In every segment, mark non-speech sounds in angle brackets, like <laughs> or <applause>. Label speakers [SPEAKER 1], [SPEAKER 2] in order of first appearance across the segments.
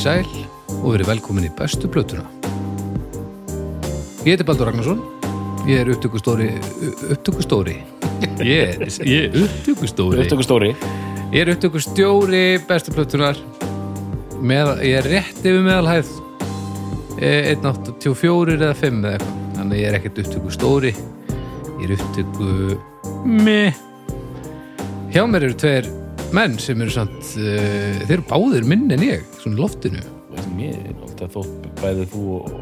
[SPEAKER 1] sæl og verið velkomin í bestu plötuna. Ég heiti Baldur Ragnarsson, ég er upptökustóri, u- upptökustóri, ég er, ég er upptökustóri,
[SPEAKER 2] Upptöku stóri
[SPEAKER 1] ég er upptökustjóri bestu plötunar, með, ég er rétt yfir meðalhæð, eh, 1.84 eða 5 eða eitthvað, þannig að ég er ekkert upptökustóri, ég er upptöku... Meh. Hjá mér eru tveir menn sem eru samt, uh, þeir eru báðir minn en ég, svona í loftinu.
[SPEAKER 2] Mér er alltaf þótt bæðið þú og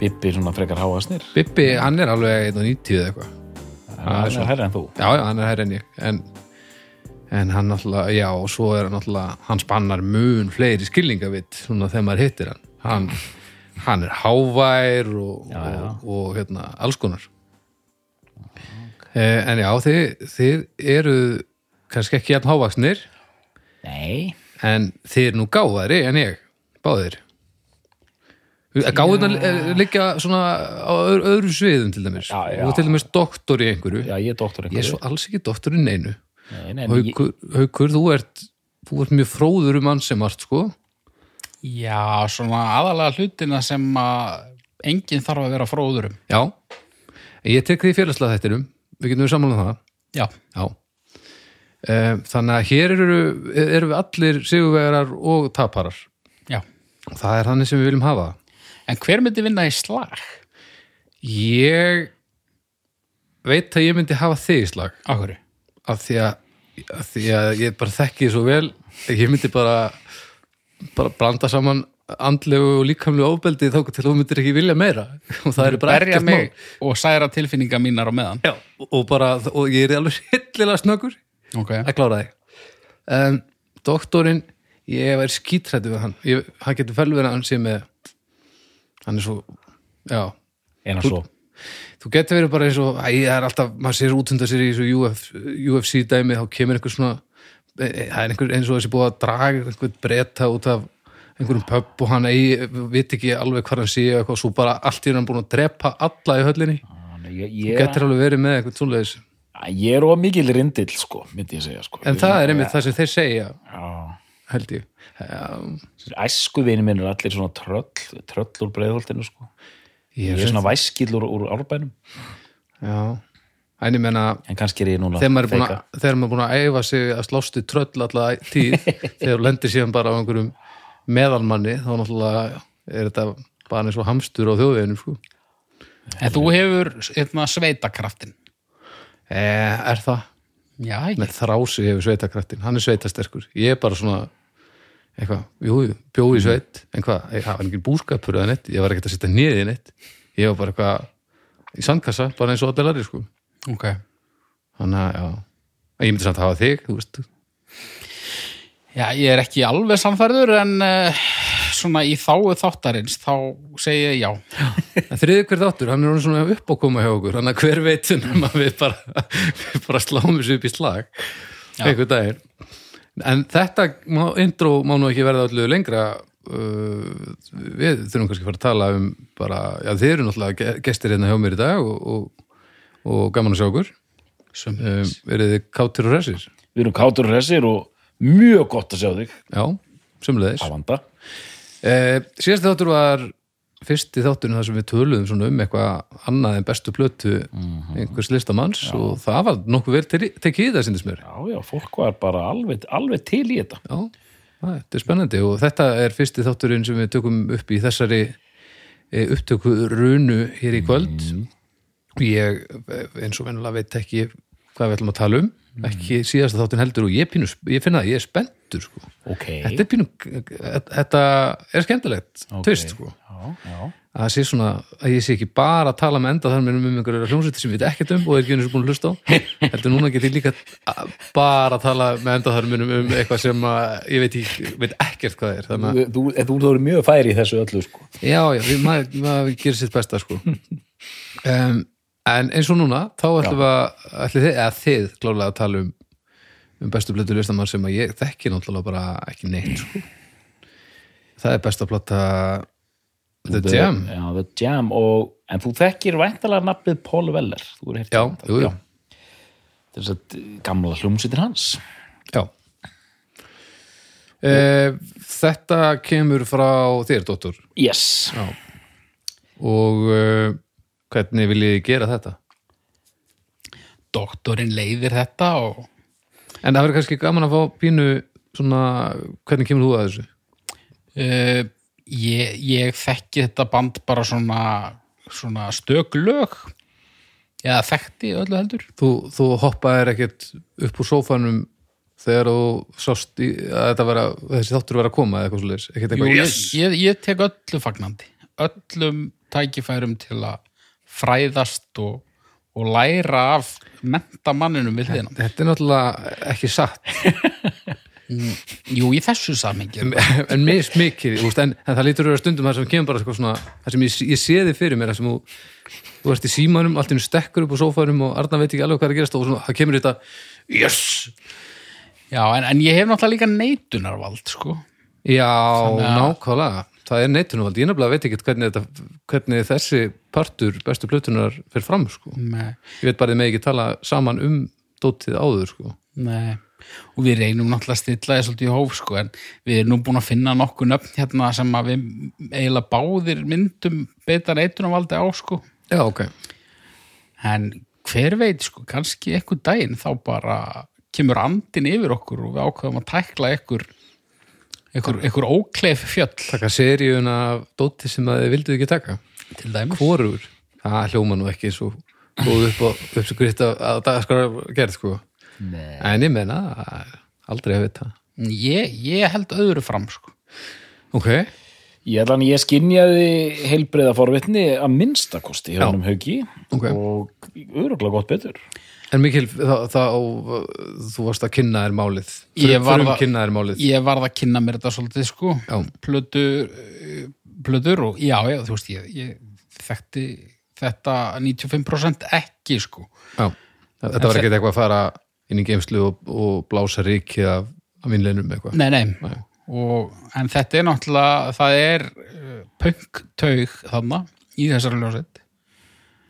[SPEAKER 2] Bibbi svona frekar háasnir
[SPEAKER 1] Bibbi, hann er alveg 1.90 eða eitthvað.
[SPEAKER 2] Hann
[SPEAKER 1] svo.
[SPEAKER 2] er hærri en þú
[SPEAKER 1] Já, já, hann er hærri en ég, en, en hann náttúrulega, já, og svo er hann náttúrulega, hann spannar mun fleiri skilningavitt, svona þegar maður hittir hann. Hann, hann er hávær og,
[SPEAKER 2] Já, já.
[SPEAKER 1] og, og hérna, alls konar. Eh, en já, þið, þið eru kannski ekki jafn hávaksnir,
[SPEAKER 2] Nei
[SPEAKER 1] en þið er nú gáðari en ég, báðir gáðurnar eh, liggja svona á öðru, öðru sviðum til dæmis
[SPEAKER 2] Já, já.
[SPEAKER 1] og til dæmis doktor í einhverju
[SPEAKER 2] Já, ég er doktor
[SPEAKER 1] ég er svo alls ekki doktor í neinu
[SPEAKER 2] Nei, nei, en ég,
[SPEAKER 1] haukur, haukur, þú ert þú ert mjög fróður um hans sem art sko
[SPEAKER 3] Já, svona aðalega hlutina sem að enginn þarf að vera fróður um.
[SPEAKER 1] já, En ég tek því félagslega þettinum við getum við samanlega það
[SPEAKER 3] Já,
[SPEAKER 1] já. Ehm, þannig að hér eru, eru við allir sigurvegarar og taparar
[SPEAKER 3] já.
[SPEAKER 1] og það er þannig sem við viljum hafa það
[SPEAKER 3] En hver myndi vinna í slag?
[SPEAKER 1] Ég veit að ég myndi hafa þig í slag
[SPEAKER 3] Á hverju?
[SPEAKER 1] af því að, af því að ég bara þekki þig svo vel ég myndi bara, bara blanda saman andlegu og líkamlu ofbeldi þá til að þú myndir ekki vilja meira <laughs> og það er bara
[SPEAKER 3] Berja
[SPEAKER 1] ekkert
[SPEAKER 3] mig og særa tilfinninga mínar á meðan.
[SPEAKER 1] mál Já, og, bara, og ég er alveg <laughs> hillilega snöggur
[SPEAKER 3] Ok.
[SPEAKER 1] að klára þig um, Doktorinn, ég er skítrættu við hann ég, hann getur fel verið að hann sé með hann er svo já,
[SPEAKER 2] en að svo
[SPEAKER 1] þú getur verið bara eins og æ, það er alltaf, maður sér útundar sér í þessu UF, UFC dæmi, þá kemur einhver svona e, e, það er einhver eins og þessi búið að draga einhvern bretta út af einhverjum pöpp og hann eigi, veit ekki alveg hvað hann sé og eitthvað, svo bara allt í einu er hann búin að drepa alla í höllinni,
[SPEAKER 2] Þannig Ah, ég, ég,
[SPEAKER 1] getur alveg verið með eitthvað svoleiðis,
[SPEAKER 2] Æ, ég er of mikil rindill sko myndi ég segja sko
[SPEAKER 1] en það er einmitt það sem þeir segja,
[SPEAKER 2] Já
[SPEAKER 1] held ég já,
[SPEAKER 2] Æskuvinni minn er allir svona tröll tröll úr breiðholtinu sko
[SPEAKER 1] ég,
[SPEAKER 2] Ég er svona væskill úr, úr árbænum
[SPEAKER 1] já, en ég menna
[SPEAKER 2] en kannski er ég núna
[SPEAKER 1] þegar maður er búin
[SPEAKER 2] feika.
[SPEAKER 1] að, þegar maður er búin að æfa sig að slást við tröll alltaf tíð þegar þú lendir síðan bara á einhverjum meðalmanni þá náttúrulega er þetta bara eins og hamstur á þjóðveginu sko.
[SPEAKER 3] En þú hefur hérna sveitakraftin.
[SPEAKER 1] e, er það?
[SPEAKER 3] Já,
[SPEAKER 1] Nei, þrási hefur sveitakraftin, hann er sveitasterkur ég er bara svona eitthvað, jú, jú, bjóði sveit en hvað, ég hafa engin búskapur eða neitt ég var ekkert að setja niðið neitt ég var bara eitthvað í sandkassa, bara eins og allir aðrir sko.
[SPEAKER 3] ok.
[SPEAKER 1] þannig að, já ég myndi samt að hafa þig, þú veist
[SPEAKER 3] Já, ég er ekki alveg samferður en uh, svona í þáu þáttarins þá segi ég já.
[SPEAKER 1] En þriði hver þáttur, hann er orðinn svona upp að koma hjá okkur, hann að hver veit um að við bara, við bara sláum þessu upp í slag einhver dagir en þetta má- intro má nú ekki verða allu lengra uh, við þurfum kannski að fara að tala um bara, já þið eru náttúrulega ge- gestir hérna hjá mér í dag og, og, og gaman að sjá okkur
[SPEAKER 3] Sum.
[SPEAKER 1] um, eru þið kátir og resir?
[SPEAKER 2] Við erum kátur og hressir og mjög gott að sjá þig
[SPEAKER 1] Já, sömulegis
[SPEAKER 2] að vanda
[SPEAKER 1] Eh, síðasti þáttur var fyrsti þátturinn þar sem við töluðum svona um eitthvað annað en bestu plötu einhvers listamanns og það var nokkuð vel te- tekið í það síndist mér.
[SPEAKER 2] Já, já, fólk var bara alveg, alveg til í þetta.
[SPEAKER 1] Já, það- þetta er spennandi og þetta er fyrsti þátturinn sem við tökum upp í þessari eh, upptöku runu hér í kvöld. Ég eh, eins og venjulega veit ekki hvað við ætlum að tala um, ekki síðasta þátturinn heldur og ég, pínu, sp- ég finna að ég er spenntur sko.
[SPEAKER 2] Ok.
[SPEAKER 1] Þetta er pínu, eh, þetta er skemmtilegt, okay. tvist sko.
[SPEAKER 2] Já, já.
[SPEAKER 1] að það sé svona, að ég sé ekki bara að tala með enda þar með um einhverjum hljómsveitir sem ég veit ekkert um og er ekki einu sem búin að hlusta á heldur núna get ég líka að- bara að tala með enda þar með um eitthvað sem að ég veit, ekki, veit ekkert hvað er þannig að,
[SPEAKER 2] Þú, þú, eh, þú, þú eru mjög færi í þessu öllu, sko.
[SPEAKER 1] já, já, við, maður, maður gerir sitt besta sko um, en eins og núna, þá ætlum við að ætlum þið, eða þið klálega að tala um um bestu blötu listamann sem að ég þekki náttúrulega bara ekki neitt sko. það er best að platta The Jam
[SPEAKER 2] Já, The Jam og, en þú þekkir væntalega nafnið Paul Weller. Þú er
[SPEAKER 1] já, jú, jú
[SPEAKER 2] Þess að gamla hljómsýttir hans.
[SPEAKER 1] Já Eh, þetta kemur frá þér, dóttur
[SPEAKER 2] Yes.
[SPEAKER 1] og eh, hvernig viljið þið gera þetta?
[SPEAKER 3] Doktorinn leiðir þetta og
[SPEAKER 1] En það verður kannski gaman að fá pínu svona, hvernig kemur þú að þessu?
[SPEAKER 3] uh, ég, ég þekki þetta band bara svona, svona stöklög eða þekkti öllu heldur
[SPEAKER 1] Þú, þú hoppaðir ekkert upp úr sófanum þegar þú sást í, að þetta vera, þessi þáttur vera að koma eða eitthvað svoleiðis, ekkert
[SPEAKER 3] Jú,
[SPEAKER 1] eitthvað
[SPEAKER 3] ég, ég, ég tek öllu fagnandi öllum tækifærum til að fræðast og, og læra af mentamanninum við þeirna
[SPEAKER 1] Þetta er náttúrulega ekki satt
[SPEAKER 3] Jú, í þessu samingi
[SPEAKER 1] en mis mikið, þú veist, en, en það lítur að vera stundum það sem kemur bara sko svona, það sem ég, ég sé þig fyrir mér, það sem þú, þú ert í símanum, allt í einu stekkur upp á sófanum og Arna veit ekki alveg hvað er að gerast og svona, það kemur þetta yes,
[SPEAKER 3] Já, en, en ég hef náttúrulega líka neitunarvald sko.
[SPEAKER 1] já, nákvæmlega það er neitunumvald, ég nefnilega veit ekki hvernig, þetta, hvernig þessi partur bestu plötunar fer fram, sko
[SPEAKER 3] Nei,
[SPEAKER 1] ég veit bara þið með ekki tala saman um dótið áður, sko
[SPEAKER 3] nei. og við reynum náttúrulega að stilla þess svolítið í hóf sko, en við erum nú búin að finna nokkuð nöfn hérna sem að við eiginlega báðir myndum beita neitunarvaldi á sko.
[SPEAKER 1] já, ok,
[SPEAKER 3] en hver veit, sko, kannski einhver daginn þá bara kemur andin yfir okkur og við ákveðum að tækla einhver einhver, einhver ókleif fjöll
[SPEAKER 1] taka seríun af dótið sem að þið vildu ekki taka
[SPEAKER 3] til dæmis
[SPEAKER 1] hvorur það hljóma nú ekki svo góð upp á uppskrift að, að það skar gerð sko Nei. en ég menna aldrei að vita
[SPEAKER 3] ég, ég held öðru fram sko.
[SPEAKER 1] ok,
[SPEAKER 2] Ég ætla hann ég skinjaði heilbreiða forvitni að minnstakosti hjá
[SPEAKER 1] Já.
[SPEAKER 2] honum hauki
[SPEAKER 1] Ok.
[SPEAKER 2] og öruglega gott betur.
[SPEAKER 1] en Mikil þá, þá, þú varst að kynna þér málið
[SPEAKER 3] Ég var
[SPEAKER 1] frum
[SPEAKER 3] að-
[SPEAKER 1] kynna þér málið
[SPEAKER 3] ég varð að kynna mér þetta svolítið sko
[SPEAKER 1] Já.
[SPEAKER 3] plötur, eh, plötur og já, já, þú veist, ég, ég þekkti þetta 95% ekki sko
[SPEAKER 1] já, þetta var ekkert eitthvað að fara inn í geimslu og, og blása ríkið af, af vinnleinum eitthvað
[SPEAKER 3] nei, nei, Og, en þetta er náttúrulega það er uh, pönktaug þarna í þessari ljósett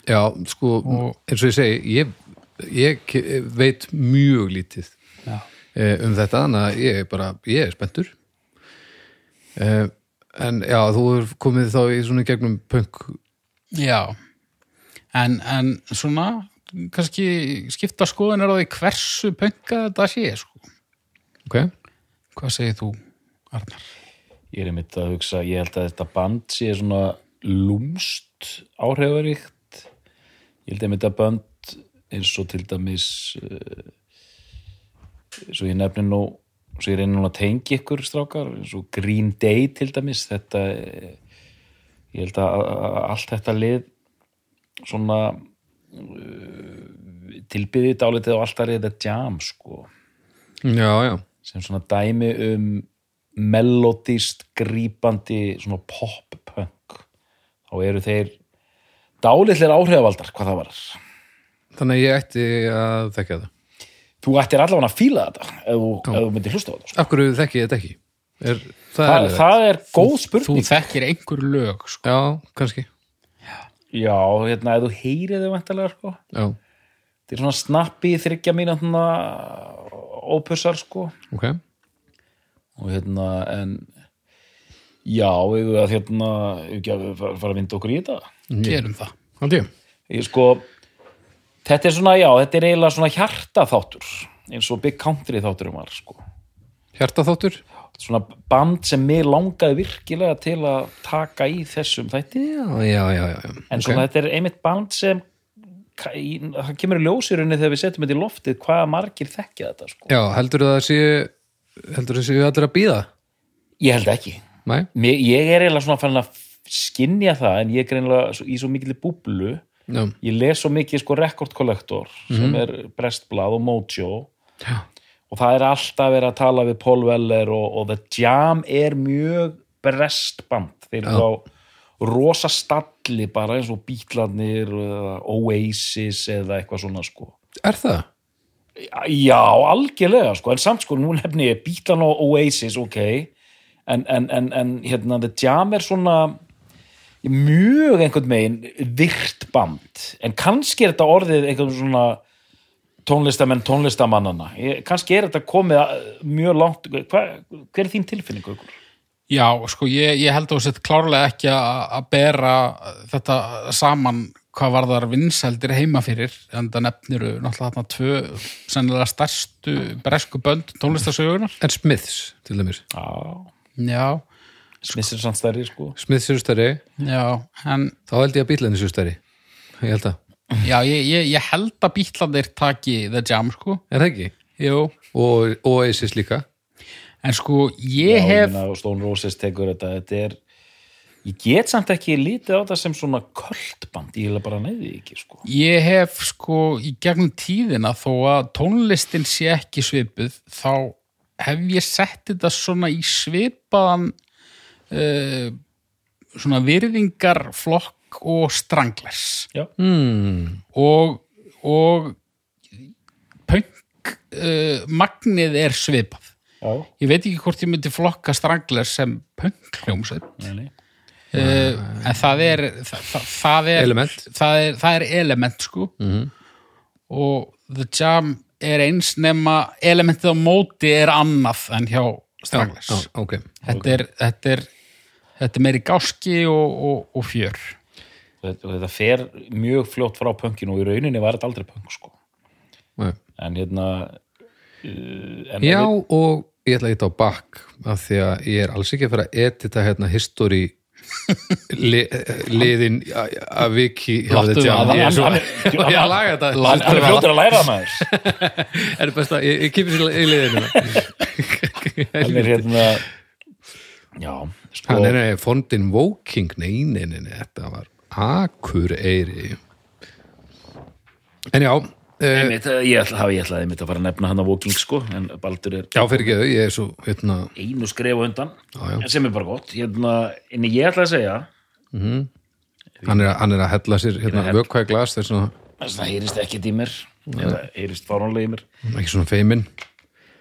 [SPEAKER 1] já, sko,
[SPEAKER 3] Og-
[SPEAKER 1] eins og ég segi ég, ég ke- veit mjög lítið
[SPEAKER 3] já.
[SPEAKER 1] eh, um þetta, þannig að ég er bara ég er spenntur eh, en já, þú er komið þá í svona gegnum punk
[SPEAKER 3] já en, en svona kannski skipta skoðin er á því hversu pönka þetta sé sko
[SPEAKER 1] ok,
[SPEAKER 3] hvað segir þú, Arnar?
[SPEAKER 2] Ég er einmitt að hugsa, ég held að þetta band sé svona lúmst áhrifaríkt. Ég held einmitt að band eins og til dæmis eh, eins og ég nefni nú svo ég reyni núna að tengi ykkur strákar eins og Green Day til dæmis þetta eh, ég held að að allt þetta lið svona eh, tilbyðið dálítið á alltaf þetta jam sko
[SPEAKER 1] já, já
[SPEAKER 2] sem svona dæmi um melodist grípandi svona pop-punk þá eru þeir dálitlir áhrifavaldar hvað það var
[SPEAKER 1] þannig að ég ætti að þekka það
[SPEAKER 2] þú ættir allavega að fíla þetta ef þú, ef þú myndir hlusta á þetta sko.
[SPEAKER 1] af hverju þekki ég þetta ekki er, það er
[SPEAKER 2] það,
[SPEAKER 1] alveg,
[SPEAKER 2] það er góð
[SPEAKER 3] Þú
[SPEAKER 2] spurning
[SPEAKER 3] þekkir einhver lög sko
[SPEAKER 1] já, kannski
[SPEAKER 2] já, hérna, ef þú heyrið þau vantarlega sko.
[SPEAKER 1] já,
[SPEAKER 2] þetta er svona snappi þryggja mínútna ópussar sko
[SPEAKER 1] ok,
[SPEAKER 2] og hérna, en já, eigum við að hérna eigum við ekki að fara- fara að vinda okkur í þetta
[SPEAKER 3] gerum það
[SPEAKER 1] haldi ég
[SPEAKER 2] ég sko þetta er svona, já, þetta er eiginlega svona hjartaþáttur eins og Big Country þátturum var sko.
[SPEAKER 1] hjartaþáttur,
[SPEAKER 2] svona band sem mér langaði virkilega til að taka í þessum þætti
[SPEAKER 1] já, já, já, já já.
[SPEAKER 2] en
[SPEAKER 1] ok,
[SPEAKER 2] svona þetta er einmitt band sem ka- í- það kemur í ljósirunni þegar við setjum þetta í loftið hvað margir þekkja þetta sko.
[SPEAKER 1] já, heldur það sé heldur það sé allir að býða
[SPEAKER 2] ég held ekki
[SPEAKER 1] nei,
[SPEAKER 2] mér, ég er eiginlega svona fann að skinja það en ég er greinlega svo- í svo mikilli búblu
[SPEAKER 1] já, Mhm.
[SPEAKER 2] ég les svo mikið sko Record Collector sem er Brestblad og Mojo
[SPEAKER 1] já,
[SPEAKER 2] og það er alltaf verið að tala við Paul Weller og, og The Jam er mjög brestband þeir eru á rosa stalli bara eins og Beatlanir eða Oasis eða eitthvað svona sko
[SPEAKER 1] er það?
[SPEAKER 2] já, algjörlega sko en samt sko, nú nefni ég Beatlan og Oasis ok, en, en, en, en hérna, The Jam er svona mjög einhvern veginn virt band, en kannski er þetta orðið einhvern svona tónlistamenn tónlistamannana Ég- kannski er þetta komið að- mjög langt hva, hver er þín tilfinning ykkur?
[SPEAKER 3] Já, sko, ég, ég held að þetta klárlega ekki að að bera þetta saman hvað varðar vinsældir heima fyrir, en það nefnir náttúrulega þarna tvö sennilega stærstu bresku bönd tónlistasögunar.
[SPEAKER 1] en Smiths til dæmis
[SPEAKER 2] Já,
[SPEAKER 3] Já,
[SPEAKER 2] smissir samt stærri sko
[SPEAKER 1] Smiths eru stærri,
[SPEAKER 3] já, en
[SPEAKER 1] þá held ég að bílarnir eru stærri ég held að,
[SPEAKER 3] já, ég, ég, ég held að bítlandir taki The Jam, sko.
[SPEAKER 1] er það ekki?
[SPEAKER 3] Jú.
[SPEAKER 1] og og Oasis líka
[SPEAKER 3] En sko, ég
[SPEAKER 2] Já,
[SPEAKER 3] hef,
[SPEAKER 2] meina, og Stone Roses tekur þetta, þetta er ég get samt ekki lítið á þetta sem svona kvöldband, ég heila bara neyði ekki sko.
[SPEAKER 3] ég hef sko í gegnum tíðina þó að tónlistin sé ekki svipuð þá hef ég sett þetta svona í svipaðan uh, svona virðingarflokk og stranglers
[SPEAKER 2] já,
[SPEAKER 1] hmm,
[SPEAKER 3] og, og punk uh, magnið er svipað
[SPEAKER 2] já,
[SPEAKER 3] ég veit ekki hvort ég myndi flokka stranglers sem punk hljómsveit
[SPEAKER 2] nei, nei
[SPEAKER 3] uh, en það er það, það, það er
[SPEAKER 1] Element. Mhm.
[SPEAKER 3] það er, það er element sko -hmm. og The Jam er eins nema elementið á móti er annað en hjá Stranglers
[SPEAKER 1] já, ok
[SPEAKER 3] þetta, er, þetta, er, þetta er meiri gáski og, og, og fjör
[SPEAKER 2] og þetta, og þetta fer mjög fljótt frá punkinu og í rauninni var þetta aldrei punk sko.
[SPEAKER 1] Nei.
[SPEAKER 2] en hérna uh, en
[SPEAKER 1] já
[SPEAKER 2] ef við-
[SPEAKER 1] og ég ætla að geta á bakk af því að ég er alls ekki að fara að edita hérna history <laughs> li, liðin að viki hjá
[SPEAKER 3] Láttu
[SPEAKER 1] The Jam.
[SPEAKER 3] það,
[SPEAKER 1] ég er svo
[SPEAKER 2] hann- hann-
[SPEAKER 1] ég er að laga þetta
[SPEAKER 2] hann hann er fljóttur að læra
[SPEAKER 1] <laughs>
[SPEAKER 2] það maður
[SPEAKER 1] er best að ég, ég kipir sér í liðinu
[SPEAKER 2] hann er hérna já,
[SPEAKER 1] <laughs>
[SPEAKER 2] sko,
[SPEAKER 1] hann er nei, fondin Woking nei, nei, nei, nei, þetta var Akureyri en já eh,
[SPEAKER 2] einmitt, eh, ég ætla, hafa- ég ætlaði mitt að fara að nefna hann á Woking sko, en Baldur er
[SPEAKER 1] já, fyrir ekki ég er svo hérna,
[SPEAKER 2] einu skref á undan
[SPEAKER 1] Já, já.
[SPEAKER 2] sem er bara gott hérna, en ég ætla að segja
[SPEAKER 1] hann, er, að- hann er að hella sér hérna, vökva í glas, þess að
[SPEAKER 2] þess að það heyrist ekkert í mér eða heyrist fáránlega í mér
[SPEAKER 1] ekki svona feiminn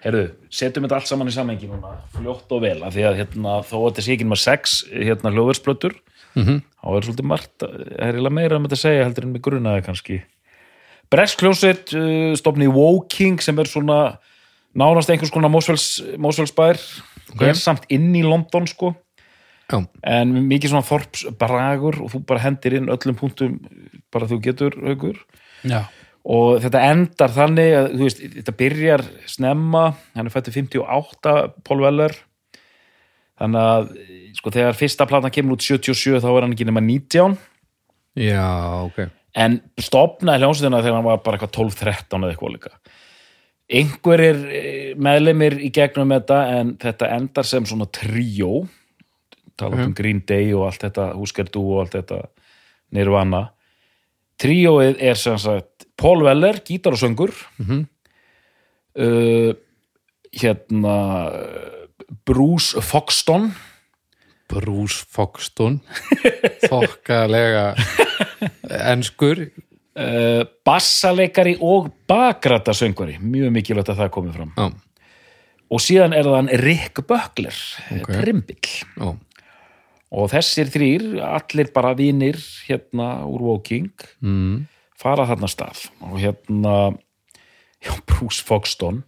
[SPEAKER 2] Herðu, setjum þetta allt saman í samengi núna fljótt og vel, af því að hérna, þó að þetta sé ekki með sex hérna, hljóðversplötur -hmm. þá er svolítið margt það er eiginlega meira um þetta að segja heldur en með grunaði kannski Breskljóset uh, stofni Woking sem er svona nánast einhvers konar Mosfells, Mosfellsbær er samt inn í London sko
[SPEAKER 1] já,
[SPEAKER 2] en mikið svona þorpsbragur og þú bara hendir inn öllum punktum bara þú getur haugur
[SPEAKER 3] já,
[SPEAKER 2] og þetta endar þannig að þú veist, þetta byrjar snemma hann er fættu 58, Paul Weller þannig að sko, þegar fyrsta platan kemur út 77 þá er hann ekki nema 19
[SPEAKER 1] já, ok
[SPEAKER 2] en stopnaði hljómsveitina þegar hann var bara eitthvað 12-13 eða eitthvað líka einhverjir eh, meðlimir í gegnum þetta en þetta endar sem svona tríó tala um Green Day og allt þetta Húskerdu og allt þetta Nirvana tríóið er sem sagt Paul Weller, gítar og söngur uh, hérna Bruce Foxton
[SPEAKER 1] Bruce Foxton <laughs> þokkalega enskur
[SPEAKER 2] uh, bassaleikari og bakrætasöngvari mjög mikilvægt að það komi fram
[SPEAKER 1] já,
[SPEAKER 2] og síðan er það hann Rick Böckler
[SPEAKER 1] Ok.
[SPEAKER 2] Trimbill
[SPEAKER 1] já,
[SPEAKER 2] og þessir þrýr, allir bara vinir hérna úr Woking
[SPEAKER 1] mm,
[SPEAKER 2] fara þarna af stað og hérna já, Bruce Foxton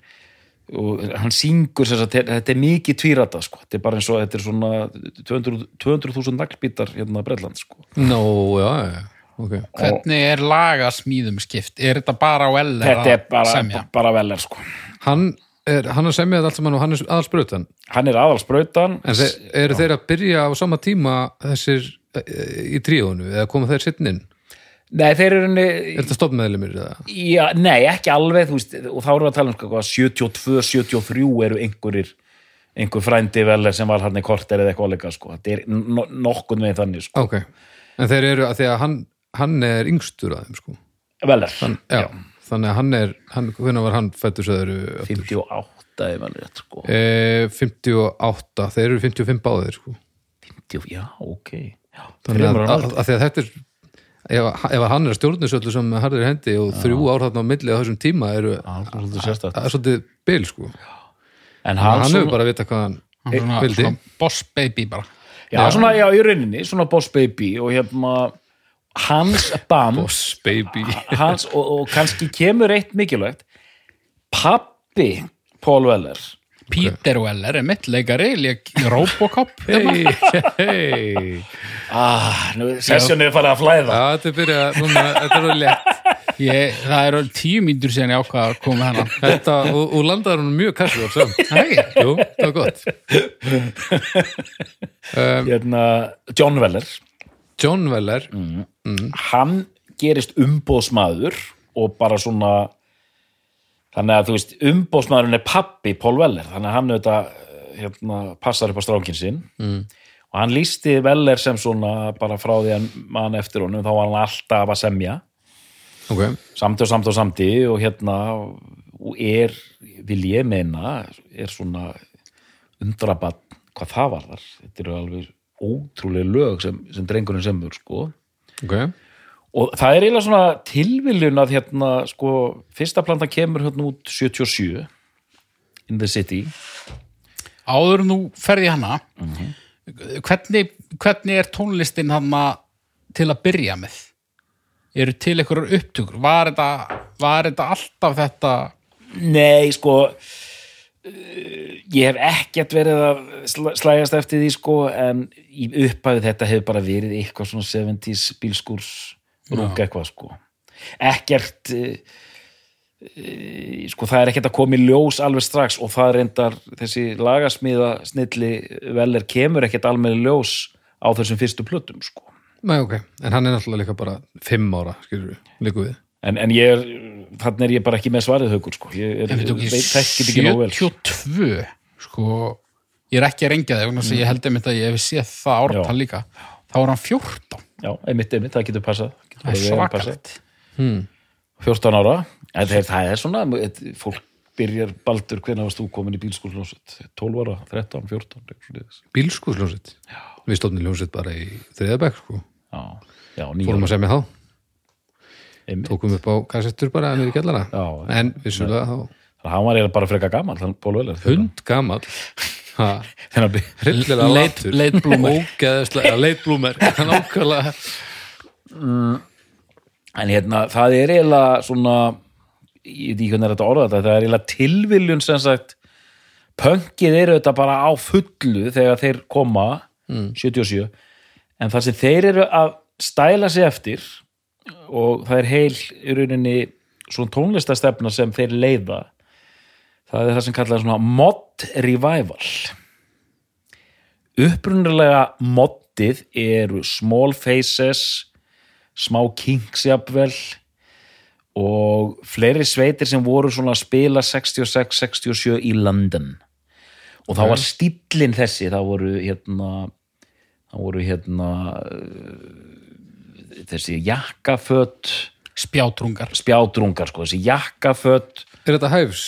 [SPEAKER 2] og hann syngur þess að þetta er mikið tvírata sko, þetta er bara eins og þetta er svona 200 200.000 naglbítar hérna Bretland sko
[SPEAKER 1] no, já, já, ok
[SPEAKER 3] hvernig er lagasmíðum skipt er þetta bara á L
[SPEAKER 2] þetta er bara,
[SPEAKER 3] semja
[SPEAKER 2] bara velar sko
[SPEAKER 1] hann er, hann er semjað allt saman og hann er aðalsbrötan
[SPEAKER 2] hann er aðalsbrautan
[SPEAKER 1] en þeir, eru þeir að byrja á sama tíma þessir eh, í tríónu eða koma þeir sittin inn
[SPEAKER 2] nei, þeir eru henni
[SPEAKER 1] er þetta stoppmeðlumir eða?
[SPEAKER 2] Já, nei, ekki alveg, þú veist, og þá erum við að tala um sko, hvað, 72, 73 eru einhverjir, einhver frændi veler sem var hann í korter eða eitthvað leika, sko. Þetta er no nokkuð með þannig, sko.
[SPEAKER 1] ok, en þeir eru að því að hann hann er yngstur að þeim sko
[SPEAKER 2] Veler,
[SPEAKER 1] já, þannig að hann er hann, hvernig var hann fættur svo þeir eru
[SPEAKER 2] 58, ef hann rétt, sko.
[SPEAKER 1] Eh, 58, þeir eru 55 báðir sko.
[SPEAKER 2] 50, já, ok. Já,
[SPEAKER 1] þannig að,
[SPEAKER 2] þremur
[SPEAKER 1] að,
[SPEAKER 2] ára.
[SPEAKER 1] að, að þetta er ef, ef hann er að stjórnus öllu sem harðir hendi og þrjú ár þarna á milli á þessum tíma eru
[SPEAKER 2] Já,
[SPEAKER 1] að,
[SPEAKER 2] svolítið sérstætt.
[SPEAKER 1] að svolítið bil sko.
[SPEAKER 2] En
[SPEAKER 1] hann,
[SPEAKER 2] hann,
[SPEAKER 1] hann hefur
[SPEAKER 2] svona,
[SPEAKER 1] bara að vita hvað hann
[SPEAKER 3] Hann svona,
[SPEAKER 1] vildi
[SPEAKER 3] svona boss baby bara
[SPEAKER 2] já, svona, já, í rauninni, svona Boss Baby og hérna, hans
[SPEAKER 1] <laughs>
[SPEAKER 2] band,
[SPEAKER 1] boss baby
[SPEAKER 2] <laughs> hans, og, og kannski kemur eitt mikilvægt, pappi Paul Weller
[SPEAKER 3] Peter Weller er mitt leikari leik Robocop
[SPEAKER 1] Hei, hei
[SPEAKER 2] ah, sessjónu er farið að flæða
[SPEAKER 1] Já, þetta er byrjað, núna, þetta er létt
[SPEAKER 3] ég, það eru tíu mínútur síðan ég ákvað að koma hana
[SPEAKER 1] Þetta, og, og landaður hún mjög kassu á sem
[SPEAKER 3] Hei,
[SPEAKER 1] Jú, það var gott
[SPEAKER 2] hérna, John Weller
[SPEAKER 1] John Weller,
[SPEAKER 2] hann gerist umbóðsmaður og bara svona þannig að þú veist umbóðsmaðurinn er pappi Paul Weller þannig að hann auðvitað hérna, passar upp á strákin sinn mm. og hann lísti Weller sem svona bara frá því að mann eftir honum þá var hann alltaf að semja
[SPEAKER 1] ok
[SPEAKER 2] samt og samt og samti og hérna og er, vil ég meina er svona undrabann hvað það var þar þetta eru alveg ótrúlega lög sem, sem drengurinn semur sko
[SPEAKER 1] Ok,
[SPEAKER 2] og það er eiginlega svona tilviljun að hérna, sko, fyrsta planta kemur hérna út 77 in the city
[SPEAKER 3] áður nú ferði hana hvernig, hvernig er tónlistin hana til að byrja með eru til einhverjar upptökur var þetta, var þetta alltaf þetta
[SPEAKER 2] nei, sko eh, ég hef ekkert verið að sla- slægjast eftir því sko en í upphæðu þetta hefur bara verið eitthvað svona 70s bílskúrs rúk eitthvað sko ekkert eh, eh, sko það er ekkert að koma í ljós alveg strax og það reyndar þessi lagasmíða snilli veler kemur ekkert alveg ljós á þessum fyrstu plötum sko
[SPEAKER 1] Nei, ok, en hann er náttúrulega líka bara fimm ára, skilur við, líku við
[SPEAKER 2] en, en ég er, þannig er ég bara ekki með svarið haukur sko, ég er,
[SPEAKER 3] Ég veit
[SPEAKER 2] veit þekki
[SPEAKER 3] ekki,
[SPEAKER 2] ekki nóg vel sko.
[SPEAKER 3] 72 sko, ég er ekki að rengja þig mm. ég held einmitt að ég hef séð það ártal
[SPEAKER 2] Já.
[SPEAKER 3] líka þá er hann 14
[SPEAKER 2] já, einmitt, einmitt, það getur passað getur
[SPEAKER 3] það er
[SPEAKER 2] bara vel passað.
[SPEAKER 3] svakalegt
[SPEAKER 2] 14 ára, en þeir, það er svona et- fólk byrjar baldur hvenær varst þú komin í bílskúrljónsett 12 ára, 13, 14 eitthvað svoleiðis.
[SPEAKER 1] Bílskúsljónsitt Við stofnum ljónsitt bara í þriðabæk, sko
[SPEAKER 2] já, já, nýja
[SPEAKER 1] Fórum að semja þá,
[SPEAKER 2] einmitt,
[SPEAKER 1] tókum upp á kassettur bara niður í kellara
[SPEAKER 2] Já, já.
[SPEAKER 1] En vissulega þá,
[SPEAKER 2] þannig að hann var eiginlega bara frekar gaman þannig Paul Weller
[SPEAKER 1] hund gamall Ha,
[SPEAKER 2] Þegar hann byr-
[SPEAKER 1] hryllilega
[SPEAKER 3] Leit-
[SPEAKER 1] latur <laughs>
[SPEAKER 3] leitblúmer.
[SPEAKER 1] Ógeðslega, <laughs> leitblúmer, hann ákvæðlega
[SPEAKER 2] en hérna, það er eiginlega svona ég veit ekki hvernig er þetta orða þetta, það er eiginlega tilviljun sem sagt pönkið eru þetta bara á fullu þegar þeir koma 77, en það sem þeir eru að stæla sig eftir og það er heil í rauninni svona tónlistastefna sem þeir leiða það er það sem kallar svona mod revival upprunnilega moddið eru small faces smá kinks jafnvel og fleiri sveitir sem voru svona að spila 66-67 í London og þá var stíllinn þessi þá voru hérna þá voru hérna eh, þessi jakkaföt
[SPEAKER 3] spjátrungar
[SPEAKER 2] spjátrungar sko, þessi jakkaföt
[SPEAKER 1] Er þetta hæfs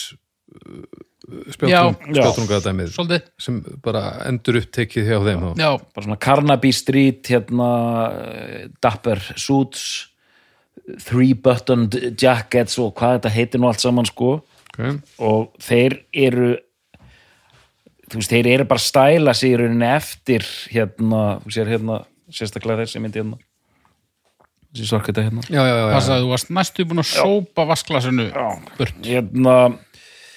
[SPEAKER 3] Já.
[SPEAKER 1] spjátrung, spjátrunga dæmið
[SPEAKER 3] svolítið,
[SPEAKER 1] sem bara endur upptekið hjá þeim þá?
[SPEAKER 3] já,
[SPEAKER 2] bara svona Carnaby Street hérna, eh, Dapper Suits Three Buttoned Jackets og hvað þetta heitir nú allt saman sko
[SPEAKER 1] Okay.
[SPEAKER 2] og þeir eru þú veist, þeir eru bara að stæla sig í rauninni eftir hérna, þú sér hérna sérstaklega þessi myndi hérna þessi sorgkvæta hérna
[SPEAKER 1] Já, já, já, já.
[SPEAKER 3] passa að þú varst næstu búin að sópa vasklasinu burt
[SPEAKER 2] hérna,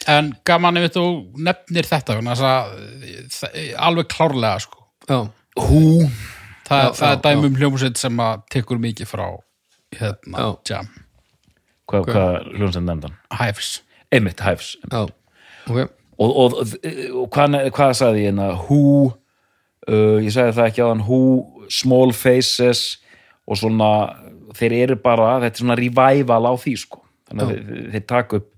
[SPEAKER 3] En gaman ef þú nefnir þetta vegna þess að, það- alveg klárlega sko.
[SPEAKER 1] já.
[SPEAKER 2] hú
[SPEAKER 3] Þa,
[SPEAKER 1] Já,
[SPEAKER 3] það er
[SPEAKER 1] já,
[SPEAKER 3] dæmum hljómsveit sem að tekur mikið frá hérna,
[SPEAKER 1] Já.
[SPEAKER 3] jam,
[SPEAKER 2] hvað hva, hljónsend nefndan?
[SPEAKER 3] hæfis
[SPEAKER 2] Einmitt, hæfs
[SPEAKER 1] já. Ok.
[SPEAKER 2] og, og, og hvað, hvað sagði ég hérna hú uh, ég sagði það ekki á hann hú, small faces og svona þeir eru bara, þetta er svona revival á því sko, þannig að þeir, þeir taka upp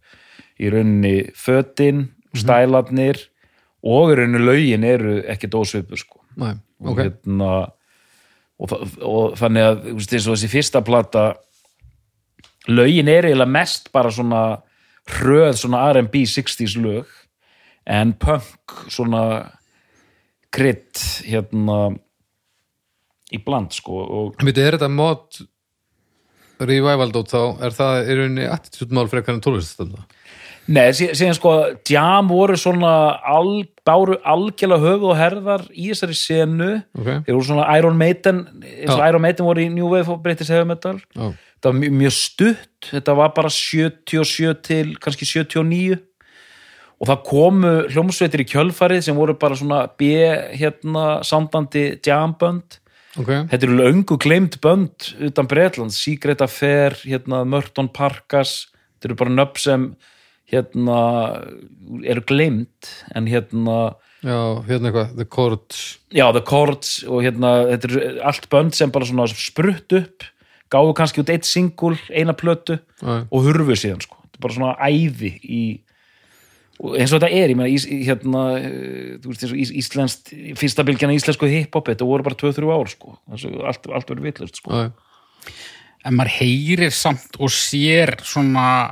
[SPEAKER 2] í rauninni fötin stælarnir og í rauninni lögin eru ekki dósveipur sko
[SPEAKER 1] Næ,
[SPEAKER 2] og
[SPEAKER 1] ok.
[SPEAKER 2] hérna og, þa- og þannig að þú veist, eins og þessi fyrsta plata lögin er eiginlega mest bara svona hröð svona R&B 60s lög en punk svona krydd hérna í bland sko og
[SPEAKER 1] Býtu, er þetta mod revival dót þá, er það í rauninni attitúdmál frekar en tólestastönda?
[SPEAKER 2] Nei, sí- síðan sko, Jam voru svona al, báru algjörlega höfuð og herðar í þessari senu
[SPEAKER 1] Ok.
[SPEAKER 2] þeir voru svona Iron Maiden eins og
[SPEAKER 1] Já.
[SPEAKER 2] Iron Maiden voru í New Wave og British Heavy Metal
[SPEAKER 1] Já.
[SPEAKER 2] þetta var mjög, mjög stutt þetta var bara 77 til kannski 79 og það komu hljómsveitir í kjölfarið sem voru bara svona B hérna samdandi jambönd
[SPEAKER 1] ok,
[SPEAKER 2] þetta eru löngu gleymd bönd utan Bretlands, Secret Affair hérna, Mörton Parkas þetta eru bara nöfn sem hérna, eru gleymd en hérna,
[SPEAKER 1] já, hérna eitthvað The Chords,
[SPEAKER 2] já, The Chords og hérna, þetta eru allt bönd sem bara svona sprutt upp, gáðu kannski út eitt singul, eina plötu
[SPEAKER 1] Já.
[SPEAKER 2] og hurfu síðan, sko, þetta er bara svona æði í og eins og þetta er, ég meina, ís, hérna eh, þú veist, eins og ís, íslenskt, fyrsta bylgjana íslensku hip-hop, þetta voru bara 2-3 ár, sko Þessu, allt, allt verið vitlust, sko
[SPEAKER 1] já,
[SPEAKER 3] en maður heyrir samt og sér svona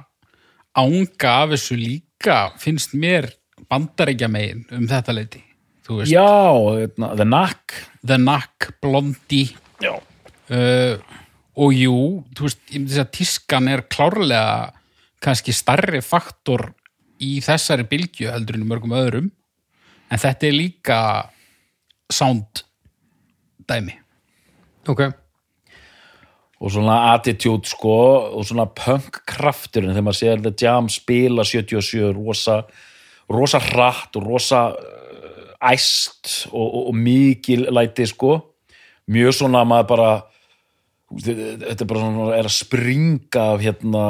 [SPEAKER 3] ánga af þessu líka finnst mér bandaríkja megin um þetta leiti þú veist,
[SPEAKER 2] Já, hérna, The Knack
[SPEAKER 3] The Knack, Blondie
[SPEAKER 2] Já,
[SPEAKER 3] uh, og jú þú veist, ég myndi segja að tískan er klárlega kannski starri faktor í þessari bylgju heldur en í mörgum öðrum en þetta er líka sound dæmi
[SPEAKER 1] ok
[SPEAKER 2] og svona attitude sko og svona punk krafturinn þegar maður sér The Jam spila 77 rosa, rosa hratt og rosa uh, æst og, og, og mikil læti sko mjög svona maður bara þetta er bara svona er að springa af hérna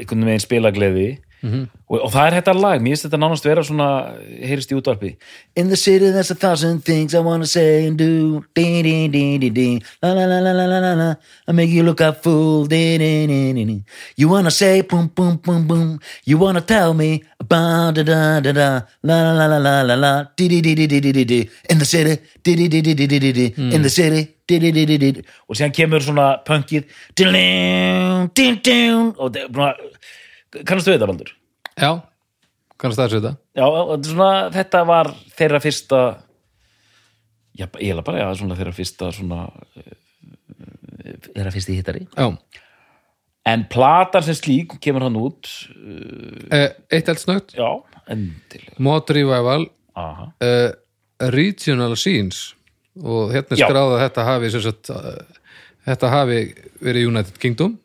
[SPEAKER 2] einhvern veginn spilagleði og, og það er þetta lag, mér finnst þetta nánast vera svona heyrist í útvarpi In the city there's a thousand things I wanna say and do ding, ding, ding, ding, ding. La, la, la, la, la, la, la, la. I make you look a fool ding, ding, ding, ding, ding. You wanna say boom, boom, boom, boom You wanna tell me about da, da, da, da La, la, la, la, la, la, la Di, di, di, di, di, di, di, di In the city Di, di, di, di, di, di, di, di In the city Di, di, di, di, di, di. Og síðan kemur svona punkið Dilum, dilum, dilum Og það er bara Kannast við þetta, Baldur?
[SPEAKER 1] já, kannast það þetta
[SPEAKER 2] já, þetta er svona, þetta var þeirra fyrsta já, ég er bara, já, svona þeirra fyrsta svona eh, eh, þeirra fyrsti hittari
[SPEAKER 1] já,
[SPEAKER 2] en platan sem slík kemur hann út eh,
[SPEAKER 1] Eh, eitt held snögt
[SPEAKER 2] já, endilega
[SPEAKER 1] Mod Revival
[SPEAKER 2] Aha.
[SPEAKER 1] uh, Regional Scenes og hérna er
[SPEAKER 2] Já.
[SPEAKER 1] skráð að þetta hafi sem sagt, uh, þetta hafi verið United Kingdom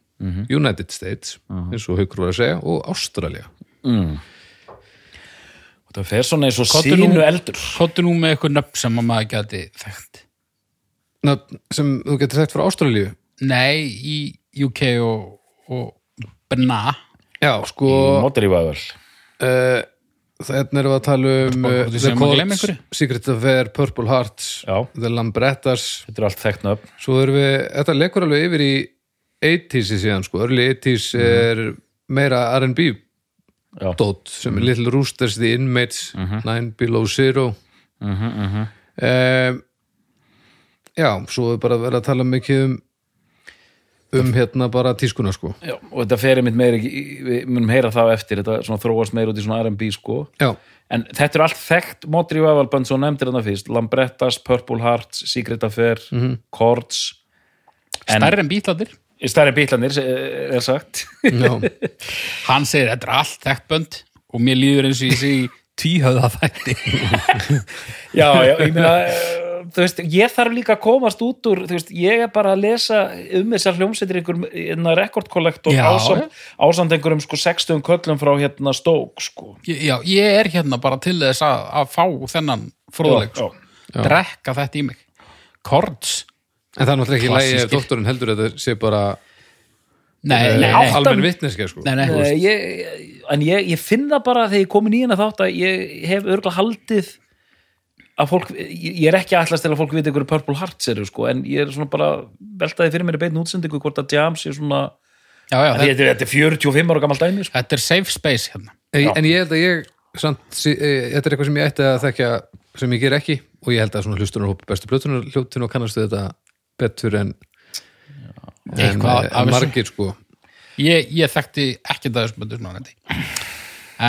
[SPEAKER 1] United States, eins og haukur var að segja og Ástralja
[SPEAKER 2] og það fer svona eins og
[SPEAKER 3] Komdu
[SPEAKER 2] sínu
[SPEAKER 3] nú.
[SPEAKER 2] eldur
[SPEAKER 3] Kottu nú með eitthvað nöfn sem að maður gæti þekkt
[SPEAKER 1] Ná, sem þú getur sagt frá Ástralju
[SPEAKER 3] Nei, í UK og, og BNA
[SPEAKER 1] já, sko
[SPEAKER 2] Motorívaður
[SPEAKER 1] uh, þannig erum við að tala um
[SPEAKER 3] Spá,
[SPEAKER 1] uh,
[SPEAKER 3] hvort við séum að gleyma einhverju?
[SPEAKER 1] Secret Affair, Purple Hearts
[SPEAKER 2] Já.
[SPEAKER 1] The Lambrettas
[SPEAKER 2] þetta er allt þekkt nöfn
[SPEAKER 1] svo erum við, þetta lekur alveg yfir í 80s síðan sko, early 80s
[SPEAKER 3] Mhm.
[SPEAKER 1] er meira R&B
[SPEAKER 2] já,
[SPEAKER 1] dót sem
[SPEAKER 3] Mhm.
[SPEAKER 1] er Little Roosters, The Inmates Nine Below Zero uh
[SPEAKER 3] Mhm,
[SPEAKER 1] já, svo er bara verið að tala mikið um um hérna bara tískuna sko
[SPEAKER 2] já, og þetta fer einmitt meira í- við munum heyra það á eftir, þetta svona þróast meira út í svona R&B sko
[SPEAKER 1] já,
[SPEAKER 2] En þetta er allt þekkt Modri Vavalbönd svo nefndir þarna fyrst Lambrettas, Purple Hearts, Secret Affair Chords En-
[SPEAKER 3] Mhm. Stærri en bítlatir
[SPEAKER 2] Stærri bítlanir eh, er sagt
[SPEAKER 1] já,
[SPEAKER 3] Hann segir, þetta er allt þekkt bönd og mér líður eins og ég sé í tvíhöða þætti
[SPEAKER 2] Já, já, ég meina eh, Þú veist, ég þarf líka að komast út úr Þú veist, ég er bara að lesa um þessar hljómsveitir einhver rekordkollektor
[SPEAKER 3] Já.
[SPEAKER 2] ásamt, ásamt einhverjum sko 60 köllum frá hérna Stók sko.
[SPEAKER 3] Ég- Já, ég er hérna bara til þess að, að fá þennan fróðleik
[SPEAKER 2] Já,
[SPEAKER 3] sko. drekka þetta í mig Korts
[SPEAKER 1] en það er náttúrulega ekki lægi ef
[SPEAKER 3] Klassískir.
[SPEAKER 1] doktorinn heldur að þetta sé bara
[SPEAKER 3] Nei,
[SPEAKER 1] eh,
[SPEAKER 3] nei,
[SPEAKER 2] átta-
[SPEAKER 3] nei,
[SPEAKER 1] almenn vitneskja sko
[SPEAKER 3] nei, nei, þú
[SPEAKER 2] Eh,
[SPEAKER 3] veist.
[SPEAKER 2] ég, en ég, ég finn það bara þegar ég komin í hérna þátt að ég hef örgulega haldið að fólk, ég ég er ekki að ætlast til að fólk viti ykkur Purple Hearts eru sko, en ég er svona bara veltaði fyrir mér í beitin útsendingu hvort að Jams er svona,
[SPEAKER 3] Já, já,
[SPEAKER 2] þetta,
[SPEAKER 3] þetta,
[SPEAKER 2] þetta, þetta er 45 ára gammal dæmi, sko.
[SPEAKER 3] þetta er safe space hérna
[SPEAKER 1] en, en ég held að ég samt, sí- eh, þetta er eitthvað sem ég ætti að þekja sem ég ger ekki og ég held að svona hlustunar hópa bestu plötunar hljóttin og kannastu þetta betur en, en,
[SPEAKER 3] Eitthvað af
[SPEAKER 1] en
[SPEAKER 3] þessu.
[SPEAKER 1] margir sko
[SPEAKER 3] Ég, ég þekkti ekki það sem böndur svona þetta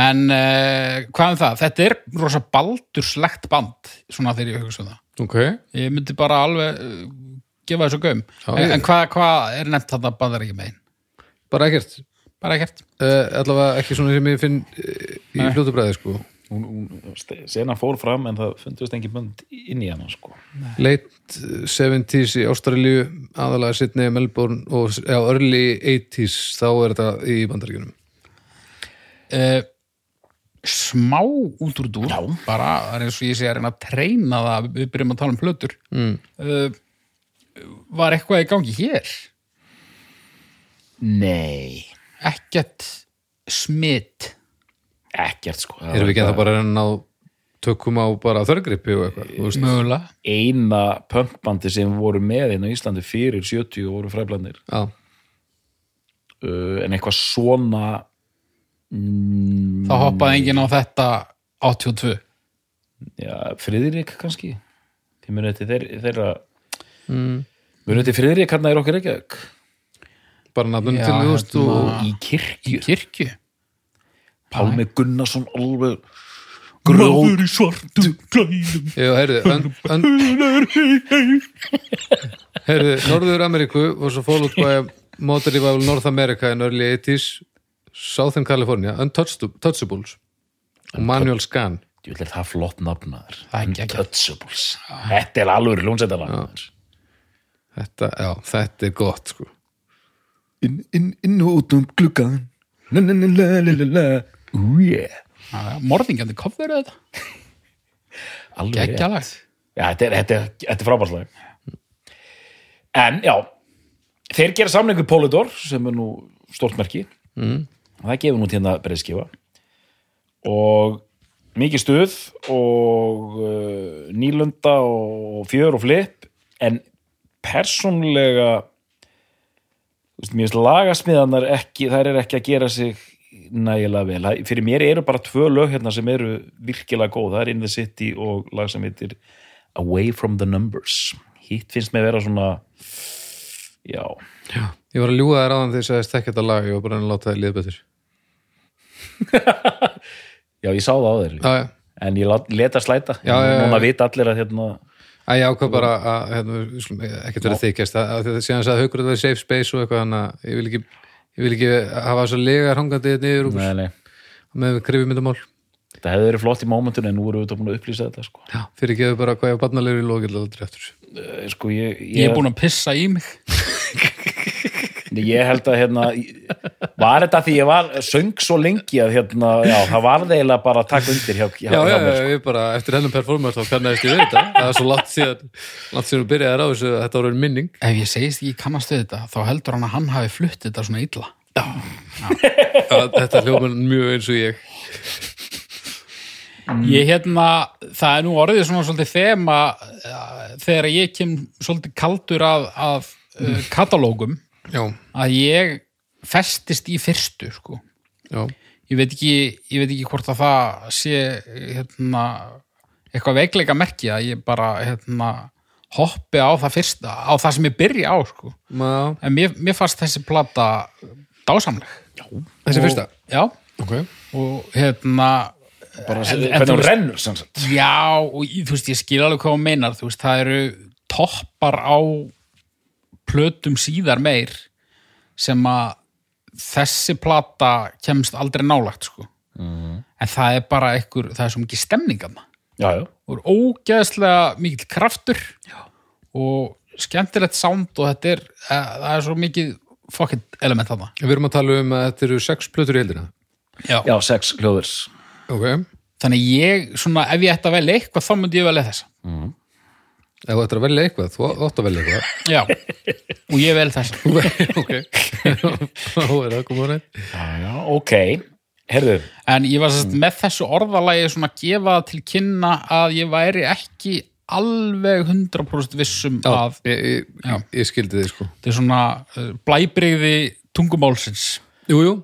[SPEAKER 3] En uh, hvað um það? Þetta er rosa baldurslegt band svona þegar ég hugsa um það
[SPEAKER 1] ok
[SPEAKER 3] Ég myndi bara alveg uh, gefa þessu gaum
[SPEAKER 1] Já,
[SPEAKER 3] En,
[SPEAKER 1] ég-
[SPEAKER 3] en hvað hva er nefnt þetta bandar ekki megin?
[SPEAKER 1] bara ekkert Eh,
[SPEAKER 3] Bara ekkert
[SPEAKER 1] uh, allavega ekki svona sem ég finn uh, í fljótu bræði eh, sko
[SPEAKER 2] hún, hún, senan fór fram en það fundust engin bönd inn í hana sko.
[SPEAKER 1] late 70s í Ástralíu aðalega Sydney, Melbourne og eða, early 80s þá er þetta í bandaríkunum
[SPEAKER 3] uh, smá út úr dúr
[SPEAKER 2] Já.
[SPEAKER 3] bara það er eins og ég sé að reyna að treyna það við byrjum að tala um plötur mm. var eitthvað í gangi hér
[SPEAKER 2] nei,
[SPEAKER 3] ekkert smitt
[SPEAKER 2] ekkert sko
[SPEAKER 1] erum við ekki að það bara að reyna á tökum á bara þörgrippi og eitthvað þú veist.
[SPEAKER 3] mögulega
[SPEAKER 2] eina pömpbandi sem voru með inn á Íslandi fyrir 70 og voru fræblandir
[SPEAKER 1] Já.
[SPEAKER 2] uh, en eitthvað svona
[SPEAKER 3] þá hoppaði enginn á þetta 82
[SPEAKER 2] já, Friðrik kannski þið munið til þeir, þeirra mm. munið til Friðrik hérna hann er okkur ekki
[SPEAKER 1] bara nafnum
[SPEAKER 3] Já,
[SPEAKER 1] til þú veist
[SPEAKER 3] hérna.
[SPEAKER 1] og
[SPEAKER 3] Ah.
[SPEAKER 2] í kirkju,
[SPEAKER 3] í kirkju
[SPEAKER 2] Pálmi Gunnarsson alveg gróð
[SPEAKER 3] í svartum klænum
[SPEAKER 1] Já, heyrðu, ön, ön, heyrðu, Norður Ameríku og svo fólk bæja Modern Revival North America in early 80s Southern California, Untouchables og Manuel Scan
[SPEAKER 2] ég vil það flott nafnaður
[SPEAKER 3] Það er geggjað.
[SPEAKER 2] Untouchables þetta er alveg ljónsættalag
[SPEAKER 1] þetta, já, þetta er gott sko.
[SPEAKER 2] inn, inn, inn og út um gluggan la la la la la la ú yeah
[SPEAKER 3] morðingjandi kofur þetta
[SPEAKER 2] alveg rétt.
[SPEAKER 3] geggjalagt
[SPEAKER 2] Já, þetta er, þetta er, þetta er frábærslega. En, já, þeir gera samlingu Polydor, sem er nú stort merki. Mm. Það gefur nú hérna breyðskifa. Og mikið stuð og uh, nýlunda og fjör og flip, en persónlega, þú veist, mér finnst lagasmiðanar ekki, þær er ekki að gera sig nægilega vel. Það- Fyrir mér eru bara tvö lög hérna sem eru virkilega góð. Það er In the City og lag sem heitir Away from the Numbers. Hitt finnst mér vera svona, já,
[SPEAKER 1] ég var að ljúga þær áðan þegar ég sagðist ekki þetta lag ég var bara að reyna að láta það liða betur
[SPEAKER 2] já, ég sá það á þeir.
[SPEAKER 1] já, já,
[SPEAKER 2] En ég lát- lét að slæta.
[SPEAKER 1] Já, já, já.
[SPEAKER 2] Núna vita allir að hérna,
[SPEAKER 1] að ég ákvað bara að hérna, við skulum ekkert verið þykjast að, að þetta síðan sagði haukur að það er safe space og eitthvað þannig að ég vil ekki, ég vil ekki hafa svo legar hangandi hérna yfir úr
[SPEAKER 2] nei, nei,
[SPEAKER 1] með krifjumyndamál
[SPEAKER 2] þetta hefði verið flott í mómentun en nú erum við þetta búin að upplýsa þetta, sko.
[SPEAKER 1] fyrir gefur bara hvað ég var barnalegur í lókil aldrei eftir þessu.
[SPEAKER 2] Eh, Sko, ég,
[SPEAKER 3] ég er búin að pissa í mig
[SPEAKER 2] Nei, Ég held að hérna var þetta því ég var, söng svo lengi að hérna, já, það var eiginlega bara að taka undir hjá, hjá,
[SPEAKER 1] já, já,
[SPEAKER 2] hjá
[SPEAKER 1] já,
[SPEAKER 2] mér sko.
[SPEAKER 1] ég bara eftir hennum performance þá kannaðist ég við þetta það er svo látt síðan, látt síðan byrjaði á þessu að þetta voru minning
[SPEAKER 3] ef ég segist ekki kannast við þetta þá heldur hann að hann hafi flutt þetta svona illa
[SPEAKER 1] að, þetta hljóman mjög eins og ég
[SPEAKER 3] ég hérna, það er nú orðið svona svolítið þema eh, þegar ég kem svolítið kaldur af, af
[SPEAKER 1] Mm.
[SPEAKER 3] uh, katalógum
[SPEAKER 1] já,
[SPEAKER 3] að ég festist í fyrstu sko.
[SPEAKER 1] já,
[SPEAKER 3] ég, veit ekki, ég veit ekki hvort að það sé hérna, eitthvað veikleika merki að ég bara hérna, hoppi á það fyrsta á það sem ég byrja á sko.
[SPEAKER 1] maður
[SPEAKER 3] en mér, mér fannst þessi plata dásamleg
[SPEAKER 1] þessi fyrsta
[SPEAKER 3] já,
[SPEAKER 1] okay.
[SPEAKER 3] og hérna
[SPEAKER 2] bara
[SPEAKER 3] En- en
[SPEAKER 2] hvernig
[SPEAKER 3] þú
[SPEAKER 2] hún
[SPEAKER 3] veist-
[SPEAKER 2] rennur sem sagt.
[SPEAKER 3] Já, og ég- þú veist, ég skil alveg hvað hún meinar, þú veist, það eru toppar á plötum síðar meir sem að þessi plata kemst aldrei nálagt, sko. En það er bara einhver, það er svo mikið stemningarna.
[SPEAKER 2] Já, já,
[SPEAKER 3] Og er ógeðslega mikill kraftur Já. og skemmtilegt sound og þetta er, eh, það er svo mikið fucking element þarna.
[SPEAKER 1] við erum að tala um að þetta eru sex plötur í heldina
[SPEAKER 2] já, sex hljóðurs
[SPEAKER 1] ok,
[SPEAKER 3] Þannig ég, svona, ef ég ætti að velja eitthvað, þá myndi ég velja þessa.
[SPEAKER 1] ef þú ættir að velja eitthvað þú átt að velja eitthvað
[SPEAKER 3] Já, og ég vel þessa.
[SPEAKER 1] <laughs> ok, þá er það komið á neitt
[SPEAKER 2] já, já, ok, herðu
[SPEAKER 3] En ég var sérst með þessu orðalagi svona að gefa það til kynna að ég væri ekki alveg 100% vissum
[SPEAKER 1] Já,
[SPEAKER 3] að
[SPEAKER 1] ég, ég,
[SPEAKER 3] Já.
[SPEAKER 1] ég skildi þig sko
[SPEAKER 3] þetta er svona uh, blæbrigði tungumálsins.
[SPEAKER 1] jú, jú,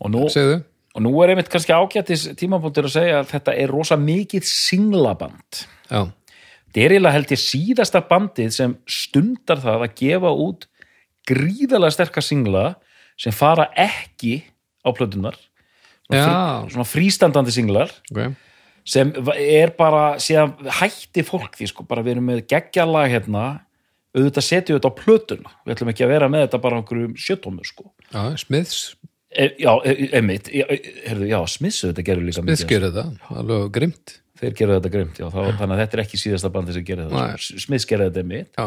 [SPEAKER 2] og nú,
[SPEAKER 1] segðu
[SPEAKER 2] og nú er einmitt kannski ágættis tímabúntur að segja að þetta er rosa mikið singlaband
[SPEAKER 1] já,
[SPEAKER 2] þetta er eiginlega held ég síðasta bandið sem stundar það að gefa út gríðalega sterka singla sem fara ekki á plötunar
[SPEAKER 1] Já.
[SPEAKER 2] svona frístandandi singlar
[SPEAKER 1] ok
[SPEAKER 2] sem er bara síðan hætti fólk því sko, bara við erum með geggjalag hérna auðvitað setjum við þetta á plötuna við ætlum ekki að vera með þetta bara á einhverjum sjötómu sko.
[SPEAKER 1] Já, Smiths
[SPEAKER 2] e, já, e- einmitt já, e- heyrðu, já, Smiths þetta gerur líka
[SPEAKER 1] Við
[SPEAKER 2] mikið
[SPEAKER 1] skjöru þetta, alveg grimt
[SPEAKER 2] þeir gerðu þetta grimt, já, þá, þannig að þetta er ekki síðasta bandi sem gerði
[SPEAKER 1] Nei.
[SPEAKER 2] þetta, S- Smiths gerði þetta einmitt
[SPEAKER 1] Já,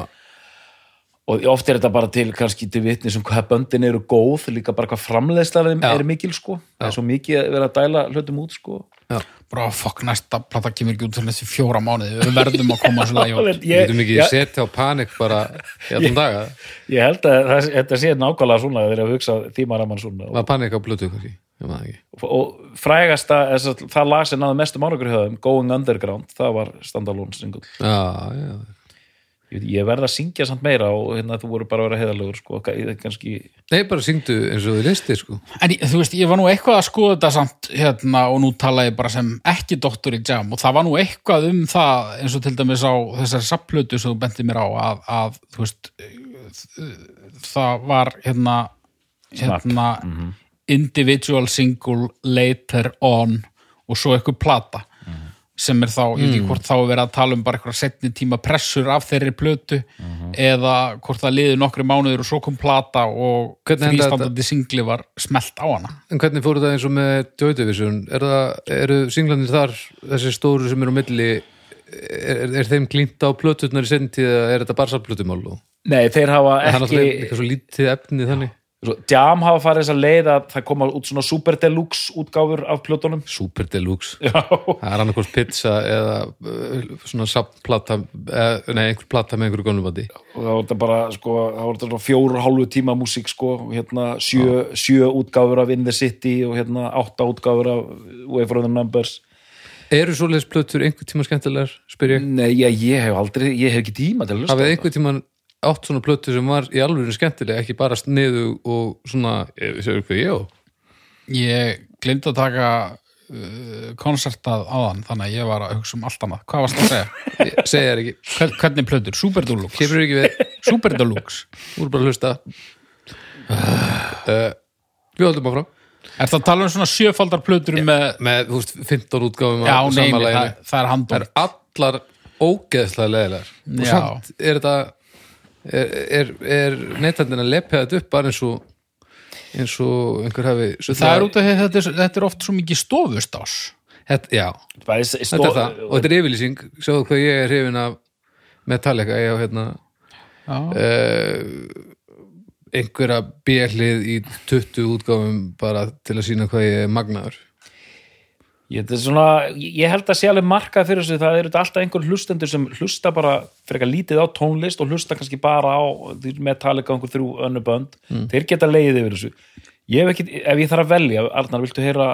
[SPEAKER 2] og oft er þetta bara til kannski til vitni sem hvað böndin eru góð, líka bara hvað framleiðsla þeim
[SPEAKER 1] Já.
[SPEAKER 2] er mikil sko, það er svo mikið að vera að dæla hlutum út sko
[SPEAKER 1] já
[SPEAKER 3] bara fokk næsta plata kemur ekki út fyrir þessi fjóra mánuði, við verðum að koma svo
[SPEAKER 2] ég,
[SPEAKER 3] það
[SPEAKER 1] Við getum
[SPEAKER 2] ég,
[SPEAKER 1] ekki setja á panik bara í allan daga,
[SPEAKER 2] ég held að það, þetta sé nákvæmlega svona að vera að hugsa tímaramann svona og,
[SPEAKER 1] var panik á blötu kannski, ég maður ekki
[SPEAKER 2] og frægasta, þess að það lag sem náðu mestum árangur hjá þeim, Going Underground það var standalone single
[SPEAKER 1] Já, já,
[SPEAKER 2] ég, veit- ég verð að syngja samt meira og hérna, þú voru bara að vera heiðalegur sko, ka- ég- kannski,
[SPEAKER 1] nei bara syngdu eins og þið listir sko
[SPEAKER 3] En ég- þú veist, ég var nú eitthvað að skoða þetta samt hérna og nú tala ég bara sem ekki doktor í jam og það var nú eitthvað um það eins og til dæmis á þessari sapplötu sem þú benti mér á að, að þú veist það var hérna hérna
[SPEAKER 1] Mhm.
[SPEAKER 3] individual single later on og svo eitthvað plata
[SPEAKER 1] Mhm.
[SPEAKER 3] sem er þá, ég veit
[SPEAKER 1] Mm.
[SPEAKER 3] ekki hvort þá er verið að tala um bara eitthvað setni tíma pressur af þeirri plötu
[SPEAKER 1] Mhm.
[SPEAKER 3] eða hvort það liði nokkri mánuður og svo kom plata og
[SPEAKER 1] Hvernig endaði þetta?
[SPEAKER 3] þrýstandandi singli var smelt á hana
[SPEAKER 1] En hvernig fóru það eins og með Joy Division? Er það, eru singlanir þar, þessi stóru sem eru á milli, er, er þeim klínt á plöturnar í sendið eða er þetta bara satt plötumál? og-
[SPEAKER 2] nei þeir
[SPEAKER 1] Það
[SPEAKER 2] hafa
[SPEAKER 1] er náttúrulega
[SPEAKER 2] ekki
[SPEAKER 1] eitthvað svo lítið efni þannig.
[SPEAKER 2] Svo, Jam hafa farið þess að leið að það koma út svona super deluxe útgáfur af plötunum
[SPEAKER 1] Super Deluxe.
[SPEAKER 2] Já.
[SPEAKER 1] Það er annarkvort pizza eða uh, svona sapplata, eh, nei, einhver plata með einhverju gönnumandi.
[SPEAKER 2] og það var þetta bara sko, það var þetta svona fjóru og hálfu tíma músík sko, og hérna sjö, sjö útgáfur af In the City og hérna átta útgáfur af Way for the Numbers
[SPEAKER 1] Eru svoleiðis plötur einhver tíma skemmtilegar, spyr ég?
[SPEAKER 2] Nei, ég, ég hef aldrei, ég hef ekki tíma til að hlusta
[SPEAKER 1] Hafið einhver tíma átt svona plötur sem var í alveg skemmtilega, ekki bara sniðu og svona, eh, sjáu hvað ég á?
[SPEAKER 3] Ég glemdi að taka uh, konsertað áðan, þannig að ég var að hugsa um allt annað. Hvað varst að segja?
[SPEAKER 1] Ég segi þér ekki,
[SPEAKER 3] Hver- Hvernig plötur? Super Deluxe.
[SPEAKER 1] kemur ekki við.
[SPEAKER 3] Super Deluxe.
[SPEAKER 1] Þú voru bara að hlusta uh, Við höldum áfram
[SPEAKER 3] Er það að tala um svona sjöfaldar plötur með...
[SPEAKER 1] Með, þú veist, 15 útgáfum
[SPEAKER 3] Já,
[SPEAKER 1] af
[SPEAKER 3] nei,
[SPEAKER 1] sama
[SPEAKER 3] nei, það,
[SPEAKER 1] laginu.
[SPEAKER 3] það er
[SPEAKER 1] Það
[SPEAKER 3] handum.
[SPEAKER 1] eru allar ógeðslega leðilegar Og
[SPEAKER 3] Já.
[SPEAKER 1] samt er þetta er, er, er neytandinn að lepja þetta upp bara eins og eins og einhver hafi
[SPEAKER 3] Það, er út af því að þetta, er- þetta er oft svo mikið stofustás.
[SPEAKER 1] þetta, Já,
[SPEAKER 2] Bæði, stó,
[SPEAKER 1] þetta er það og þetta er yfirlýsing, sjáðu hvað ég er hrifin af Metallica, ég á hérna eh,
[SPEAKER 3] Já.
[SPEAKER 1] einhverja bjallið í 20 útgáfum bara til að sína hvað ég er magnaður
[SPEAKER 2] Ég, þetta er svona, ég ég held að sé alveg markað fyrir þessu, það eru þetta alltaf einhver hlustendur sem hlusta bara frekar lítið á tónlist og hlusta kannski bara á þeir Metallica og einhver þrjú önnu bönd þeir geta leiðið yfir þessu ég hef ekki, ef ég þarf að velja, Arnar, viltu heyra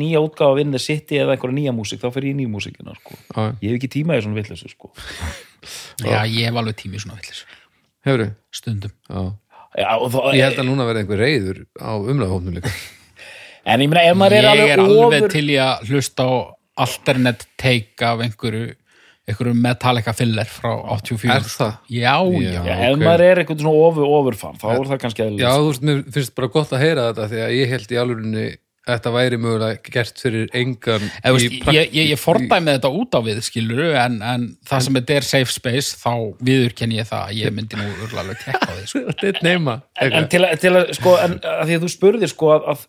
[SPEAKER 2] nýja útgáfa af inni City eða einhverja nýja músík, þá fyrir ég í nýja músíkina sko.
[SPEAKER 1] Já, já.
[SPEAKER 2] ég hef ekki tíma í svona villessu sko.
[SPEAKER 3] Já, ég hef alveg tími í svona villis.
[SPEAKER 1] Hefur þið?
[SPEAKER 3] Stundum.
[SPEAKER 1] Já
[SPEAKER 2] Já, og þá,
[SPEAKER 1] Ég held að núna verði einhver reyður á umræðahófnum líka
[SPEAKER 2] en ég meina, ef maður
[SPEAKER 3] Ég
[SPEAKER 2] er alveg,
[SPEAKER 3] er alveg
[SPEAKER 2] ofur
[SPEAKER 3] til í að hlusta á alternate take af einhverju einhverju Metallica filler frá 84.
[SPEAKER 1] Er það?
[SPEAKER 3] Já,
[SPEAKER 1] Já.
[SPEAKER 3] já.
[SPEAKER 2] Já,
[SPEAKER 1] ok.
[SPEAKER 2] ef maður er einhvern svona ofur, ofurfan þá er það kannski
[SPEAKER 1] Já,
[SPEAKER 2] eðlilegt
[SPEAKER 1] þú veist, mér finnst bara gott að heyra þetta því að ég held í alvörinni þetta væri mögulega gert fyrir engan
[SPEAKER 3] Eða,
[SPEAKER 1] í
[SPEAKER 3] veist,
[SPEAKER 1] prakt- <laughs>
[SPEAKER 3] ég, ég, ég fordæmi þetta út á við skilur en, en það sem þetta er safe space þá viðurkenn ég það að ég myndi nú örugglega alveg tekka á því sko.
[SPEAKER 1] Þetta er nema
[SPEAKER 2] en til að, til að sko, en að því að þú spurðir sko að, að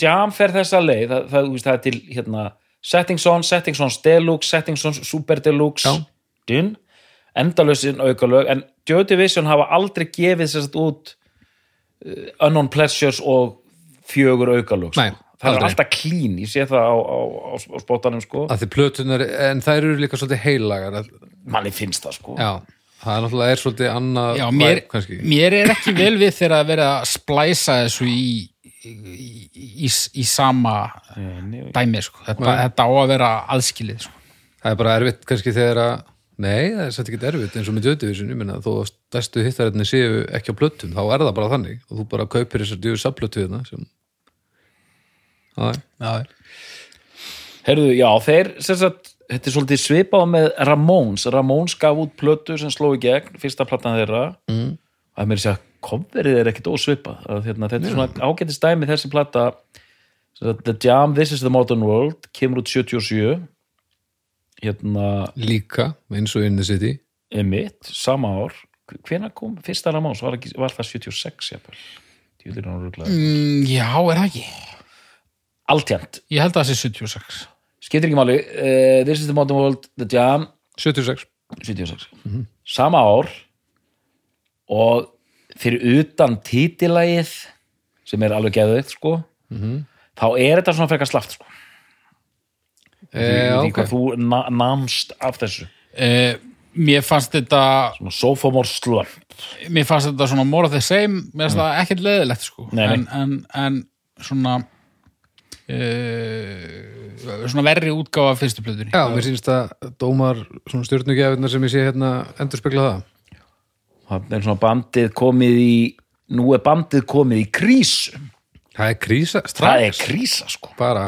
[SPEAKER 2] Jam fer þessa leið það, það, þú veist, það er til hérna Setting Zone, Setting Zones Deluxe, Setting Zones Super Deluxe
[SPEAKER 1] Já.
[SPEAKER 2] dun, endalösin aukalög en Joy Division hafa aldrei gefið sér satt út uh, Unknown Pleasures og fjögur aukalög sko.
[SPEAKER 1] Nei,
[SPEAKER 2] það
[SPEAKER 1] aldrei.
[SPEAKER 2] er alltaf clean, ég sé það á, á, á, á spótanum sko,
[SPEAKER 1] að því plötunar, en þær eru líka svolítið heilagar að-
[SPEAKER 2] manni finnst það sko
[SPEAKER 1] Já, það er náttúrulega er svolítið annað
[SPEAKER 3] Já, mér,
[SPEAKER 1] væp, kannski
[SPEAKER 3] mér er ekki vel við þegar að vera að splæsa þessu í í, í, í sama dæmi sko. þetta, þetta á að vera aðskilið sko.
[SPEAKER 1] Það er bara erfitt kannski þegar að Nei, það er satt ekki erfitt eins og með djöðdivisun ég meina þó að stærstu hittarinni séu ekki á plötum, þá er það bara þannig og þú bara kaupir þessar djöðu sapplötu hérna sem... Það er
[SPEAKER 3] Já,
[SPEAKER 2] Herðu, já, þeir, sem sagt, þetta er svolítið svipað með Ramones. Ramones gaf út plötu sem sló í gegn, fyrsta platan þeirra. Mm. Að mér sé að coverið er ekkit ósvipað. Að, hérna, þetta er svona ágættist dæmi þessi plata. sem sagt, The Jam, This is the Modern World, kemur út 77. Hérna,
[SPEAKER 1] líka eins og inn í city
[SPEAKER 2] emitt, sama ár. Hvenær kom fyrsta Ramones? Var, ekki, var það 76, jafnvel? Tjúlir hann ruglaður.
[SPEAKER 3] Mm, já, er það ekki?
[SPEAKER 2] Altjant.
[SPEAKER 3] Ég held að það sé 76.
[SPEAKER 2] Skiptir ekki máli. Uh, This is the modern world, The Jam,
[SPEAKER 1] 76
[SPEAKER 2] 76. Sama ár og fyrir utan títilagið sem er alveg geðveikt, sko þá er þetta svona frekar slaft, sko.
[SPEAKER 1] e,
[SPEAKER 2] Ég veit ekki
[SPEAKER 1] okay.
[SPEAKER 2] hvað þú na namst af þessu.
[SPEAKER 3] Uh, mér fannst þetta
[SPEAKER 2] Svona sophomore slump.
[SPEAKER 3] mér fannst þetta svona more of the same mér fannst það ekkert leðilegt sko
[SPEAKER 2] Nei, nei.
[SPEAKER 3] En, en, en svona uh, svona verri útgáfa af fyrstu plötunni
[SPEAKER 1] Já, mér sýnst að dómar svona stjórnugjafinnar sem ég sé hérna endur spekla það
[SPEAKER 2] Það er svona bandið komið í nú er bandið komið í krísu
[SPEAKER 1] Það er krísa,
[SPEAKER 2] það
[SPEAKER 1] strax
[SPEAKER 2] er krísa sko
[SPEAKER 1] bara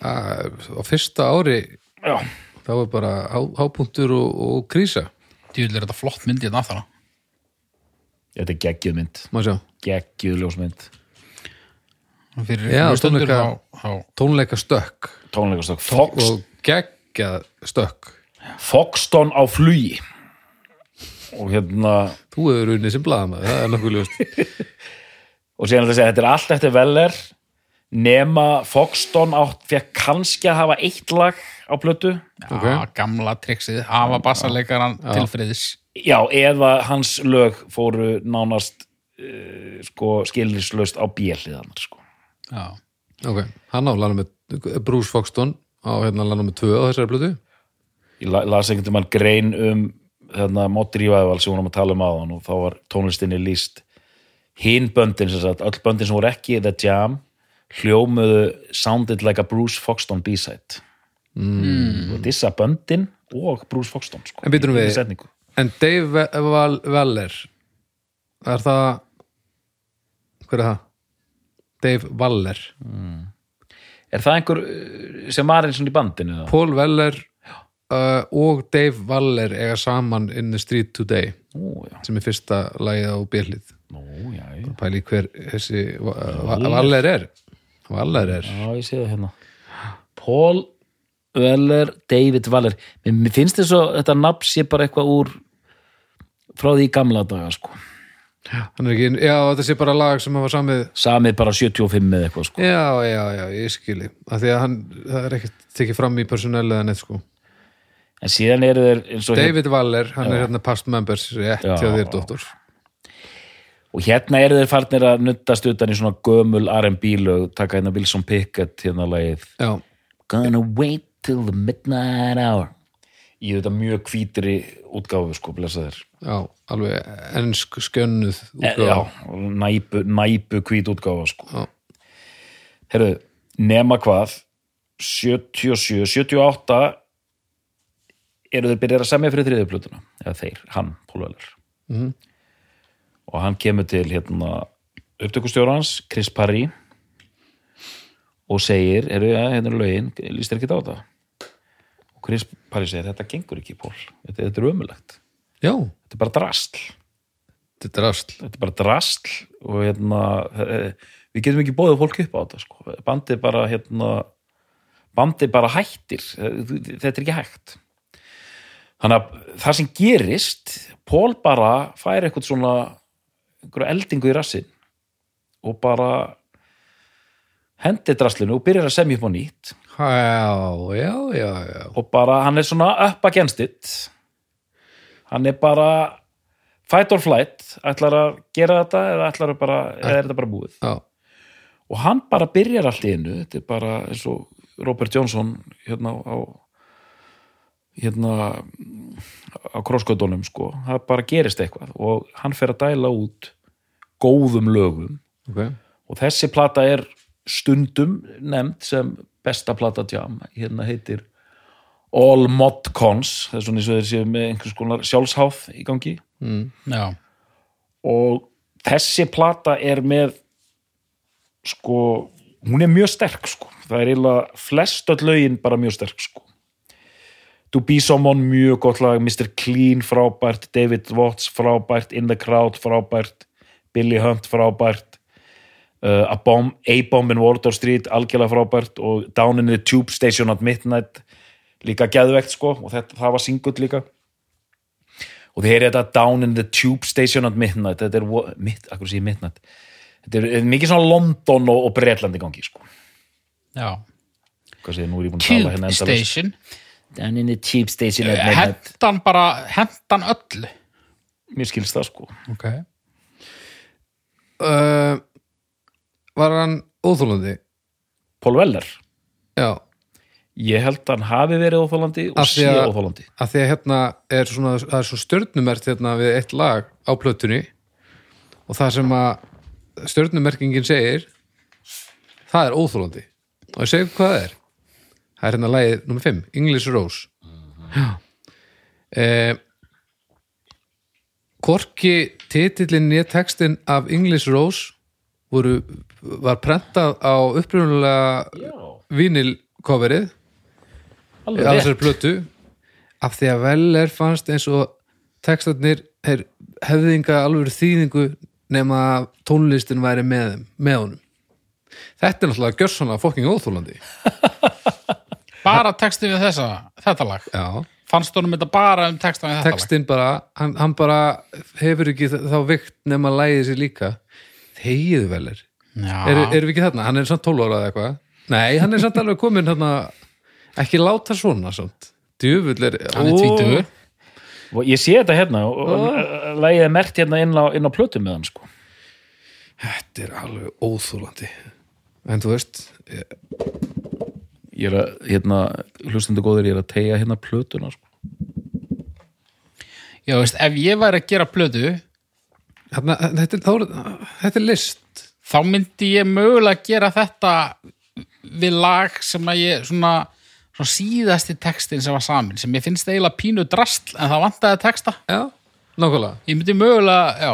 [SPEAKER 1] að, á fyrsta ári
[SPEAKER 2] Já.
[SPEAKER 1] þá er bara há, hápunktur og, og krísa
[SPEAKER 3] djúvel er þetta flott hérna myndi þetta aðfara
[SPEAKER 2] þetta er geggjuð mynd,
[SPEAKER 1] má sjá,
[SPEAKER 2] geggjuð ljósmynd
[SPEAKER 3] fyrir
[SPEAKER 1] Já,
[SPEAKER 3] hlustendur
[SPEAKER 1] tónleika-
[SPEAKER 3] þá- þá-
[SPEAKER 1] tónleika stökk
[SPEAKER 2] tónleikastökk, Fox,
[SPEAKER 1] og geggjað stökk
[SPEAKER 2] Foxton á flugi og hérna
[SPEAKER 1] Þú hefur unnið sem blaðamaður, það er nokkuð ljóst
[SPEAKER 2] og síðan er þetta að segja, þetta er allt eftir veller nema Foxton átt fekk kannski að hafa eitt lag á plötu
[SPEAKER 3] Já,
[SPEAKER 1] Ok.
[SPEAKER 3] Ah,
[SPEAKER 1] Ah,
[SPEAKER 3] gamla triksið, hafa bassarleikaran til friðis
[SPEAKER 2] já, eða hans lög fóru nánast uh, sko skilrislaust á bjelliðanar sko
[SPEAKER 3] já.
[SPEAKER 1] Ok, hann á lana með Bruce Foxton á hérna lana með tvö á þessari blötu
[SPEAKER 2] ég la- las einhvern veginn grein um þarna Móttir Ívæðvald sem vorum að tala um áðan og þá var tónlistinni líst hinn böndin sem sagt, öll böndin sem voru ekki í The Jam hljómuðu Sounded Like a Bruce Foxton B-side mm. og dissa böndin og Bruce Foxton sko,
[SPEAKER 1] En býtum
[SPEAKER 2] í
[SPEAKER 1] við-
[SPEAKER 2] einni setningu.
[SPEAKER 1] En Dave Ve- Val Veller er það hver er það? Dave Waller
[SPEAKER 2] er það einhver uh, sem var eins og í bandinu eða?
[SPEAKER 1] Paul Veller uh, og Dave Waller eiga saman in the street today
[SPEAKER 2] Nú, já,
[SPEAKER 1] sem er fyrsta lagið á byrlið
[SPEAKER 2] nú, já, já,
[SPEAKER 1] pæli hver þessi Va- Va- Waller er Waller er
[SPEAKER 2] já, ég sé það hérna Paul Weller, David Weller mér, mér finnst þess að þetta nafn sé bara eitthvað úr frá því í gamla daga sko
[SPEAKER 1] hann er ekki, já þetta sé bara lag sem hafa samið
[SPEAKER 2] samið bara 75 eða eitthvað sko.
[SPEAKER 1] Já, já, já, ég skili að því að hann, það er ekkert tekið fram í persónel eða neitt sko
[SPEAKER 2] en síðan eru þeir eins og
[SPEAKER 1] David Waller, hann er hérna past members rétt
[SPEAKER 2] Já.
[SPEAKER 1] hjá þér, dóttur
[SPEAKER 2] og hérna eru þeir farnir að nuttast utan í svona gömul R&B lög taka hérna Wilson Pickett hérna lagið
[SPEAKER 1] Já,
[SPEAKER 2] Gonna wait till the midnight hour í þetta mjög hvítri útgáfu sko, blessa þér
[SPEAKER 1] já, alveg ennsk skjönnuð útgáfa.
[SPEAKER 2] Eh, já, næpu, næpu hvít útgáfa sko.
[SPEAKER 1] Já.
[SPEAKER 2] herru, nema hvað 77, 78 eru þeir byrjar að semja fyrir þriðuplötuna eða þeir, hann, Pólvelar mm -hmm. og hann kemur til hérna, upptökustjórans Chris Parry og segir, herru, ja, hérna er lögin líst þér ekki á þetta og Chris Parry segir, þetta gengur ekki, Pól þetta, þetta er ömulegt,
[SPEAKER 1] já,
[SPEAKER 2] þetta er bara drastl
[SPEAKER 1] þetta er asl
[SPEAKER 2] þetta er bara drasl og hérna eh, við getum ekki bóðið fólk upp á þetta sko. bandið bara hérna bandið bara hættir Eh, þú- þetta er ekki hægt þannig að það sem gerist Pól bara fær eitthvað svona einhverja eldingu í rassin og bara hendi draslinu og byrjar að semja upp á nýtt
[SPEAKER 1] Já, já, já, já
[SPEAKER 2] og bara hann er svona up against it hann er bara fight or flight ætlar að gera þetta eða, ætlar að bara, eða er þetta bara búið
[SPEAKER 1] Já,
[SPEAKER 2] og hann bara byrjar allt í einu þetta er bara eins og Robert Johnson hérna á hérna á krosskötunum sko, það bara gerist eitthvað og hann fer að dæla út góðum lögum
[SPEAKER 1] ok
[SPEAKER 2] og þessi plata er stundum nefnd sem besta plata tjám, hérna heitir All Mod Cons það er svona eins og þeir séu með einhvers konar sjálfsháð í gangi
[SPEAKER 3] Já.
[SPEAKER 2] og þessi plata er með sko hún er mjög sterk sko það er eiginlega flest öll lögin bara mjög sterk sko To Be Someone mjög gott lag, Mr. Clean frábært, David Watts frábært In the Crowd frábært Billy Hunt frábært uh, A Bomb, A Bomb in Wardour Street algjörlega frábært og Down in the Tube Station at Midnight líka geðvegt sko og þetta, það var singull líka og þið heyrið þetta Down in the Tube Station at Midnight þetta er, wo- mitt, akkur sé ég Midnight þetta er, er mikið svona London og, og Bretlandi gangi sko,
[SPEAKER 3] já.
[SPEAKER 2] hvað segir, nú er ég búin að tala
[SPEAKER 3] Tube
[SPEAKER 2] hérna endalaust. Eh,
[SPEAKER 3] Station
[SPEAKER 2] Down in the Tube Station at Midnight
[SPEAKER 3] hendan bara, hendan öllu
[SPEAKER 2] mér skilst það sko
[SPEAKER 3] ok
[SPEAKER 1] uh, var hann óþólandi
[SPEAKER 2] Paul Weller,
[SPEAKER 1] já,
[SPEAKER 2] ég held að hann hafi verið óþólandi og
[SPEAKER 1] Af því
[SPEAKER 2] sé
[SPEAKER 1] að-
[SPEAKER 2] óþólandi
[SPEAKER 1] að því að hérna er svona, það er svo stjörnumert hérna við eitt lag á plötunni og það sem að stjörnumerkingin segir það er óþólandi og ég segi hvað það er það er hérna lagið nummer 5, English Rose já eh, Korki titillin nýja textin af English Rose voru, var prentað á upprunulega vinilkoverið
[SPEAKER 2] alveg
[SPEAKER 1] á
[SPEAKER 2] rétt.
[SPEAKER 1] þessari plötu af því að Weller fannst eins og textarnir er hefðinga alveg þýðingu nema að tónlistin væri með, þeim- með honum þetta er náttúrulega gjörsanlega fokking óþúlandi
[SPEAKER 3] bara textin við þessa, þetta lag
[SPEAKER 1] já,
[SPEAKER 3] fannst honum þetta bara um textan við þetta
[SPEAKER 1] textin bara hann, hann bara hefur ekki þ- þá vikt nema að lægið sér líka þegiðu Weller,
[SPEAKER 3] lag
[SPEAKER 1] eru er við ekki þarna hann er samt 12 ára eða eitthvað nei, hann er samt alveg komin hérna ekki láta svona samt djöfull er,
[SPEAKER 3] hann er
[SPEAKER 1] Ó,
[SPEAKER 3] tvítugur
[SPEAKER 2] Og ég sé þetta hérna og, og oh. lægið er mert hérna inn á, inn á plötu með hann sko
[SPEAKER 1] Þetta er alveg óþúlandi En þú veist ég-
[SPEAKER 2] ég er að, hérna, hlustandi góðir ég er að tegja hérna plötuna sko.
[SPEAKER 3] já, veist, ef ég væri að gera plötu
[SPEAKER 1] þarna, þetta, er, þá er- þetta er list
[SPEAKER 3] þá myndi ég mögulega gera þetta við lag sem að ég svona, svona síðasti textin sem var samin sem ég finnst eiginlega pínu drastl en það vantaði texta
[SPEAKER 1] Já, nákvæmlega
[SPEAKER 3] ég myndi mögulega, já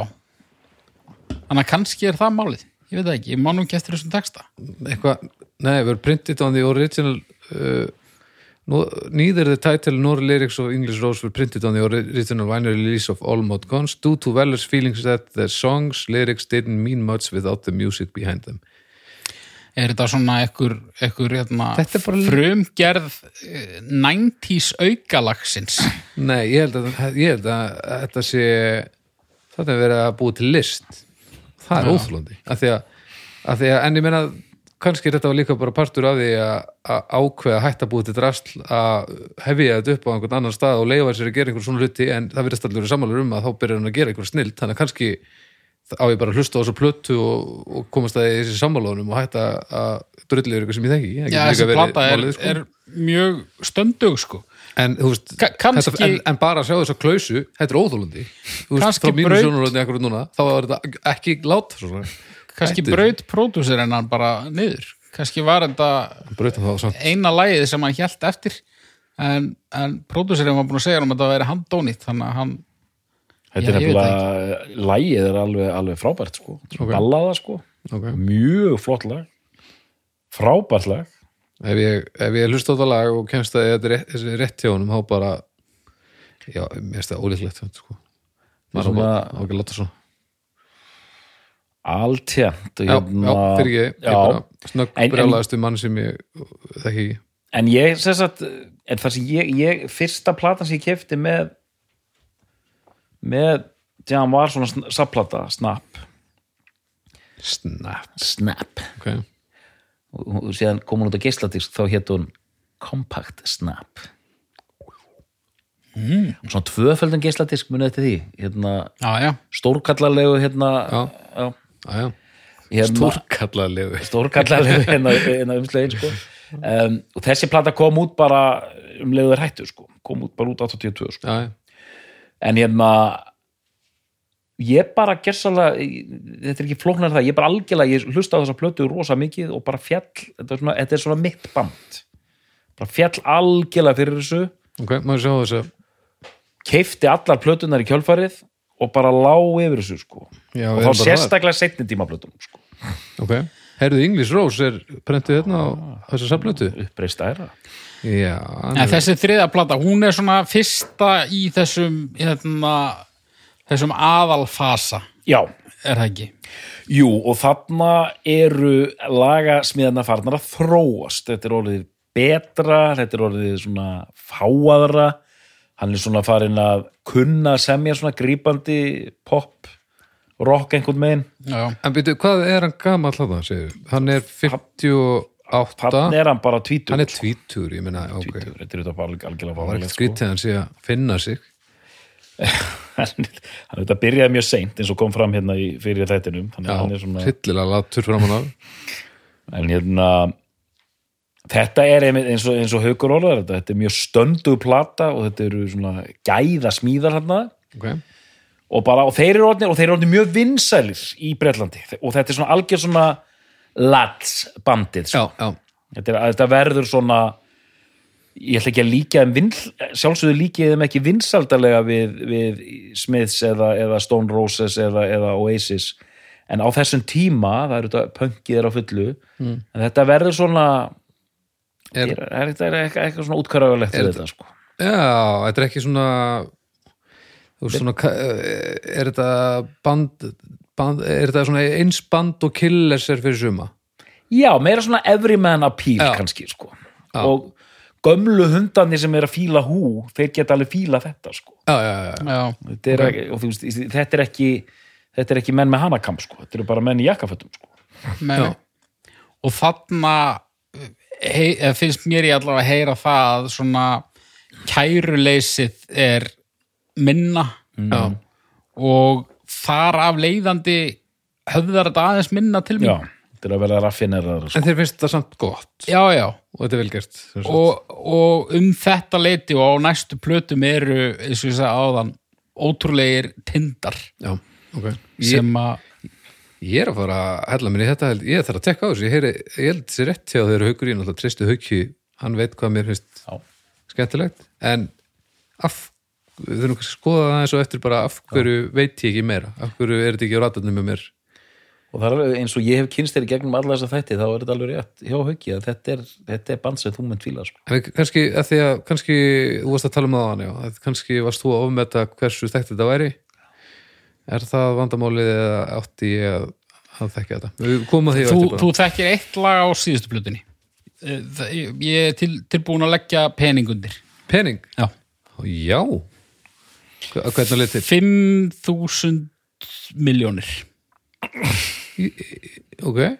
[SPEAKER 3] þannig að kannski er það málið ég veit það ekki, ég má nú ekki eftir þessum texta
[SPEAKER 1] Eitthvað, Nei, við erum printið on the original uh, no- Neither the title nor lyrics of English Rose were printed on the original vinyl release of All Mod Guns due to Weller's feelings that the songs lyrics didn't mean much without the music behind them
[SPEAKER 3] er þetta svona ekkur, ekkur hérna,
[SPEAKER 1] Þetta er bara-
[SPEAKER 3] frumgerð eh, 90s aukalagsins
[SPEAKER 1] Nei, ég held að, ég held að þetta sé þetta er verið að búi til list það er óþlóndi af því að, af því að en ég meina kannski er þetta var líka bara partur af því að, að ákveða að hætta að búi til drasl að hefja þetta upp á einhvern annan stað og leifa sér að gera einhver svona hluti en það verðist allir samanlega um að þá byrjar hann að gera einhver snild þannig að kannski á ég bara að hlusta á þessu plötu og, og komast að þessi sammálaunum og hætta að drulli yfir ykkur sem ég þekki Það
[SPEAKER 3] já,
[SPEAKER 1] getur líka
[SPEAKER 3] þessi
[SPEAKER 1] verið
[SPEAKER 3] plata er,
[SPEAKER 1] málið, sko.
[SPEAKER 3] er mjög stöndug sko
[SPEAKER 1] En, þú veist,
[SPEAKER 3] Ka- kannski-
[SPEAKER 1] þetta, en, en bara að sjá þess að klausu, þetta er óþólandi Þú veist,
[SPEAKER 3] Kannski
[SPEAKER 1] frá mínu
[SPEAKER 3] braut-
[SPEAKER 1] sjónurlöðni akkur núna, þá er þetta ekki látt svona.
[SPEAKER 3] kannski
[SPEAKER 1] Hættu.
[SPEAKER 3] braut pródúsirinn hann bara niður kannski var þetta
[SPEAKER 1] Brautum þá samt
[SPEAKER 3] eina lagið sem hann hjælt eftir en, en pródúsirinn var búin að segja honum að það væri handónýtt þannig að hann,
[SPEAKER 2] þetta
[SPEAKER 3] Já,
[SPEAKER 2] er
[SPEAKER 3] ég veit
[SPEAKER 2] nefnilega lægið er alveg, alveg frábært sko okay. ballaða sko,
[SPEAKER 1] Ok.
[SPEAKER 2] mjög flott lag frábært lag
[SPEAKER 1] ef ég, ef ég hlusta á þetta lag og kemst að þetta er rétt- þessi er rétt hjá honum, þá bara já, mér finnst það ólíklegt samt, sko.
[SPEAKER 2] er
[SPEAKER 1] maður á bara-
[SPEAKER 2] svona-
[SPEAKER 1] á ekki að láta svona
[SPEAKER 2] alltjæmt
[SPEAKER 1] Já, já, fyrir ekki, ég bara snögg
[SPEAKER 2] Hérna- En- en-
[SPEAKER 1] brjálaðist um mann sem ég þekki ekki
[SPEAKER 2] en ég, sem sagt, en það sem ég, ég fyrsta platan sem ég kefti með með þegar hann var svona sn- sapplata, snap
[SPEAKER 1] snap,
[SPEAKER 2] snap
[SPEAKER 1] ok
[SPEAKER 2] og, og síðan kom hún út á geisladisk þá hétt hún Compact Snap mm. svona tvöföldum geisladisk munið eftir því hérna,
[SPEAKER 3] já já,
[SPEAKER 2] stórkallarlegu hérna,
[SPEAKER 1] Já.
[SPEAKER 2] já,
[SPEAKER 1] aðja,
[SPEAKER 2] hérna,
[SPEAKER 1] stórkallaða liður
[SPEAKER 2] stórkallarlegu hérna, hérna umslegin sko. um, og þessi plata kom út bara um leiður hættu sko. kom út bara út 82 sko.
[SPEAKER 1] aðja,
[SPEAKER 2] en hérna ég bara gersalega þetta er ekki flóknar en það, ég bara algjörlega ég hlusta á þessa plötu rosa mikið og bara fjall þetta er svona, þetta er svona mitt band bara fjall algjörlega fyrir þessu
[SPEAKER 1] ok, maður sjá þess að
[SPEAKER 2] keifti allar plötunar í kjölfarið og bara lá yfir þessu sko
[SPEAKER 1] Já,
[SPEAKER 2] og
[SPEAKER 1] við erum
[SPEAKER 2] þá
[SPEAKER 1] bara
[SPEAKER 2] sérstaklega setni tíma plötunum sko
[SPEAKER 1] Ok, heyrðu English Rose er prentið hérna á þessu safnötu
[SPEAKER 2] uppreist æra
[SPEAKER 1] Já,
[SPEAKER 3] en
[SPEAKER 1] hann er,
[SPEAKER 3] þessi þriða plata hún er svona fyrsta í þessum hérna, þessum aðalfasa
[SPEAKER 2] já,
[SPEAKER 3] er það ekki
[SPEAKER 2] jú og þarna eru lagasmiðana farnar að þróast þetta er orðið betra, þetta er orðið svona fáaðra hann er svona farinn að kunna að semja svona grípandi pop rock einhvern megin
[SPEAKER 3] já,
[SPEAKER 1] En byrju, hvað er hann gamall að það, segir Hann er 58
[SPEAKER 2] hann er hann bara tvítur
[SPEAKER 1] Hann er tvítur, ég meina, ok Það
[SPEAKER 2] þetta er þetta bara alg- algjörlega
[SPEAKER 1] var
[SPEAKER 2] fáránlegt,
[SPEAKER 1] ekkert
[SPEAKER 2] sko. <laughs>
[SPEAKER 1] skrítið að hann sé að finna sig
[SPEAKER 2] hann er- hann er þetta byrjaði mjög seint eins og kom fram hérna í, fyrir þættinum þannig
[SPEAKER 1] Já,
[SPEAKER 2] að hann er svona
[SPEAKER 1] hryllilega latur fram hann af
[SPEAKER 2] en hérna þetta er einmitt eins og, eins og haukur orðar þetta, þetta er mjög stöndu plata og þetta eru svona gæða smíðar hérna
[SPEAKER 1] okay.
[SPEAKER 2] og, bara, og þeir eru orðnir og þeir eru orðnir mjög vinsælir í Bretlandi og þetta er svona algjör svona lads bandið sko.
[SPEAKER 1] Já, já
[SPEAKER 2] þetta, er, þetta verður svona ég ætla ekki að líka þeim vins, sjálfsögðu líka þeim ekki vinsaldarlega við, við Smiths eða, eða Stone Roses eða, eða Oasis en á þessum tíma það eru þetta pönkið er á fullu en þetta verður svona
[SPEAKER 1] Mm. Er-
[SPEAKER 2] er, er, er, er eitthvað, eitthvað svona útkvarðalegt við þetta sko
[SPEAKER 1] Já, þetta er ekki svona þú veist svona ka- eh, er þetta band, band er þetta svona eins band og killers er fyrir suma
[SPEAKER 2] Já, meira svona everyman appeal
[SPEAKER 1] Já.
[SPEAKER 2] kannski sko. og gömlu hundarnir sem er að fíla hú þeir geta alveg fíla þetta sko.
[SPEAKER 1] Já, já, já, já.
[SPEAKER 3] já,
[SPEAKER 2] þetta, er ekki, og, þú veist, þetta er ekki þetta er ekki menn með hanakamp sko. þetta eru bara menn í jakkafötum sko.
[SPEAKER 3] með, og þarna hei, eða finnst mér ég allavega að heyra það að svona kæruleysið er minna já. og þar af leiðandi höfðar þetta aðeins minna til
[SPEAKER 2] Já,
[SPEAKER 3] mín
[SPEAKER 2] þetta er að vera raffineraðar sko.
[SPEAKER 1] En þeir finnst það samt gott
[SPEAKER 3] já, já,
[SPEAKER 1] og þetta er vel gert sem sagt.
[SPEAKER 3] og, og um þetta leiti og á næstu plötum eru eins og ég sagði áðan ótrúlegir tindar
[SPEAKER 1] Já, ok ég,
[SPEAKER 3] sem að
[SPEAKER 1] ég er að fara að hella mér í þetta held- ég þarf að tekka á þessu, ég, heyri, ég held sér rétt hjá þeir haukur, ég náttúrulega treysti hauki hann veit hvað mér finnst
[SPEAKER 2] Já.
[SPEAKER 1] skemmtilegt en af við þurfum kannski að skoða það eins og eftir bara af hverju veit ég ekki meira, af hverju er þetta ekki á ratarnum með mér
[SPEAKER 2] og það er alveg- eins og ég hef kynst þér í gegnum alla þessa þætti þá er þetta alveg rétt hjá hauki að þetta er, þetta er band sem þú mynd fíla sko.
[SPEAKER 1] En við- kannski, að því að kannski þú varst að tala um það hann, já, að kannski varst þú að ofmeta hversu þekkt þetta væri er það vandamálið eða átti ég að, að þekka þetta við komum að því á
[SPEAKER 3] þú,
[SPEAKER 1] eftir bara.
[SPEAKER 3] þú þekkir eitt lag á síðustu plötunni Eh, það- ég ég er til, tilbúin að leggja peningundir
[SPEAKER 1] pening,
[SPEAKER 3] já
[SPEAKER 1] já Hva- hvernig litir,
[SPEAKER 3] 5.000 miljónir
[SPEAKER 1] ok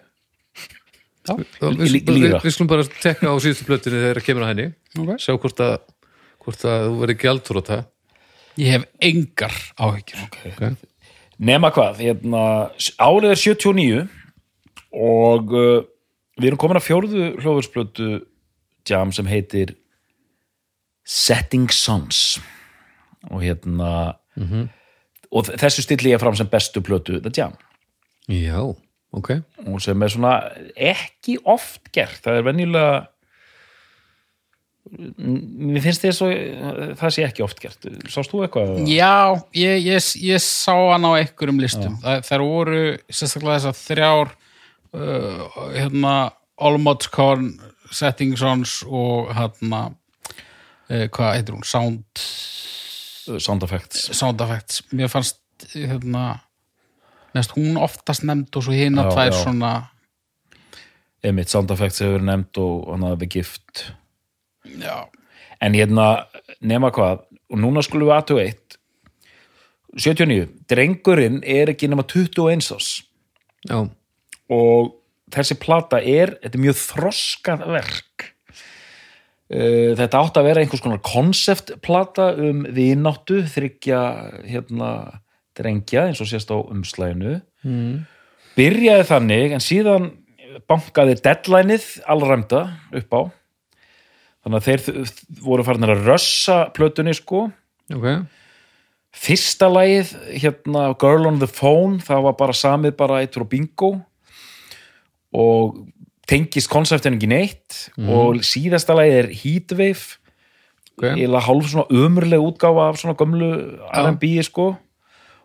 [SPEAKER 1] já, við,
[SPEAKER 2] Lí-
[SPEAKER 1] við, við,
[SPEAKER 2] líra.
[SPEAKER 1] við skulum bara tekka á síðustu plötinu þegar kemur að henni
[SPEAKER 3] Ok.
[SPEAKER 1] sjá hvort að, hvort að þú verið gjaldtróta
[SPEAKER 3] ég hef engar áhyggjur
[SPEAKER 2] nema hvað, hérna, árið er 79 og uh, við erum komin að fjórðu hljóðursplötu jam sem heitir Setting Suns og hérna og þessu stilli ég fram sem bestu plötu The Jam
[SPEAKER 1] já, ok
[SPEAKER 2] og sem er svona ekki oft gert það er venjulega mér finnst þið svo það sé ekki oft gert sást þú eitthvað?
[SPEAKER 3] já, ég, ég, ég sá hann á einhverjum listum Þa, þær voru sérstaklega þessar þrjár uh, hérna Olmotskorn, Settingsons og hérna uh, hvað heitir hún, Sound
[SPEAKER 2] Sound Effects
[SPEAKER 3] Sound Effects, mér fannst hérna mest hún oftast nefnd og svo hina
[SPEAKER 2] Já,
[SPEAKER 3] tvær
[SPEAKER 2] já.
[SPEAKER 3] svona
[SPEAKER 2] Einmitt, Sound Effects hefur verið nefnd og hann að The Gift
[SPEAKER 3] já,
[SPEAKER 2] en hérna, nema hvað og núna skulum við aðtögu eitt 79, drengurinn er ekki nema 21 árs
[SPEAKER 1] já,
[SPEAKER 2] og þessi plata er, þetta er mjög þroskað verk Eh, þetta átt að vera einhvers konar konceptplata um vináttu þryggja hérna drengja eins og sést á umslæðinu mm. byrjaði þannig en síðan bankaði deadlineið allræmda upp á þannig að þeir þ- þ- voru farinir að rössa plötunni sko
[SPEAKER 1] ok
[SPEAKER 2] fyrsta lagið hérna Girl on the Phone, það var bara samið bara eittur og bingo og tengist konseptin ekki neitt og síðasta lagið er Heatwave
[SPEAKER 1] Ok.
[SPEAKER 2] eða hálf svona ömurleg útgáfa af svona gömlu R&B sko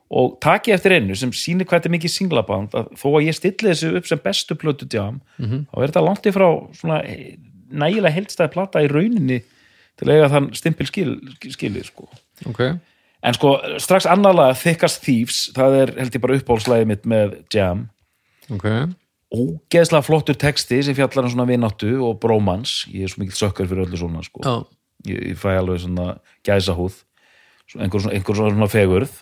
[SPEAKER 2] og takið eftir einu sem sýnir hvað þetta er mikið singlaband að þó að ég stilli þessu upp sem bestu plötu jam, þá er þetta langt í frá svona eh, nægilega heldstæði plata í rauninni til að eiga þann stimpil skil, skilið sko
[SPEAKER 1] ok,
[SPEAKER 2] En sko, strax annarlega Thickest Thieves, það er held ég bara uppáhalslæðið mitt með Jam
[SPEAKER 1] ok
[SPEAKER 2] ógeðslega flottur texti sem fjallar um svona vináttu og brómans ég er svo mikill sökkar fyrir öllu svona sko.
[SPEAKER 1] já
[SPEAKER 2] ég, ég fæ alveg svona gæsa húð svona- einhver svona, einhver svona fegurð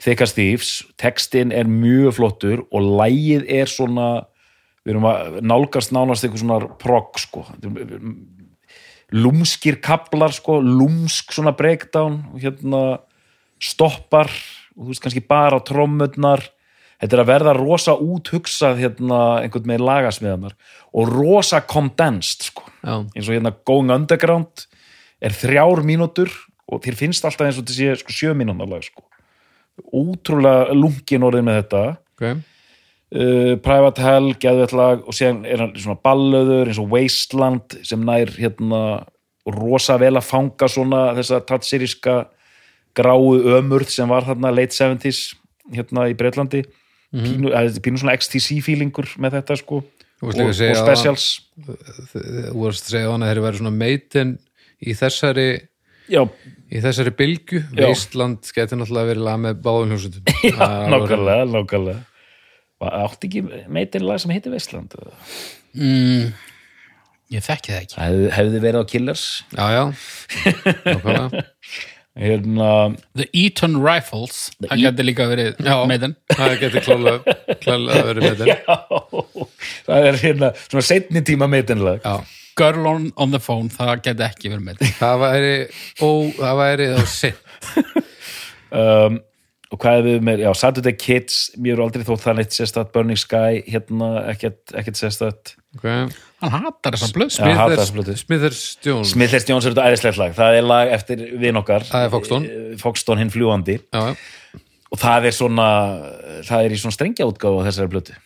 [SPEAKER 2] þykka stífs, textin er mjög flottur og lægið er svona við erum að nálgast nánast einhver svona progg sko lúmskir kaplar sko, lúmsk svona breakdown og hérna stoppar og þú veist kannski bara trommurnar þetta er að verða rosa úthugsað hérna einhvern veginn lagasmiðanar og rosa condensed sko
[SPEAKER 1] já,
[SPEAKER 2] eins og hérna Going Underground er þrjár mínútur og þér finnst alltaf eins og þetta sé sko, sjö mínútur lag sko. útrúlega lungin orðið með þetta
[SPEAKER 1] ok
[SPEAKER 2] uh, Private Hell, Geðvettlag og síðan er hann svona ballöður eins og Wasteland sem nær hérna rosa vel að fanga svona þessa tatsiríska gráu ömurð sem var þarna late 70s hérna í Breitlandi
[SPEAKER 1] Mhm.
[SPEAKER 2] pínu, að, þetta er pínu svona XTC feelingur með þetta sko
[SPEAKER 1] Þú
[SPEAKER 2] og,
[SPEAKER 1] veist líka
[SPEAKER 2] og
[SPEAKER 1] að segja að-
[SPEAKER 2] specials
[SPEAKER 1] þú varst að segja þannig að þeir verið svona meitin í þessari,
[SPEAKER 2] já,
[SPEAKER 1] í þessari bylgu
[SPEAKER 2] Já.
[SPEAKER 1] Ísland geti náttúrulega verið lag með báðum
[SPEAKER 2] <laughs>
[SPEAKER 1] hljómsveitum Já,
[SPEAKER 2] nákvæmlega, nákvæmlega Var- átti ekki meitin lag sem heitir Vestland það
[SPEAKER 3] mm, ég þekki það ekki
[SPEAKER 2] hefði, hefði verið á Killers
[SPEAKER 1] Já, já, nákvæmlega
[SPEAKER 2] hérna, <laughs>
[SPEAKER 3] The Eton Rifles, það gæti líka verið
[SPEAKER 1] Já.
[SPEAKER 3] meðan
[SPEAKER 1] Það geti klálega, klálega verið meitin
[SPEAKER 2] já það er hérna svona setni tíma meitin lag
[SPEAKER 1] Já,
[SPEAKER 3] Girl on, on the Phone, það gæti ekki verið meðan
[SPEAKER 1] það væri ó, það væri þá sinn
[SPEAKER 2] um, og hvað hefði með, já, Saturday Kids mér er aldrei þótt það neitt sérstætt Burning Sky, hérna, ekkert, ekkert sérstætt
[SPEAKER 1] okay.
[SPEAKER 3] Hann hatar þessa blöð
[SPEAKER 2] Já, hata
[SPEAKER 1] Smithers-
[SPEAKER 2] þessa plötu.
[SPEAKER 1] Smithers Jones
[SPEAKER 2] Smithers Jones er þetta æðislegt lag, það er lag eftir vin okkar
[SPEAKER 1] Það er Foxton.
[SPEAKER 2] Eh, Foxton hinn fljúandi
[SPEAKER 1] Já, já.
[SPEAKER 2] og það er svona, það er í svona strengja útgáfa þessari blötu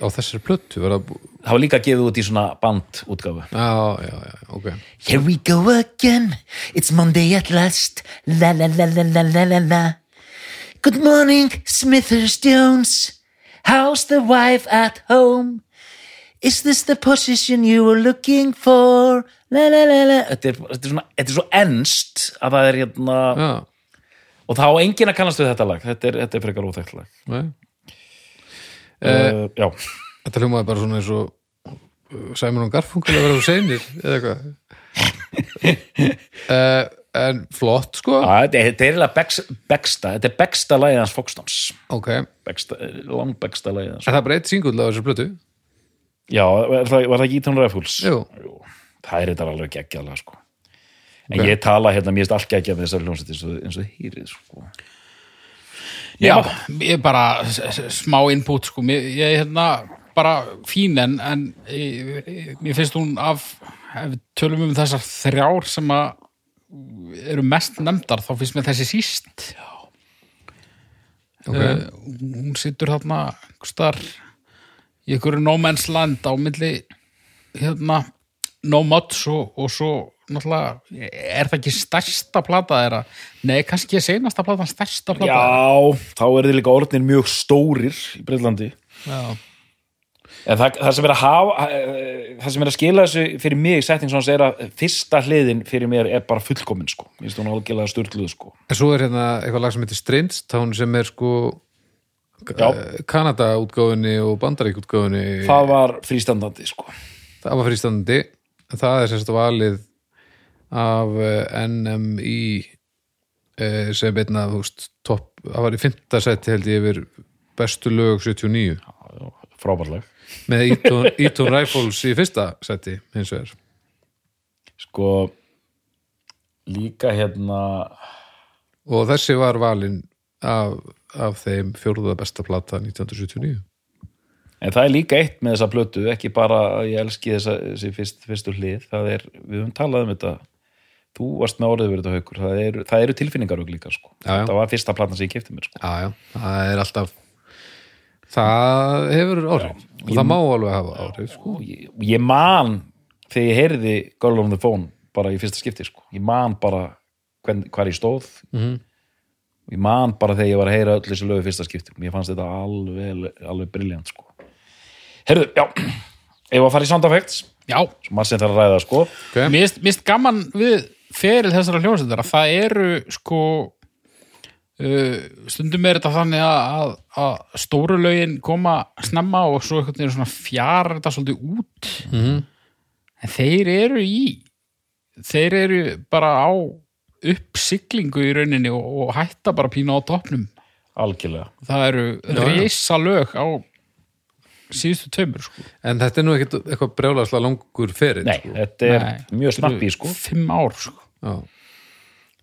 [SPEAKER 1] á þessari plöttu var það bú-
[SPEAKER 2] það var líka gefið út í svona band útgáfu
[SPEAKER 1] Já, já, já, ok
[SPEAKER 2] Here we go again, it's Monday at last, la la la la la la la la. Good morning, Smithers Jones, how's the wife at home? Is this the position you were looking for? La la la la. Þetta er, þetta er, svona, þetta er svo enst að það er hérna,
[SPEAKER 1] Já,
[SPEAKER 2] og þá á enginn að kannast við þetta lag, þetta er, þetta er frekar óþægt lag.
[SPEAKER 1] nei
[SPEAKER 2] Uh, já,
[SPEAKER 1] Þetta hljómaði bara svona eins og uh, Simon og Garfunkel að vera þú seinir eða eitthvað
[SPEAKER 2] <laughs>
[SPEAKER 1] uh, En flott sko
[SPEAKER 2] Að þetta er þetta er eiginlega Bex- Begsta, þetta er Begsta lagið hans Foxtons,
[SPEAKER 1] Ok, en
[SPEAKER 2] Begsta, lang Begsta lagið hans.
[SPEAKER 1] það er bara eitt singull á þessu plötu
[SPEAKER 2] Já, var það, var það ekki Ítón Ræfhúls?
[SPEAKER 1] Jú.
[SPEAKER 2] Það er þetta alveg geggjaðlega, sko. En ég tala hérna, mér erst allt geggjað með þessari hljómsætti eins og, eins og hýrið, sko.
[SPEAKER 3] Já, ég er bara s- s- smá input sko, mér, ég er hérna bara fín en, en ég- ég- mér finnst hún af ef við tölum um þessar þrjár sem að eru mest nefndar þá finnst mér þessi síst Eh,
[SPEAKER 1] okay.
[SPEAKER 3] hún situr þarna einhvers staðar í einhverju no man's land á milli hérna no much og, og svo náttúrulega er það ekki stærsta plata þeirra nei, kannski er seinasta platan stærsta plata þeirra.
[SPEAKER 2] Já, þá eru þið líka orðnir mjög stórir í Breitlandi.
[SPEAKER 3] Já.
[SPEAKER 2] En það, það sem er að hafa, eh, það sem er að skila þessu fyrir mig í setting svona er að fyrsta hliðin fyrir mér er bara fullkomin, sko. Mér finnst hún algjörlega styrluð, sko.
[SPEAKER 1] En svo er hérna eitthvað lag sem heitir Strindstown sem er sko
[SPEAKER 2] Já,
[SPEAKER 1] Kanada útgáfunni og Bandarík útgáfunni
[SPEAKER 2] það var frístandandi, sko.
[SPEAKER 1] það var frístandi en það er sérst valið af eh, NMI eh, sem einna þú veist, topp, það var í fymta seti held ég yfir bestu lög 79
[SPEAKER 2] Frábærleg.
[SPEAKER 1] með <laughs> Eton, Eton Rifles í fyrsta seti hins vegar
[SPEAKER 2] Sko, líka hérna,
[SPEAKER 1] og þessi var valin af, af þeim fjórða besta plata 1979
[SPEAKER 2] En það er líka eitt með þessa plötu, ekki bara að ég elski þessa, þessi fyrst, fyrstu hlið, það er, við höfum talað um þetta, þú varst með orðið verið þetta haukur, það eru, það eru tilfinningar auðvitað líka, sko.
[SPEAKER 1] Já, já.
[SPEAKER 2] Það var fyrsta platan sem ég kefti mér, sko.
[SPEAKER 1] já, já, það er alltaf það hefur áhrif og það má alveg hafa áhrif sko.
[SPEAKER 2] Og ég, og ég man, þegar ég heyrði Girl on the Phone bara í fyrsta skipti, sko. Ég man bara hvern, hvar ég stóð,
[SPEAKER 1] Mhm.
[SPEAKER 2] ég man bara þegar ég var að heyra öll þessu lögu í fyrsta skipti. Mér fannst þetta alveg, alveg briljant, sko. Herðu, já, <clears throat> ef að fara í sound effects,
[SPEAKER 3] Já,
[SPEAKER 2] sem maður sem þarf að ræða, sko.
[SPEAKER 1] Ok.
[SPEAKER 3] Mér finnst- mér finnst gaman við feril þessara hljómsveitar að það eru sko uh, stundum er þetta þannig að, að, að stóru lögin koma snemma og svo einhvern veginn svona fjara þetta svolítið út
[SPEAKER 1] Mhm.
[SPEAKER 3] en þeir eru í þeir eru bara á uppsiglingu í rauninni og, og hætta bara pína á toppnum
[SPEAKER 2] algjörlega
[SPEAKER 3] það eru reysa lög á síðustu tveimur sko.
[SPEAKER 1] En þetta er nú ekkit eitthvað brjálarslega langur fyrir
[SPEAKER 2] Nei, Sko. þetta er
[SPEAKER 3] Nei.
[SPEAKER 2] mjög snappi sko
[SPEAKER 3] fimm ár sko.
[SPEAKER 1] Já.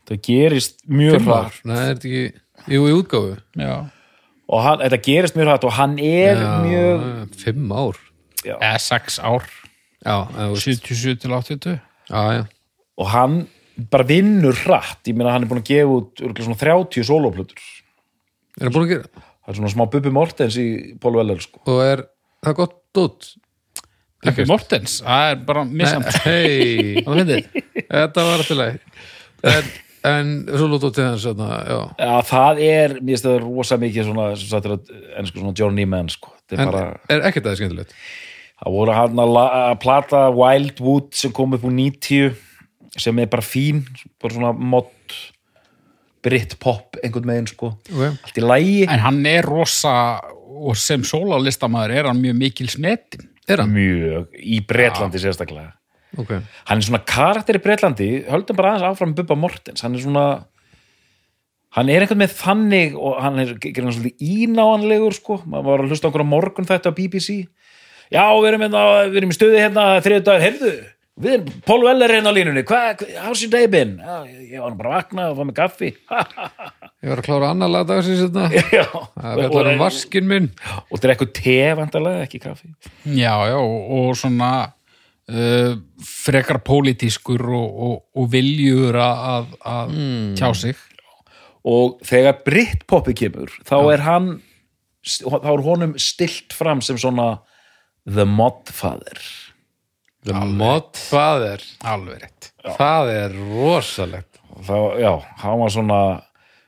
[SPEAKER 2] Það gerist mjög hratt
[SPEAKER 1] Nei, er þetta ekki, jú, í útgáfu
[SPEAKER 3] já.
[SPEAKER 2] og hann, þetta gerist mjög hratt og hann er mjög
[SPEAKER 1] Já, Fimm ár
[SPEAKER 3] eða sex ár
[SPEAKER 1] Já, eða, þú veist.
[SPEAKER 3] 77 til 80
[SPEAKER 1] já, já
[SPEAKER 2] og hann bara vinnur hratt ég meina hann er búin að gefa út örugglega svona 30 sólóplötur
[SPEAKER 1] Er það búin að gera?
[SPEAKER 2] það er svona smá Bubbi Mortens í Paul Weller sko.
[SPEAKER 1] Og er það gott dót?
[SPEAKER 3] Peppi Mortens, það er bara missamt
[SPEAKER 1] Hei,
[SPEAKER 3] Það finnir.
[SPEAKER 1] þetta var alltaf leið En, en svo lútt á til þess að hérna, já
[SPEAKER 2] ja, það er, mér finnst það rosa mikið svona, sem sagt er að, en sko svona Johnny Man sko. það er
[SPEAKER 1] En
[SPEAKER 2] bara,
[SPEAKER 1] er ekkert aðeins skemmtilegt?
[SPEAKER 2] það voru hann að, la- að plata Wildwood sem kom upp úr 90 sem er bara fín bara svona mod Britpop einhvern veginn sko
[SPEAKER 1] Okay.
[SPEAKER 2] allt í lægi,
[SPEAKER 3] en hann er rosa og sem sólalistamaður er hann mjög mikil smetin
[SPEAKER 1] Er hann?
[SPEAKER 2] mjög í Bretlandi sérstaklega
[SPEAKER 1] Ok,
[SPEAKER 2] hann er svona karakter í Breitlandi höldum bara aðeins áfram með Bubba Mortens hann er svona hann er einhvern með þannig og hann er gerðan svolítið ínáanlegur sko maður var að hlusta okkur á morgun þetta á BBC já, við erum, hérna, við erum í stöði hérna þriðu dagur, heyrðu við erum Paul Weller hérna á línunni hva, hva- how's your day been? Já, ég, ég var nú bara að vakna og fá mig kaffi Ha,
[SPEAKER 1] ég var að klára annar lagdagsins þetta
[SPEAKER 2] já.
[SPEAKER 1] hérna. Það er allar um
[SPEAKER 2] og,
[SPEAKER 1] vaskin minn
[SPEAKER 2] og drekku te vandalega, ekki kaffi
[SPEAKER 3] já, já, og, og svona uh, frekar pólitískur og, og, og viljur að- að, að
[SPEAKER 1] Hmm.
[SPEAKER 3] tjá sig
[SPEAKER 2] og þegar Britpopi kemur þá er hann þá er honum stilt fram sem svona the modfather
[SPEAKER 1] The Mod Father
[SPEAKER 3] alveg rétt
[SPEAKER 1] Það er rosalegt
[SPEAKER 2] og þá, já, hann var svona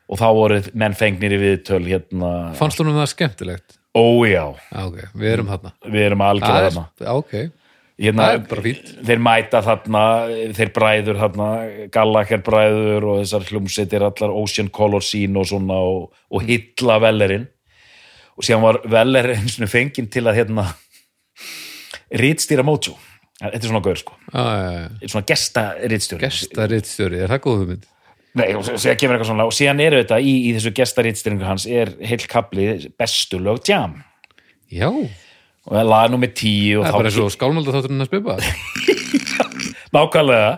[SPEAKER 2] og þá voru menn fengnir í viðtöl hérna,
[SPEAKER 1] Fannst þú það skemmtilegt?
[SPEAKER 2] ójá
[SPEAKER 1] Já, ok, við erum þarna
[SPEAKER 2] við erum
[SPEAKER 1] Það
[SPEAKER 2] algjörð
[SPEAKER 1] er,
[SPEAKER 2] þarna
[SPEAKER 1] ok,
[SPEAKER 2] hérna,
[SPEAKER 1] það er bara fínt
[SPEAKER 2] þeir mæta þarna þeir bræður þarna, Gallagher bræður og þessar hljómsveitir allar Ocean Color Scene og svona og, og hitla Vellerin og síðan var Veller eins og fenginn til að hérna rítstýra Mojo þetta er svona gaur sko,
[SPEAKER 1] ah,
[SPEAKER 2] svona gesta rítstýra
[SPEAKER 1] Gesta rittstjóri, er það góð hugmynd?
[SPEAKER 2] Nei, og síðan kemur eitthvað svona og síðan eru þetta í, í þessu gesta rítstýringu hans er heil kapli bestu lög jam
[SPEAKER 1] Já,
[SPEAKER 2] og það er lag nummer 10 og
[SPEAKER 1] það er
[SPEAKER 2] þá
[SPEAKER 1] bara svo skálmölda þátturinn að spipa
[SPEAKER 2] nákvæmlega,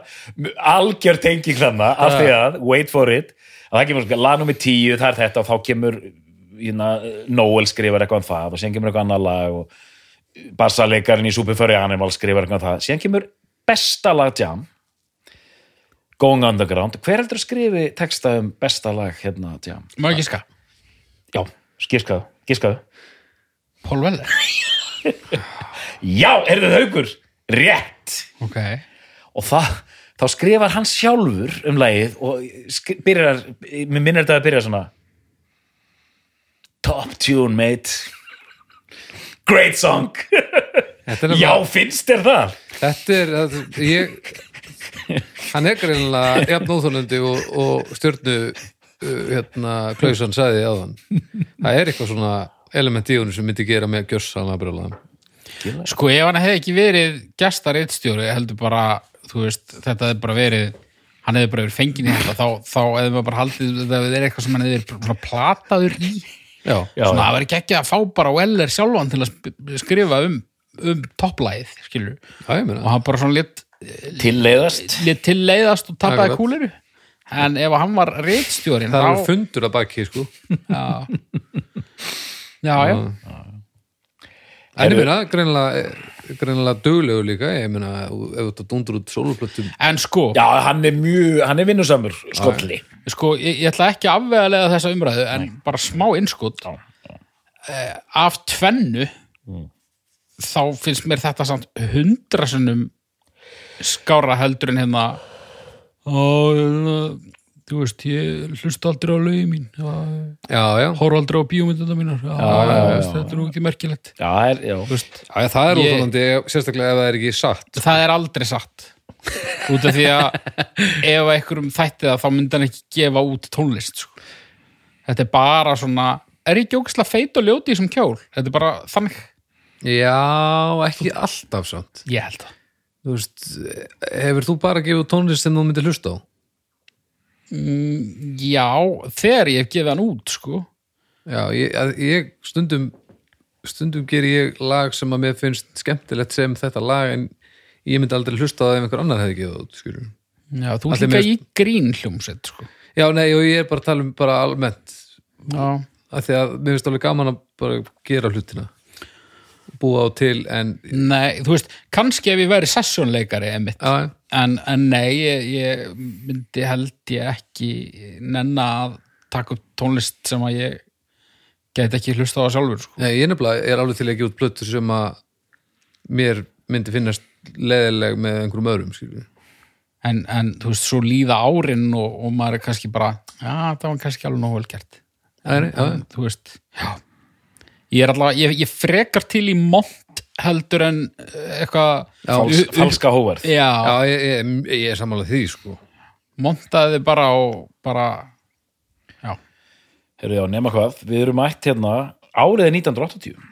[SPEAKER 2] algjör tenging þarna, af því að, wait for it að það kemur, lag nummer tíu, það er þetta og þá kemur, hérna, Noel skrifar eitthvað um það og síðan kemur eitthvað annað lag og bassalekarinn í Superfurry Animal skrifar eitthvað um það, síðan kemur besta lag jam Going Underground, hver heldur að skrifi texta um besta lag hérna jam?
[SPEAKER 3] má ekki ska,
[SPEAKER 2] Já, gískaðu, gískaðu
[SPEAKER 3] Pól Veller
[SPEAKER 2] Já, er þetta haugur? Rétt!
[SPEAKER 3] ok,
[SPEAKER 2] og það, þá skrifar hann sjálfur um lagið og skri- byrjar, mér minnir þetta að byrja svona Top tune, mate Great song
[SPEAKER 1] Þetta er
[SPEAKER 2] Já,
[SPEAKER 1] nefnilega-
[SPEAKER 2] finnst þér það?
[SPEAKER 1] Þetta er, þetta, ég hann er greinlega jafn óþólandi og, og stjörnu uh, hérna, klausan sagði á þann það er eitthvað svona element í honum sem myndi gera með gjössan að brjóla
[SPEAKER 3] sko ef hann hefði ekki verið gestar eittstjóri heldur bara þú veist, þetta hefði bara verið hann hefði bara verið fengin í þetta þá, þá hefði maður bara haldið það er eitthvað sem hann hefði verið svona plataður í
[SPEAKER 1] Já,
[SPEAKER 2] Já,
[SPEAKER 3] svona, það verið ekki að fá bara Weller sjálfan til að sp- skrifa um, um topplæð, skilur
[SPEAKER 1] það ég
[SPEAKER 3] og
[SPEAKER 1] meina
[SPEAKER 3] hann bara svona lit,
[SPEAKER 2] tilleiðast
[SPEAKER 3] lit til leiðast og tappaði
[SPEAKER 1] Akkurat.
[SPEAKER 3] kúliru en ef hann var reitstjórin
[SPEAKER 1] Það
[SPEAKER 3] þá,
[SPEAKER 1] eru fundur að baki, sko
[SPEAKER 3] já, já, já.
[SPEAKER 1] En ég
[SPEAKER 2] Eru-
[SPEAKER 1] meina, greinlega, greinlega duglegu líka, ég meina ef ef þetta dundur út sóluplötum
[SPEAKER 3] en sko,
[SPEAKER 2] Já, hann er mjög, hann er vinnusamur skolli
[SPEAKER 3] sko ég, ég ætla ekki að afvegalega þessa umræðu en bara smá innskot
[SPEAKER 2] Já, Mm.
[SPEAKER 3] Eh, af tvennu þá finnst mér þetta samt hundra sinnum skára heldur en hérna og þú veist ég hlusta aldrei á lögin mín já,
[SPEAKER 1] Já, já,
[SPEAKER 3] horf aldrei á bíómyndina mínar já,
[SPEAKER 2] já,
[SPEAKER 3] þú
[SPEAKER 2] já,
[SPEAKER 3] veist, þetta er nú ekki merkilegt
[SPEAKER 2] Já, það er, já
[SPEAKER 3] veist,
[SPEAKER 1] já það er
[SPEAKER 3] Ég-
[SPEAKER 1] óþólandi sérstaklega ef það er ekki satt
[SPEAKER 3] það er aldrei satt út af því að ef einhverjum þætti það þá myndi hann ekki gefa út tónlist sko. þetta er bara svona er ekki ógislega feit og ljóti í þessum kjól þetta er bara þannig
[SPEAKER 1] Já, ekki alltaf samt
[SPEAKER 3] ég held það
[SPEAKER 1] þú veist, hefur þú bara gefið út tónlist sem þú myndir hlusta á?
[SPEAKER 3] Mm, Já, þegar ég hef gefið hann út, sko.
[SPEAKER 1] Já, ég, að- ég stundum stundum ger ég lag sem að mér finnst skemmtilegt sem þetta lag en ég myndi aldrei hlusta á það ef einhver annar hefði gefið það út, skilur.
[SPEAKER 3] Já,
[SPEAKER 1] Allir
[SPEAKER 3] þú ert
[SPEAKER 1] mér-
[SPEAKER 3] líka í grín hljómsveit, sko.
[SPEAKER 1] Já, nei, og ég er bara að tala um bara almennt
[SPEAKER 3] Já,
[SPEAKER 1] af því að mér finnst alveg gaman að bara gera hlutina búa á til en
[SPEAKER 3] nei, þú veist, kannski ef ég væri sessjónleikari, emitt.
[SPEAKER 1] já,
[SPEAKER 3] En, en nei, ég, ég myndi held ég ekki nenna að taka upp tónlist sem að ég get ekki hlusta á það sjálfur, sko.
[SPEAKER 1] nei, ég nefnilega er alveg til að gefa út plötur sem að mér myndi finnast leðileg með einhverjum öðrum skilur.
[SPEAKER 3] En, en þú veist, svo líða árin og, og maður er kannski bara, já, það var kannski alveg nógu vel gert.
[SPEAKER 1] Nei, nei, já,
[SPEAKER 3] En, þú veist, já. Ég er allavega, ég, ég frekar til í mont heldur en eh, eitthvað...
[SPEAKER 2] Fals, falska hóvarð
[SPEAKER 3] Já,
[SPEAKER 1] já ég, ég, ég er sammála því sko.
[SPEAKER 3] montaði þið bara og bara, já.
[SPEAKER 2] Herru, já, nema hvað, við erum mætt hérna árið 1980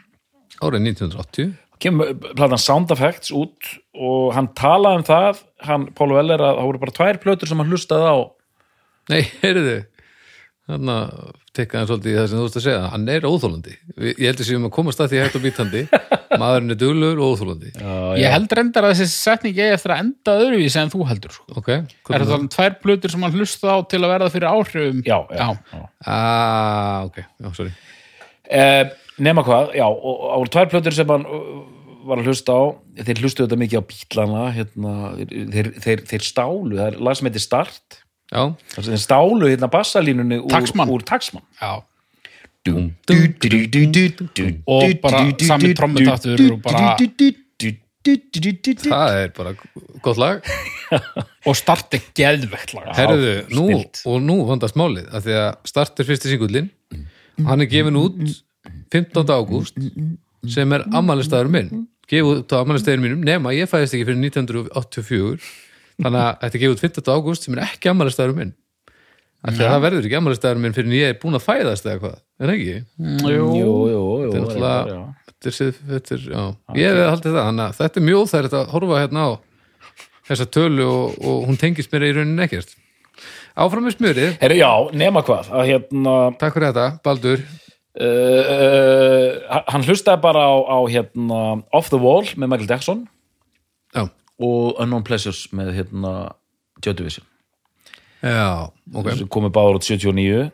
[SPEAKER 1] árið 1980
[SPEAKER 2] kemur eh, platan Sound Effects út og hann talaði um það hann, Paul Weller, að það voru bara tvær plötur sem hann hlustaði á
[SPEAKER 1] Nei, <laughs> heyrðu þannig að tekka hann svolítið í það sem þú veist að segja hann er óþólandi, ég held að séum að komast að því hægt og
[SPEAKER 3] <laughs>
[SPEAKER 1] bítandi, maðurinn er duglur og óþólandi,
[SPEAKER 3] Ég held reyndar að þessi setning eigi eftir að enda öðruvísi en þú heldur, sko.
[SPEAKER 1] ok hvað
[SPEAKER 3] Er það þannig tvær plötur sem hann hlusta á til að verða fyrir áhrifum?
[SPEAKER 2] já, já,
[SPEAKER 3] já.
[SPEAKER 2] já.
[SPEAKER 1] Ah, ok, já, sorry
[SPEAKER 2] Eh, nema hvað, já, og og það voru tvær plötur sem hann uh, var að hlusta á þeir hlustu þetta mikið á bílana hérna, þeir, þeir, þeir stálu það er lag sem heitir Start
[SPEAKER 1] Já,
[SPEAKER 2] þar sem þeir stálu hérna bassalínunni úr
[SPEAKER 3] Taxman.
[SPEAKER 2] úr Taxman.
[SPEAKER 3] já.
[SPEAKER 2] og
[SPEAKER 3] Og bara sami trommutáttur og bara-
[SPEAKER 2] það
[SPEAKER 1] það er bara gott lag
[SPEAKER 3] Og starti geðvegt lag.
[SPEAKER 1] Herðu, nú,
[SPEAKER 2] stillt.
[SPEAKER 1] og nú vandast málið af því að startir fyrsti singullin hann er gefin út 15. ágúst sem er ammælistæður minn gefið út á ammælistæður mínum nema ég fæðist ekki fyrir 1984 þannig að þetta er gefið út 15. ágúst sem er ekki ammælistæður minn af því að það verður ekki ammælistæður minn fyrir en ég er búin að fæðast eða hvað, er það ekki?
[SPEAKER 3] Mm,
[SPEAKER 2] jú, jú, jú,
[SPEAKER 1] þetta er
[SPEAKER 2] reyndar, já.
[SPEAKER 1] náttúrulega þetta er, sið- þetta er, já, ég hefði haldið það þannig að þetta er mjög óþært að horfa hérna á þessa tölu og, og hún tengist mér í rauninni ekkert áfram með smjörið,
[SPEAKER 2] Herru, já, nema hvað að hérna eh,
[SPEAKER 1] takk fyrir þetta, Baldur
[SPEAKER 2] uh, uh, hann hlustaði bara á, á hérna, Off the Wall með Michael Jackson
[SPEAKER 1] já,
[SPEAKER 2] og Unknown Pleasures með hérna Joy Division
[SPEAKER 1] já, ok
[SPEAKER 2] sem komu báður út 79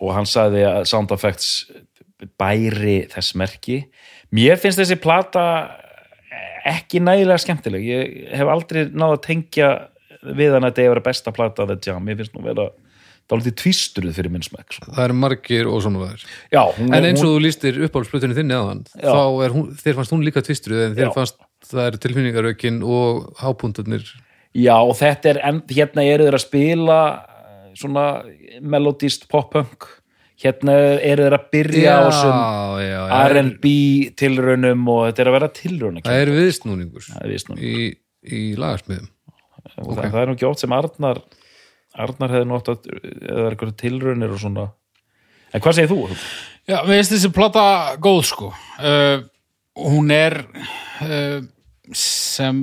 [SPEAKER 2] og hann sagði að Sound Effects bæri þess merki mér finnst þessi plata ekki nægilega skemmtileg ég hef aldrei náð að tengja við hann að þetta er að vera besta plata The Jam, mér finnst nú vera dálítið tvístruð fyrir minn smekk sko.
[SPEAKER 1] það eru margir og svona verður
[SPEAKER 2] já, hún,
[SPEAKER 1] en eins og þú lístir uppáhaldsplötunni þinni aðan þá er hún, þér fannst hún líka tvistruð en þér
[SPEAKER 2] Já.
[SPEAKER 1] fannst það eru tilfinningaraukin og hápuntarnir
[SPEAKER 2] Já, og þetta er, en, hérna eru þeir að spila eh, svona melodist pop-punk hérna eru þeir að byrja á þessum
[SPEAKER 1] já, já,
[SPEAKER 2] R&B tilraunum og þetta er að vera tilraun
[SPEAKER 1] það er viðsnúningur
[SPEAKER 2] er víst nú.
[SPEAKER 1] í, í lagarsmiðum
[SPEAKER 2] og það, það er nú ekki oft sem Arnar Arnar hefði nótt að eða eitthvað tilraunir og svona en hvað segir þú?
[SPEAKER 3] Já, við veist þessi plata góð, sko. Uh, hún er uh, sem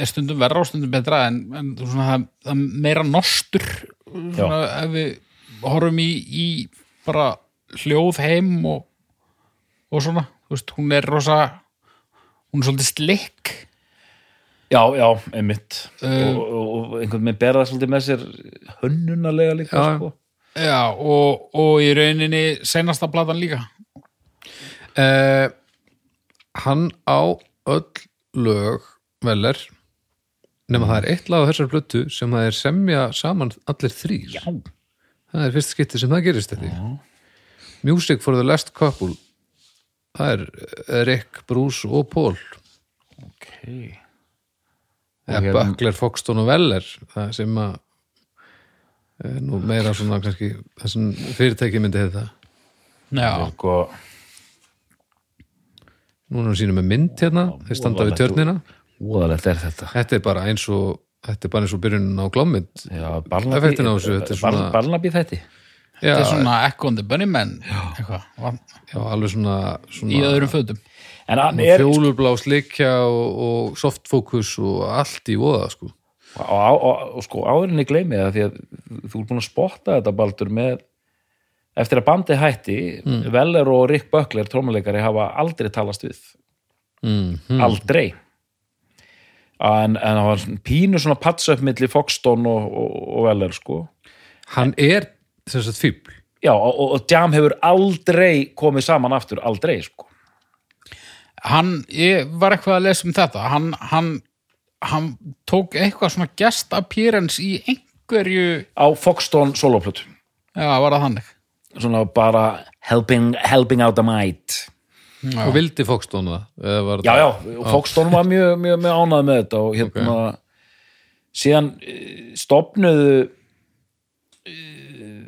[SPEAKER 3] er stundum verra og stundum betra en, en þú svona, það, það er meira nostur svona, ef við horfum í, í bara hljóð heim og, og svona, þú veist, hún er rosa hún er svolítið slikk
[SPEAKER 2] Já, já, einmitt
[SPEAKER 3] Um,
[SPEAKER 1] Uh,
[SPEAKER 2] og, og, og einhvern veginn berða svolítið með sér hönnunalega líka
[SPEAKER 1] Já.
[SPEAKER 2] sko.
[SPEAKER 3] Já, og, og í rauninni senasta platan líka.
[SPEAKER 1] Eh, hann á öll lög veler nema það er eitt lag á þessar blötu sem það er semja saman allir þrýr
[SPEAKER 2] Já.
[SPEAKER 1] það er fyrst skipti sem það gerist þetta Já. Music for the Last Couple það er eh, Rick, Bruce og hérna- Paul
[SPEAKER 2] Okay.
[SPEAKER 1] eða Eh, Buckler, Foxton og Veller það sem að eh, nú meira svona kannski þessum fyrirtæki myndi hefði það
[SPEAKER 3] Já,
[SPEAKER 2] Sko,
[SPEAKER 1] núna er sínum með mynd hérna, þeir standa við tjörnina
[SPEAKER 2] úðalegt er þetta
[SPEAKER 1] þetta er bara eins og þetta er bara eins og byrjunin á glámynd
[SPEAKER 2] Já,
[SPEAKER 1] Effektin á þessu, þetta er svona-
[SPEAKER 2] Barnaby þætti
[SPEAKER 1] já,
[SPEAKER 3] þetta er svona Echo and the Bunnymen, eitthvað, var-
[SPEAKER 1] já, alveg svona,
[SPEAKER 3] í
[SPEAKER 1] svona
[SPEAKER 3] öðrum fötum.
[SPEAKER 2] En hann er,
[SPEAKER 1] fjólublá slikja og, og softfókus og allt í voða sko.
[SPEAKER 2] og, og, og, og sko áðurinni gleymi það því að þú er búin að spotta þetta Baldur með eftir að bandi hætti Veller og Rick Böckler trómuleikari hafa aldrei talast við
[SPEAKER 1] Mm.
[SPEAKER 2] aldrei en, en það var svona pínu svona patsa upp milli Foxton og, og, og Veller sko
[SPEAKER 1] Hann er þess að fíbl.
[SPEAKER 2] já og, og- og Jam hefur aldrei komið saman aftur, aldrei sko
[SPEAKER 3] hann, ég var eitthvað að lesa um þetta hann, hann, hann tók eitthvað svona guest appearance í einhverju
[SPEAKER 2] á Foxton soloplötu
[SPEAKER 3] já, var það þannig
[SPEAKER 2] svona bara helping, helping out a mite
[SPEAKER 1] Og vildi Foxton það? eða var
[SPEAKER 2] já,
[SPEAKER 1] það-
[SPEAKER 2] já, Foxton var mjög, mjög, mjög ánæð með þetta og hérna síðan eh, stopnuðu eh,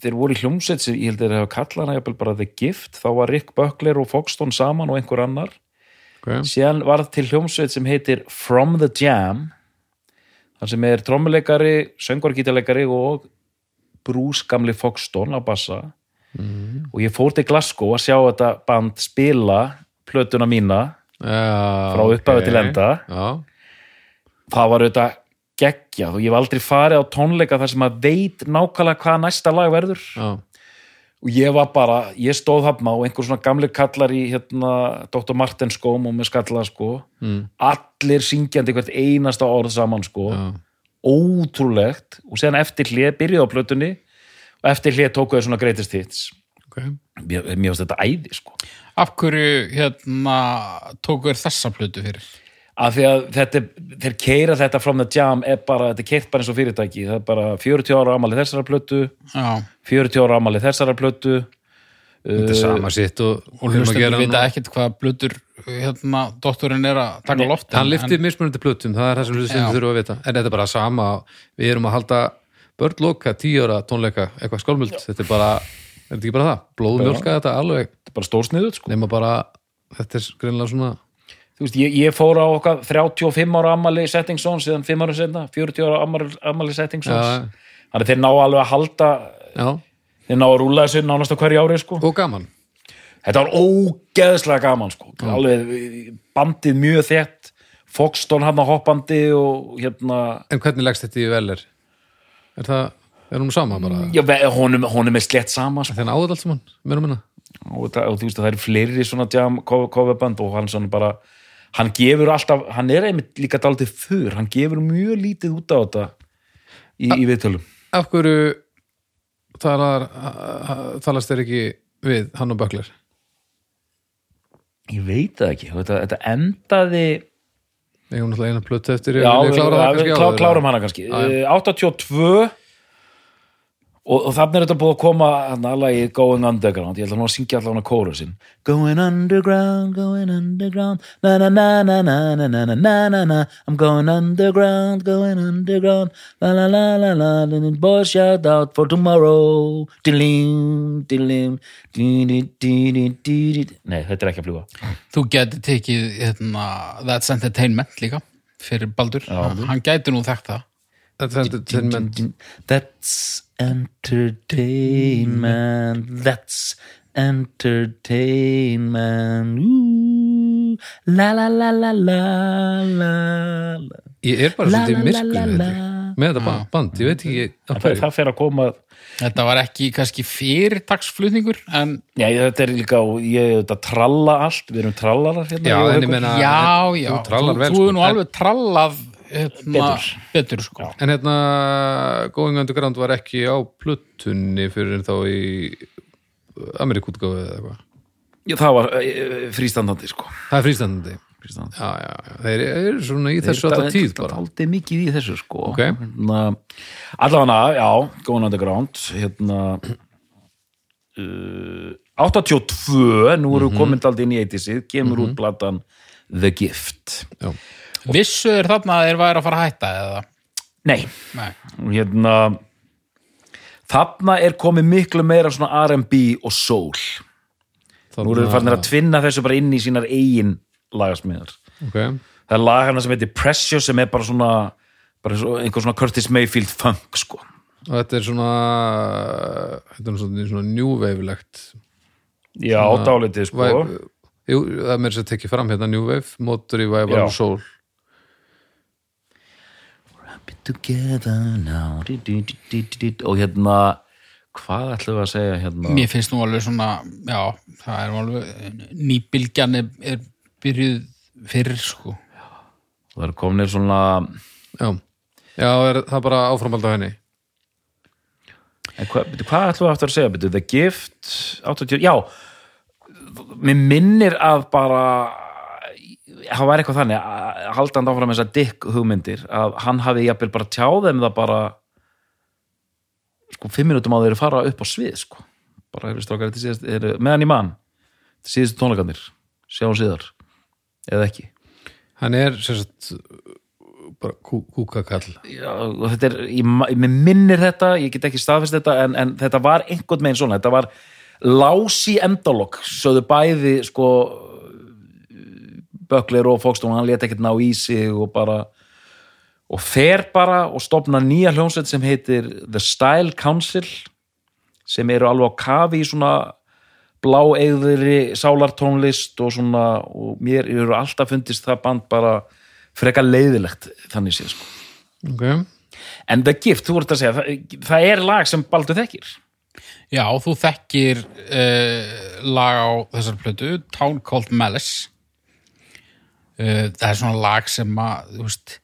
[SPEAKER 2] þeir voru í hljómsveit sem ég held þeir hafa kallað hana jafnvel bara The Gift, þá var Rick Böckler og Foxton saman og einhver annar
[SPEAKER 1] Ok.
[SPEAKER 2] síðan var það til hljómsveit sem heitir From the Jam þar sem er trommuleikari, söngvargítarleikari og Bruce gamli Foxton á bassa og ég fór til Glasgow að sjá þetta band spila plötuna mína
[SPEAKER 1] Já,
[SPEAKER 2] Frá upphafi
[SPEAKER 1] ok.
[SPEAKER 2] til enda.
[SPEAKER 1] Já,
[SPEAKER 2] það var auðvitað geggjað og ég hef aldrei farið á tónleika þar sem að veit nákvæmlega hvað næsta lag verður
[SPEAKER 1] já,
[SPEAKER 2] og ég var bara, ég stóð þarna og einhver svona gamli kallar í hérna Dr. Martens skóm og með skalla sko
[SPEAKER 1] Mm.
[SPEAKER 2] allir syngjandi hvert einasta orð saman sko
[SPEAKER 1] já.
[SPEAKER 2] ótrúlegt og séðan eftir hlið byrjuði á plötunni og eftir hlið tóku þau svona greatest hits
[SPEAKER 1] ok.
[SPEAKER 2] mér, mér finnst þetta æði sko
[SPEAKER 3] af hverju hérna tók þér þessa plötu fyrir
[SPEAKER 2] af því að þetta, er- þeir keira þetta from the jam er bara, þetta er keirt bara eins og fyrirtæki það er bara 40 ára ámali þessara plötu
[SPEAKER 3] já,
[SPEAKER 2] 40 ára ámali þessara plötu Uh,
[SPEAKER 1] Þetta er sama sitt og,
[SPEAKER 3] og
[SPEAKER 1] um að
[SPEAKER 3] hlustendur
[SPEAKER 1] gera
[SPEAKER 3] vita
[SPEAKER 1] nú.
[SPEAKER 3] ekkert hvað plötur hérna, doktorinn er að taka
[SPEAKER 2] Nei,
[SPEAKER 3] loft
[SPEAKER 1] Hann lifti mismunandi plötum, það er það sem
[SPEAKER 3] Já.
[SPEAKER 1] hlustendur þurfa að vita. En þetta er bara sama, við erum að halda börnloka, tíu ára tónleika, eitthvað skálmöld. Þetta er bara, er þetta ekki bara það? Blóðmjólka þetta alveg,
[SPEAKER 2] þetta er bara stórsniðut sko.
[SPEAKER 1] nema bara, þetta er greinlega svona,
[SPEAKER 2] Þú veist, ég, ég fór á okkar 35 ára ammali Settingsson síðan 5 ára senna 40 ára ammali, ammali
[SPEAKER 1] Já.
[SPEAKER 2] Settingsson þannig að þeir ná alveg að halda
[SPEAKER 1] já,
[SPEAKER 2] þeir ná að rúla þessu nánast á hverju ári sko.
[SPEAKER 1] og gaman.
[SPEAKER 2] þetta var ógeðslega gaman sko. alveg bandið mjög þett Foxton hann hoppandi og hérna
[SPEAKER 1] En hvernig leggst þetta í velir? Er það, er hún sama bara?
[SPEAKER 2] Já, ve- honum, honum er slett sama sko.
[SPEAKER 1] Þannig áður allt saman, mér og minna.
[SPEAKER 2] og, það, og þú veist að það eru fleiri svona jam coverband og hann svona bara hann gefur alltaf, hann er einmitt líka daldið fyrr, hann gefur mjög lítið út á þetta í, í viðtölum
[SPEAKER 1] Af hverju talar, talast þér ekki við hann og Böckler?
[SPEAKER 2] ég veit það ekki, þetta, þetta endaði
[SPEAKER 1] Ég hún alltaf eina plötu eftir ég
[SPEAKER 2] já,
[SPEAKER 1] klára það
[SPEAKER 2] við
[SPEAKER 1] kannski
[SPEAKER 2] klá,
[SPEAKER 1] áður,
[SPEAKER 2] klárum
[SPEAKER 1] eða?
[SPEAKER 2] hana kannski
[SPEAKER 1] Já, já.
[SPEAKER 2] Eh, 82 og, og þannig er þetta búið að koma hann alveg Going Underground, ég ætla nú að syngja allavega hana kóra sinn Going Underground, Going Underground na na na na na na na na na na na I'm going underground, Going Underground la la la la la la la Boys shout out for tomorrow dilim, dilim di di di di di Nei, þetta er ekki að fljúga
[SPEAKER 3] Þú gæti tekið hérna, That's Entertainment líka fyrir Baldur, hann, hann gæti nú þekkt það
[SPEAKER 1] Þetta er entertainment.
[SPEAKER 2] That's entertainment. That's entertainment. Ooh, la la la la la la. la.
[SPEAKER 1] Ég er bara
[SPEAKER 2] La,
[SPEAKER 1] svolítið
[SPEAKER 2] la,
[SPEAKER 1] í myrkur
[SPEAKER 2] la,
[SPEAKER 1] með
[SPEAKER 2] la,
[SPEAKER 1] þetta.
[SPEAKER 2] la.
[SPEAKER 1] Með þetta ba- band, ég veit ekki af
[SPEAKER 2] Það,
[SPEAKER 1] hverju.
[SPEAKER 2] það fer að koma
[SPEAKER 3] Þetta var ekki kannski fyrirtagsflutningur en
[SPEAKER 2] Já, þetta er líka, ég þetta tralla allt, við erum trallarar hérna
[SPEAKER 1] Já,
[SPEAKER 2] ég og
[SPEAKER 1] en ég
[SPEAKER 2] Haukur.
[SPEAKER 1] meina,
[SPEAKER 3] já,
[SPEAKER 1] en-
[SPEAKER 3] já,
[SPEAKER 1] þú trallar vel.
[SPEAKER 3] þú
[SPEAKER 1] sko.
[SPEAKER 3] er nú
[SPEAKER 1] En-
[SPEAKER 3] alveg trallað hérna,
[SPEAKER 2] Betur.
[SPEAKER 3] betur sko
[SPEAKER 1] En hérna, Going Underground var ekki á plötunni fyrir þá í Amerikútgáfu eða eitthvað.
[SPEAKER 2] Já, Það var uh, frístandandi sko
[SPEAKER 1] Það er frístandandi.
[SPEAKER 2] Frístandandi.
[SPEAKER 1] Já, já, já. Þeir eru svona í þessu alltaf tíð bara.
[SPEAKER 2] aldrei mikið í þessu sko
[SPEAKER 1] Ok.
[SPEAKER 2] hérna, allavega, já, Going Underground hérna uh, 82 nú
[SPEAKER 1] Mhm.
[SPEAKER 2] erum við komin daldið inn í 80-sið kemur út platan The Gift
[SPEAKER 1] Já.
[SPEAKER 3] Vissu er þarna að þeir væri að fara að hætta eða
[SPEAKER 2] nei,
[SPEAKER 3] Nei.
[SPEAKER 2] hérna þarna er komið miklu meira svona R&B og soul nú eru við farin að tvinna þessu bara inn í sínar eigin lagasmiðar
[SPEAKER 1] Ok,
[SPEAKER 2] það er lag hana sem heitir Pressure sem er bara svona bara eins og- einhver svona Curtis Mayfield funk sko
[SPEAKER 1] og þetta er svona, þetta er svona, svona New Wave-legt
[SPEAKER 2] Já, dálítið sko
[SPEAKER 1] Væ- Jú, það er mér sem tekið fram hérna New Wave, Motor í Vævar
[SPEAKER 2] Já.
[SPEAKER 1] og Soul
[SPEAKER 2] Be together now Di- di- di- di- di- di- og hérna hvað ætlum við að segja hérna
[SPEAKER 3] Mér finnst nú alveg svona, já, það er nú alveg, nýbylgjan er, er byrjuð fyrir, sko.
[SPEAKER 2] það er kominir svona
[SPEAKER 1] já, já er, það er bara áframhald á henni
[SPEAKER 2] en hva, byrju, hvað ætlum við aftur að segja byrju, The Gift 80, já, mér minnir að bara það var eitthvað þannig að haldandi áfram þessar Dick hugmyndir að hann hafi jafnvel bara tjáð þeim það bara sko fimm minútum að þeir fara upp á svið sko bara hefur strákar þetta síðast er, meðan í mann síðustu tónleikarnir sjáum síðar eða ekki
[SPEAKER 1] hann er sem sagt bara kú, kúkakall
[SPEAKER 2] Já, og þetta er, ég, ma- mér minnir þetta ég get ekki staðfist þetta en, en þetta var einhvern meginn svona, þetta var lási endalok, sögðu bæði sko Böckler og Fókstón, hann lét ekkert ná í sig og bara og fer bara og stopna nýja hljónsveit sem heitir The Style Council sem eru alveg á kafi í svona bláeigðri sálartónlist og svona og mér eru alltaf fundist það band bara freka leiðilegt þannig sé sko
[SPEAKER 1] okay.
[SPEAKER 2] En The Gift, þú voru að segja, það, það er lag sem Baldur þekkir.
[SPEAKER 3] Já, þú þekkir uh, lag á þessar plötu, Town Called Malice. Uh, það er svona lag sem að, þú veist,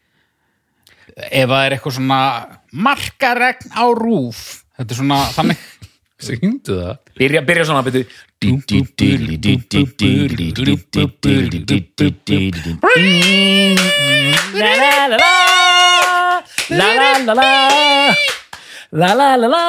[SPEAKER 3] ef það er eitthvað svona markaregn á rúf, þetta er svona þannig.
[SPEAKER 1] syngdu það
[SPEAKER 2] Byrja, byrja svona, byrju. La la la la, la la la la, la la la la, la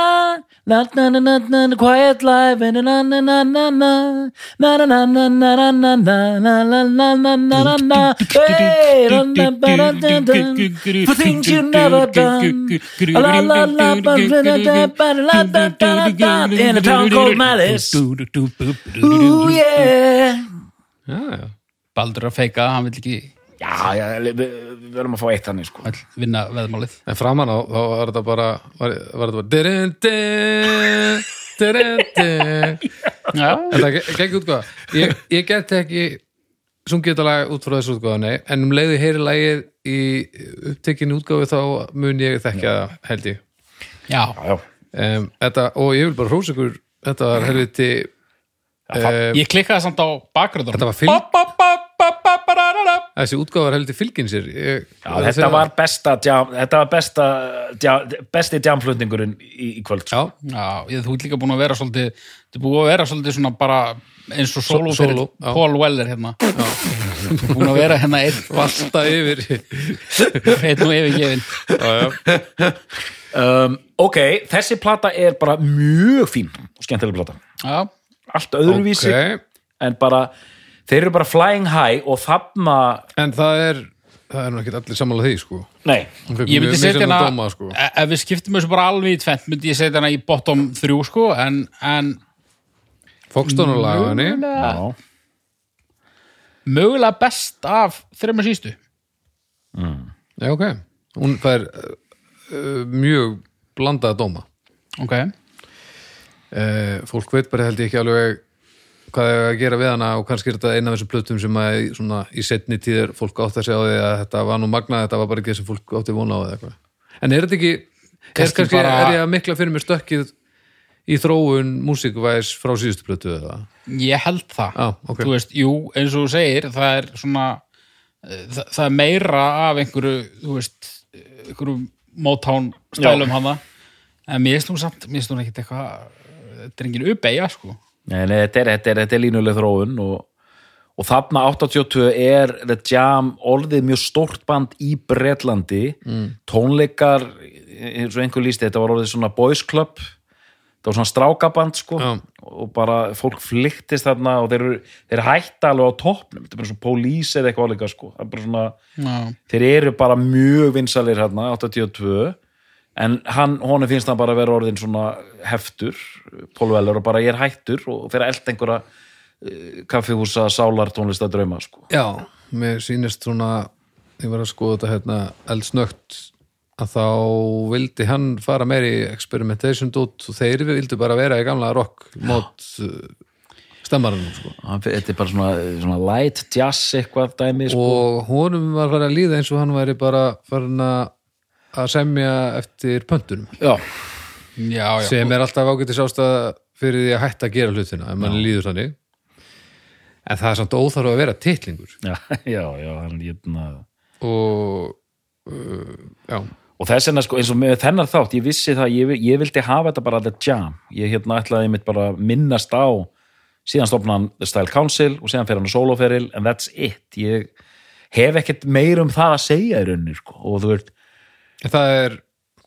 [SPEAKER 2] na na na na na, quiet life, na na na na na na, na na na na na na na na, na na na na na na na, hey, na na na na na na, for things you never done. La la la ba da da da ba da da da da da, in a town called Malice. Ooh yeah.
[SPEAKER 1] já, já.
[SPEAKER 3] Baldur er að feika, hann vil ekki
[SPEAKER 2] Já, já, við við verðum að fá eitt þannig sko.
[SPEAKER 3] öll vinna veðmálið.
[SPEAKER 1] en framan á þá var þetta bara var, var þetta bara dirindi, dirindi.
[SPEAKER 3] Já,
[SPEAKER 1] þetta gekk útgáða ég, ég get ekki sungið þetta lag út frá þessu útgáðanni en um leiði heyri lagið í upptekinu útgáfi þá mun ég þekkja það held ég
[SPEAKER 3] já.
[SPEAKER 2] Já,
[SPEAKER 1] um, þetta, og ég vil bara hrósa ykkur þetta var helviti um,
[SPEAKER 3] Ég klikkaði samt á bakgröðunum.
[SPEAKER 1] Þetta var fylg-
[SPEAKER 3] fylg.
[SPEAKER 1] þessi útgáfa var helviti fylgin sér ég,
[SPEAKER 2] já þetta var besta, jam, þetta var besta, jam, besti jamflutningurinn í, í kvöld. sko.
[SPEAKER 1] já,
[SPEAKER 3] Já, ég, þú ert líka búin að vera svolítið þú ert búin að vera svolítið svona bara eins og solo fyrir
[SPEAKER 1] solo, já.
[SPEAKER 3] Paul Weller hérna búin að vera hérna einn
[SPEAKER 1] valta yfir <laughs>
[SPEAKER 3] einn og yfirgefin
[SPEAKER 1] já, já.
[SPEAKER 2] Um, ok, þessi plata er bara mjög fín og skemmtileg plata.
[SPEAKER 3] Já,
[SPEAKER 2] Allt öðruvísi,
[SPEAKER 1] Ok.
[SPEAKER 2] en bara, þeir eru bara flying high og þarna,
[SPEAKER 1] en það er það er nú ekkert allir sammála því sko
[SPEAKER 2] nei,
[SPEAKER 1] Hún fékk
[SPEAKER 3] ég myndi
[SPEAKER 1] mjög
[SPEAKER 3] setja
[SPEAKER 1] misjafna
[SPEAKER 3] hana
[SPEAKER 1] dóma, sko.
[SPEAKER 3] e- ef við skiptum þessu bara alveg í tvent myndi ég setja hana í bottom 3 sko en, en
[SPEAKER 1] Foxton og lagani
[SPEAKER 2] já,
[SPEAKER 3] mögulega best af þreymur sístu
[SPEAKER 1] já, ok, hún fær uh, uh, mjög blandaða dóma
[SPEAKER 3] ok,
[SPEAKER 1] uh, fólk veit bara held ég ekki alveg hvað er að gera við hana og kannski er þetta eina af þessum plötum sem að í- svona, í setni tíðir fólk átt að segja á því að þetta var nú magnað, þetta var bara ekki það sem fólk átti vona á eða eitthvað en er þetta ekki, er
[SPEAKER 3] Kannski
[SPEAKER 1] kannski
[SPEAKER 3] bara-
[SPEAKER 1] er ég að mikla fyrir mér stökkið í þróun músikvæs frá síðustu plötu eða
[SPEAKER 3] ég held það
[SPEAKER 1] Já, ok.
[SPEAKER 3] þú veist, jú, eins og þú segir það er svona eh, það, það er meira af einhverju þú veist, eh, einhverju mótán stælum hana en mér finnst hún samt, mér finnst hún ekkit eitthvað þetta er engin uppeyja sko
[SPEAKER 2] Nei, nei, þetta er, þetta er, þetta er línuleg þróun og, og þarna 82 er The Jam orðið mjög stórt band í Bretlandi tónleikar, eins og einhver lísti þetta var orðið svona boys club þetta var svona strákaband sko
[SPEAKER 1] Já.
[SPEAKER 2] og bara fólk flyktist þarna og þeir, eru- þeir hætta alveg á toppnum þetta er bara svona pólís eða eitthvað alveg sko það er bara svona
[SPEAKER 3] Já.
[SPEAKER 2] þeir eru bara mjög vinsalir hérna, 82 en hann, honum finnst hann bara að vera orðin svona heftur, pólvelur og bara ég er hættur og fyrir að elda einhverja eh, kaffihúsa, sálar, tónlista, drauma sko.
[SPEAKER 1] Já, mér sýnist svona ég var að skoða þetta hérna eldsnögt að þá vildi hann fara meir í experimentation dút og þeir vildu bara vera í gamla rock mót stemmaranum sko.
[SPEAKER 2] Hann fer- þetta er bara svona, svona light jazz eitthvað dæmi sko.
[SPEAKER 1] og honum var farið að líða eins og hann væri bara farin að að semja eftir pöntunum
[SPEAKER 2] já,
[SPEAKER 3] já, já.
[SPEAKER 1] sem er alltaf ágætis ástæða fyrir því að hætta að gera hlutina ef mann líður þannig en það er samt óþarf að vera titlingur
[SPEAKER 2] já, <laughs> já, já hann, hérna.
[SPEAKER 1] og uh, já,
[SPEAKER 2] og þess vegna sko, eins og með þennar þátt ég vissi það, ég, ég vildi hafa þetta bara the jam, ég hérna ætlaði mitt bara að minnast á, síðan stopna hann The Style Council og síðan fer hann á soloferil and that's it, ég hef ekkert meir um það að segja í rauninni sko. og þú veist,
[SPEAKER 1] en það er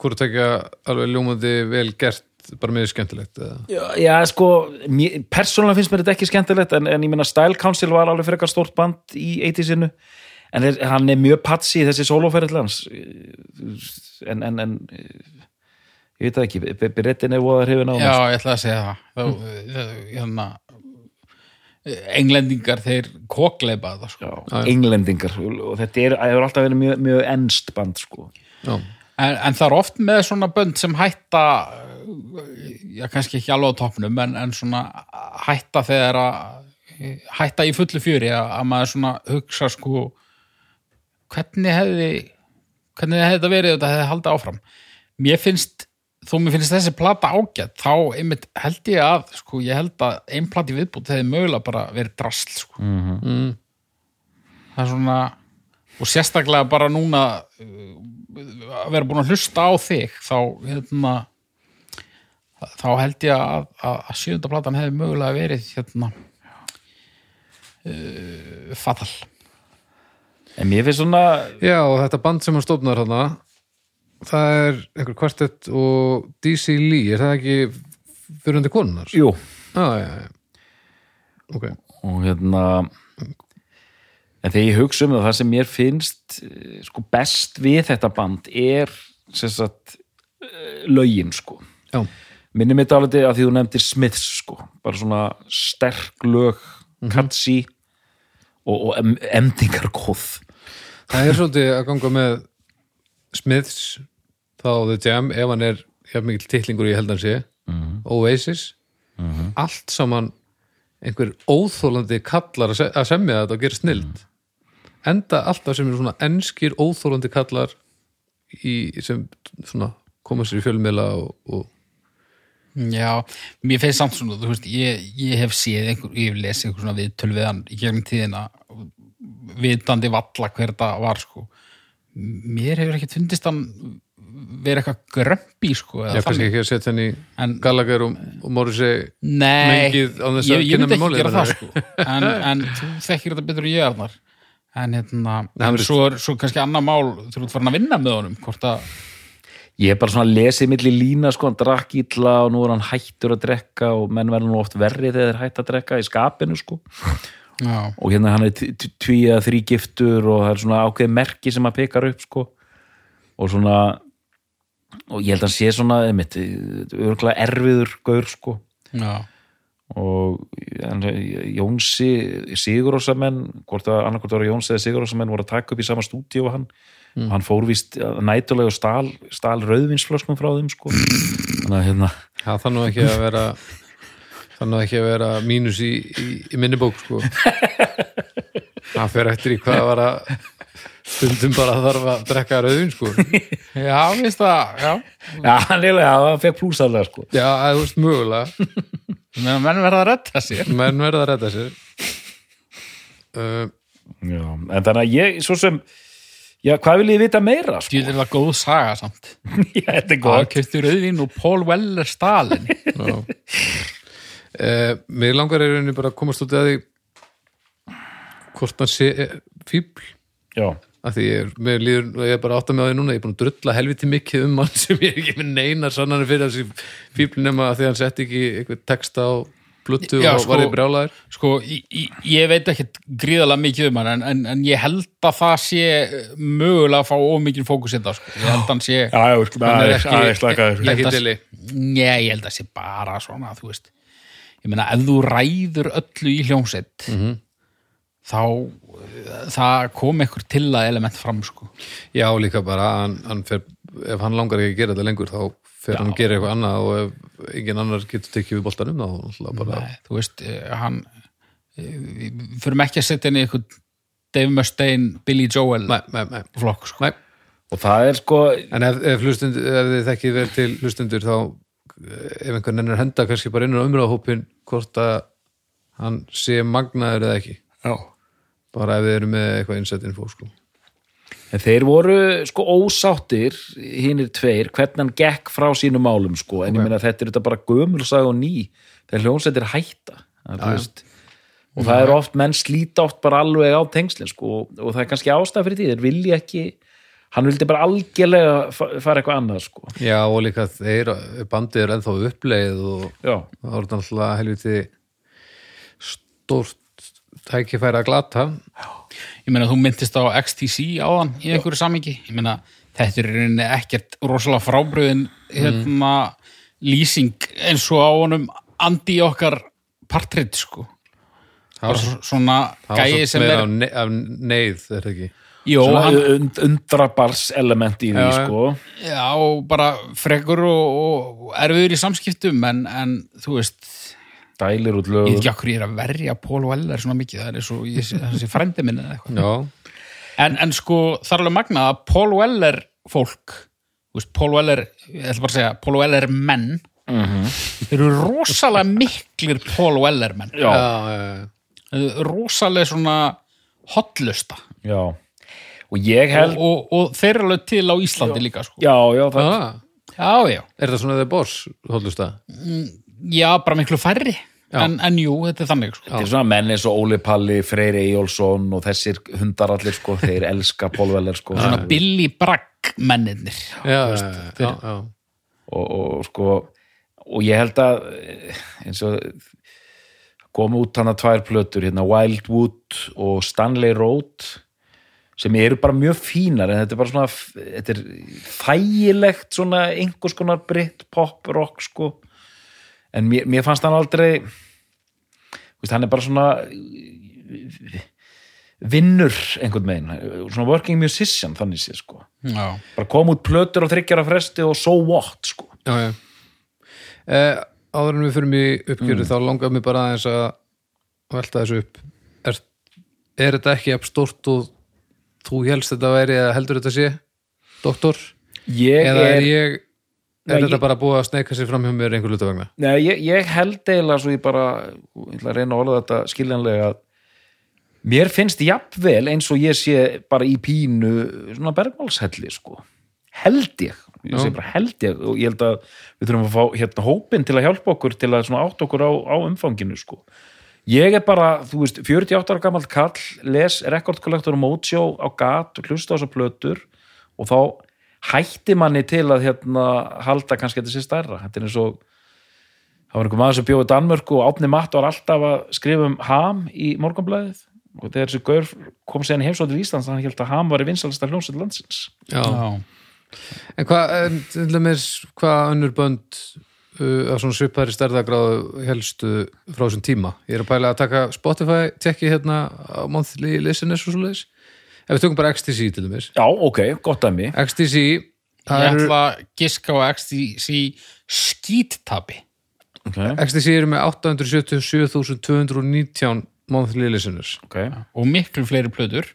[SPEAKER 1] hvort tekja alveg ljómandi vel gert bara miður skemmtilegt eða.
[SPEAKER 2] já, já sko mér, persónulega finnst mér þetta ekki skemmtilegt en, en ég meina Style Council var alveg frekar stórt band í 80-sinu en er, hann er mjög patsi í þessi soloferil hans en, en, en ég veit það ekki, Berettin er voða hrifin á sko. honum,
[SPEAKER 3] Já, ég ætla að segja það þá, þá- hérna, eh, englendingar þeir kokleipa það sko.
[SPEAKER 2] já, englendingar og þetta er, það hefur alltaf verið mjög, mjög ennst band sko.
[SPEAKER 1] já,
[SPEAKER 3] en, en það er oft með svona bönd sem hætta já, kannski ekki alveg á toppnum en, en svona hætta þegar að hætta í fullu fjöri að, að maður svona hugsa sko hvernig hefði hvernig hefði þetta verið ef þetta hefði haldið áfram mér finnst, þó mér finnst þessi plata ágætt, þá einmitt held ég að sko, ég held að ein plati viðbútt hefði mögulega bara verið drasl sko það er svona og sérstaklega bara núna uh, að vera búin að hlusta á þig þá hérna þá held ég að, að, að sjöfunda platan hefði mögulega verið hérna uh, fatal
[SPEAKER 2] en mér finnst svona
[SPEAKER 1] já, og þetta band sem hann stofnar hana það er einhver kvartett og DC Lee, er það ekki fyrir undir konunar?
[SPEAKER 2] jú,
[SPEAKER 1] já, já, já ok,
[SPEAKER 2] og hérna en þegar ég hugsa um það, það sem mér finnst eh, sko, best við þetta band er sem sagt eh, lögin sko
[SPEAKER 1] já,
[SPEAKER 2] minnum þetta alveg að því þú nefndir Smiths sko, bara svona sterk lög, katsi og, og em, emdingar góð
[SPEAKER 1] það er svolítið að ganga með Smiths þá The Jam, ef hann er hjá mikill titlingur í heldan sé
[SPEAKER 3] Mhm.
[SPEAKER 1] Oasis, allt saman einhver óþólandi kallar að se- að semja þetta og gera snild
[SPEAKER 3] Mhm.
[SPEAKER 1] enda alltaf sem eru svona enskir óþólandi kallar í, sem svona koma sér í fjölmiðla og, og
[SPEAKER 3] Já, mér finnst samt svona, þú veist, ég, ég hef séð einhver, ég hef lesið einhver svona viðtöl við hann í gegnum tíðina, vitandi valla hver það var, sko. Mér hefur ekkert fundist hann vera eitthvað grömpi, sko. eða
[SPEAKER 1] ég
[SPEAKER 3] þannig.
[SPEAKER 1] kannski ekki að setja henni
[SPEAKER 3] En-
[SPEAKER 1] Gallagher og, og Morrissey
[SPEAKER 3] Nei,
[SPEAKER 1] mengið án þess að
[SPEAKER 3] ég, ég
[SPEAKER 1] kynna
[SPEAKER 3] myndi
[SPEAKER 1] mér
[SPEAKER 3] ekki
[SPEAKER 1] málið,
[SPEAKER 3] gera það
[SPEAKER 1] meinar
[SPEAKER 3] sko en,
[SPEAKER 1] <laughs>
[SPEAKER 3] en þú þekkir þetta betur en ég Arnar en hérna,
[SPEAKER 1] Nei, hann
[SPEAKER 3] en
[SPEAKER 1] er-
[SPEAKER 3] svo, er, svo kannski annað mál þú ert farin að vinna með honum hvort að,
[SPEAKER 2] Ég hef bara svona lesið milli lína sko, hann drakk illa og nú er hann hættur að drekka og menn verður nú oft verri þegar þeir hætt að drekka í skapinu sko
[SPEAKER 3] já,
[SPEAKER 2] og hérna hann er tví eða þrý giftur og það er svona ákveðið merki sem hann pekar upp sko og svona og ég held að hann sé svona einmitt, örgulega erfiður gaur sko
[SPEAKER 3] já,
[SPEAKER 2] og en, Jónsi Sigurósamenn hvort að annarkvort var Jónsi eða Sigurósamenn voru að taka upp í sama stúdíu og hann og hann fór víst nætulega og stal, stal rauðvinsflöskum frá þeim sko þannig að hérna
[SPEAKER 1] Já, það nú ekki að vera það nú ekki að vera mínus í, í, í minni bók sko það fer eftir í hvað var að stundum bara þarf að drekka rauðin sko já,
[SPEAKER 3] já, veist það já,
[SPEAKER 2] já, hann eiginlega, já, hann fekk plúsalega sko
[SPEAKER 1] að þú veist mögulega
[SPEAKER 3] menn menn verða að retta sér
[SPEAKER 1] menn verða að redda sér uh,
[SPEAKER 2] já, en þannig að ég, svo sem já, hvað vil ég vita meira sko
[SPEAKER 3] Því er það góð saga samt
[SPEAKER 2] <laughs> já, þetta er
[SPEAKER 3] Það
[SPEAKER 2] gott
[SPEAKER 3] kefti rauðin og Paul Weller
[SPEAKER 1] <laughs>
[SPEAKER 3] Stalin
[SPEAKER 1] já uh, mér langar er rauninni bara að komast út að því hvort hann sé eh, fíbl
[SPEAKER 2] já,
[SPEAKER 1] að því ég, er- mér líður, ég er bara átt að með á því núna ég er búin að drulla helviti mikið um mann <laughs> sem ég er ekki með neinar sannanir fyrir þessi fíblin nema að því hann setti ekki eitthvað texta á bluttu
[SPEAKER 3] Já,
[SPEAKER 1] og
[SPEAKER 3] sko-
[SPEAKER 1] var ég brjálæður
[SPEAKER 3] Sko, í- í- ég veit ekkit gríðalega mikið um hann en, en, en ég held að það sé mögulega að fá ómikið fókus í þetta sko. ég held að hann sé
[SPEAKER 2] já, já, sko,
[SPEAKER 3] er
[SPEAKER 2] aðeins,
[SPEAKER 3] ekki-
[SPEAKER 2] aðeins slakaður
[SPEAKER 3] Ég held
[SPEAKER 1] ekki
[SPEAKER 3] að-
[SPEAKER 1] dili
[SPEAKER 3] Nei, ég held að sé bara svona, þú veist ég meina, ef þú ræður öllu í hljómsett þá eh, það kom einhver til að element fram, sko
[SPEAKER 1] já líka bara, hann, hann fer, ef hann langar ekki að gera þetta lengur þá fer hann að gera eitthvað annað og ef engin annar getur tekið við boltanum þá náttúrulega bara
[SPEAKER 3] Nei, þú veist, eh, hann eh, við förum ekki að setja inn í einhver Dave Mustaine, Billy Joel
[SPEAKER 1] nei, nei, nei,
[SPEAKER 3] flokk, sko
[SPEAKER 1] nei.
[SPEAKER 2] og og það er sko
[SPEAKER 1] En ef, ef, hlustund, ef þið þekkið vel til hlustundur þá ef einhver nennir að henda kannski bara inn á umræðahópin hvort að hann sé magnaður eða ekki
[SPEAKER 3] Já.
[SPEAKER 1] bara ef þið eru með eitthvað innsett info sko.
[SPEAKER 2] En þeir voru sko ósáttir hinnir tveir, hvernig hann gekk frá sínum málum sko, en ég meina þetta er þetta bara gömulsag og ný, þegar hljónsættir hætta, það, þú veist og það er oft, menn slíta oft bara alveg á tengslin sko, og, og það er kannski ástæð fyrir því, þeir vilja ekki hann vildi bara algjörlega fa- fara eitthvað annað sko,
[SPEAKER 1] Já og líka þeir bandið er ennþá uppleið og
[SPEAKER 2] já,
[SPEAKER 1] það voru náttúrulega helviti stórt tækifæri að glata
[SPEAKER 3] Ég meina, þú myndist á XTC áðan í einhverju samingi. Ég meina, þetta er í rauninni ekkert rosalega frábriðin hérna lýsing eins og á honum andi okkar partrit, sko.
[SPEAKER 1] Það var
[SPEAKER 3] Bara svo- svona
[SPEAKER 1] það var
[SPEAKER 3] gæi
[SPEAKER 1] svo
[SPEAKER 3] sem
[SPEAKER 1] meira
[SPEAKER 3] er...
[SPEAKER 1] af ne- af neyð er það ekki
[SPEAKER 3] Jó, hann,
[SPEAKER 2] svona und, undrabars element í því
[SPEAKER 1] Já, já.
[SPEAKER 2] sko
[SPEAKER 3] já, bara frekur og, og erfiður í samskiptum, en, en þú veist,
[SPEAKER 2] dælir út
[SPEAKER 3] ég veit
[SPEAKER 2] lögum
[SPEAKER 3] ekki okkur ég er að verja Pól Weller svona mikið, það er eins og ég sé- hann sé frændi minn eða eitthvað.
[SPEAKER 1] Já,
[SPEAKER 3] En, en sko, það er alveg magnað að Paul Weller fólk, þú veist, Paul Weller, ég ætla bara að segja, Paul Weller menn, þeir eru rosalega miklir Paul Weller menn.
[SPEAKER 2] já,
[SPEAKER 1] já, já,
[SPEAKER 3] Þeir eru Rosalega svona hotlusta.
[SPEAKER 2] já og ég held,
[SPEAKER 3] Og, og þeir eru alveg til á Íslandi líka, sko.
[SPEAKER 2] já,
[SPEAKER 1] já.
[SPEAKER 2] já, það
[SPEAKER 1] Ah,
[SPEAKER 3] Já, já.
[SPEAKER 1] Er það svona þeir bors, hóllust það?
[SPEAKER 3] Já, bara miklu færri.
[SPEAKER 1] Já.
[SPEAKER 3] En, en jú, þetta er þannig, sko.
[SPEAKER 2] Þetta er svona menn eins og Óli Palli, Freyri Ejjólfsson og þessir hundar allir sko, þeir elska pólvelir sko.
[SPEAKER 3] Svona Billy Bragg mennirnir.
[SPEAKER 1] Já, já, já, já.
[SPEAKER 2] og, og sko og ég held að eh, eins og komu út hann að tvær plötur hérna Wildwood og Stanley Road sem eru bara mjög fínar en þetta er bara svona þetta er þægilegt svona einhvers konar britt pop rock sko en mér, mér fannst hann aldrei þú veist, hann er bara svona vinnur einhvern veginn svona working musician þannig sé sko
[SPEAKER 3] Já.
[SPEAKER 2] bara kom út plötur og þryggjara fresti og so what sko
[SPEAKER 1] já, já. Mm. Eh, áður en við fyrir mig uppgjöru þá langar mér bara aðeins að velta þessu upp er, er þetta ekki jafn stórt og þú helst þetta væri eða heldur þetta sé doktor
[SPEAKER 2] Ég
[SPEAKER 1] eða
[SPEAKER 2] er,
[SPEAKER 1] er ég
[SPEAKER 2] Nei,
[SPEAKER 1] er þetta
[SPEAKER 2] ég-
[SPEAKER 1] bara búið að sneika sér fram hjá mér einhver luta vegna
[SPEAKER 2] Nei, ég, ég held eiginlega svo ég bara, ég ætla að reyna að orða þetta skiljanlega að mér finnst jafnvel eins og ég sé bara í pínu svona bergmálshelli sko. Held ég, ég sé
[SPEAKER 1] Já.
[SPEAKER 2] bara held ég og ég held að við þurfum að fá hérna hópin til að hjálpa okkur til að svona átt okkur á, á umfanginu sko. Ég er bara, þú veist, 48 ára gamall kall, les rekordkollektor og mótsjó á gat og hlusta á þessar plötur og þá hætti manni til að hérna halda kannski að þetta sé stærra. Þetta er eins og það var einhver maður sem bjóði Danmörku og Átni Matt var alltaf að skrifa um ham í morgunblæðið og þegar þessi gaur kom sér í heimsótt til Íslands hann held að ham var í vinsalasta hljómsveit landsins.
[SPEAKER 1] já.
[SPEAKER 3] Já.
[SPEAKER 1] en hvað, en til dæmis hvað önnur bönd uh, að svona svipari stærðagráðu helstu frá þessum tíma ég er að pæla að taka Spotify tekki hérna á monthly listeners og svo leis ef við tökum bara XTC til dæmis
[SPEAKER 2] Já, ok, gott að mig.
[SPEAKER 1] XTC það
[SPEAKER 3] Ég
[SPEAKER 1] eru-
[SPEAKER 3] ætla að giska á XTC skíttabi.
[SPEAKER 2] Okay.
[SPEAKER 1] XTC eru með 877.219 monthly listeners
[SPEAKER 2] Okay.
[SPEAKER 3] Og miklu fleiri plöður.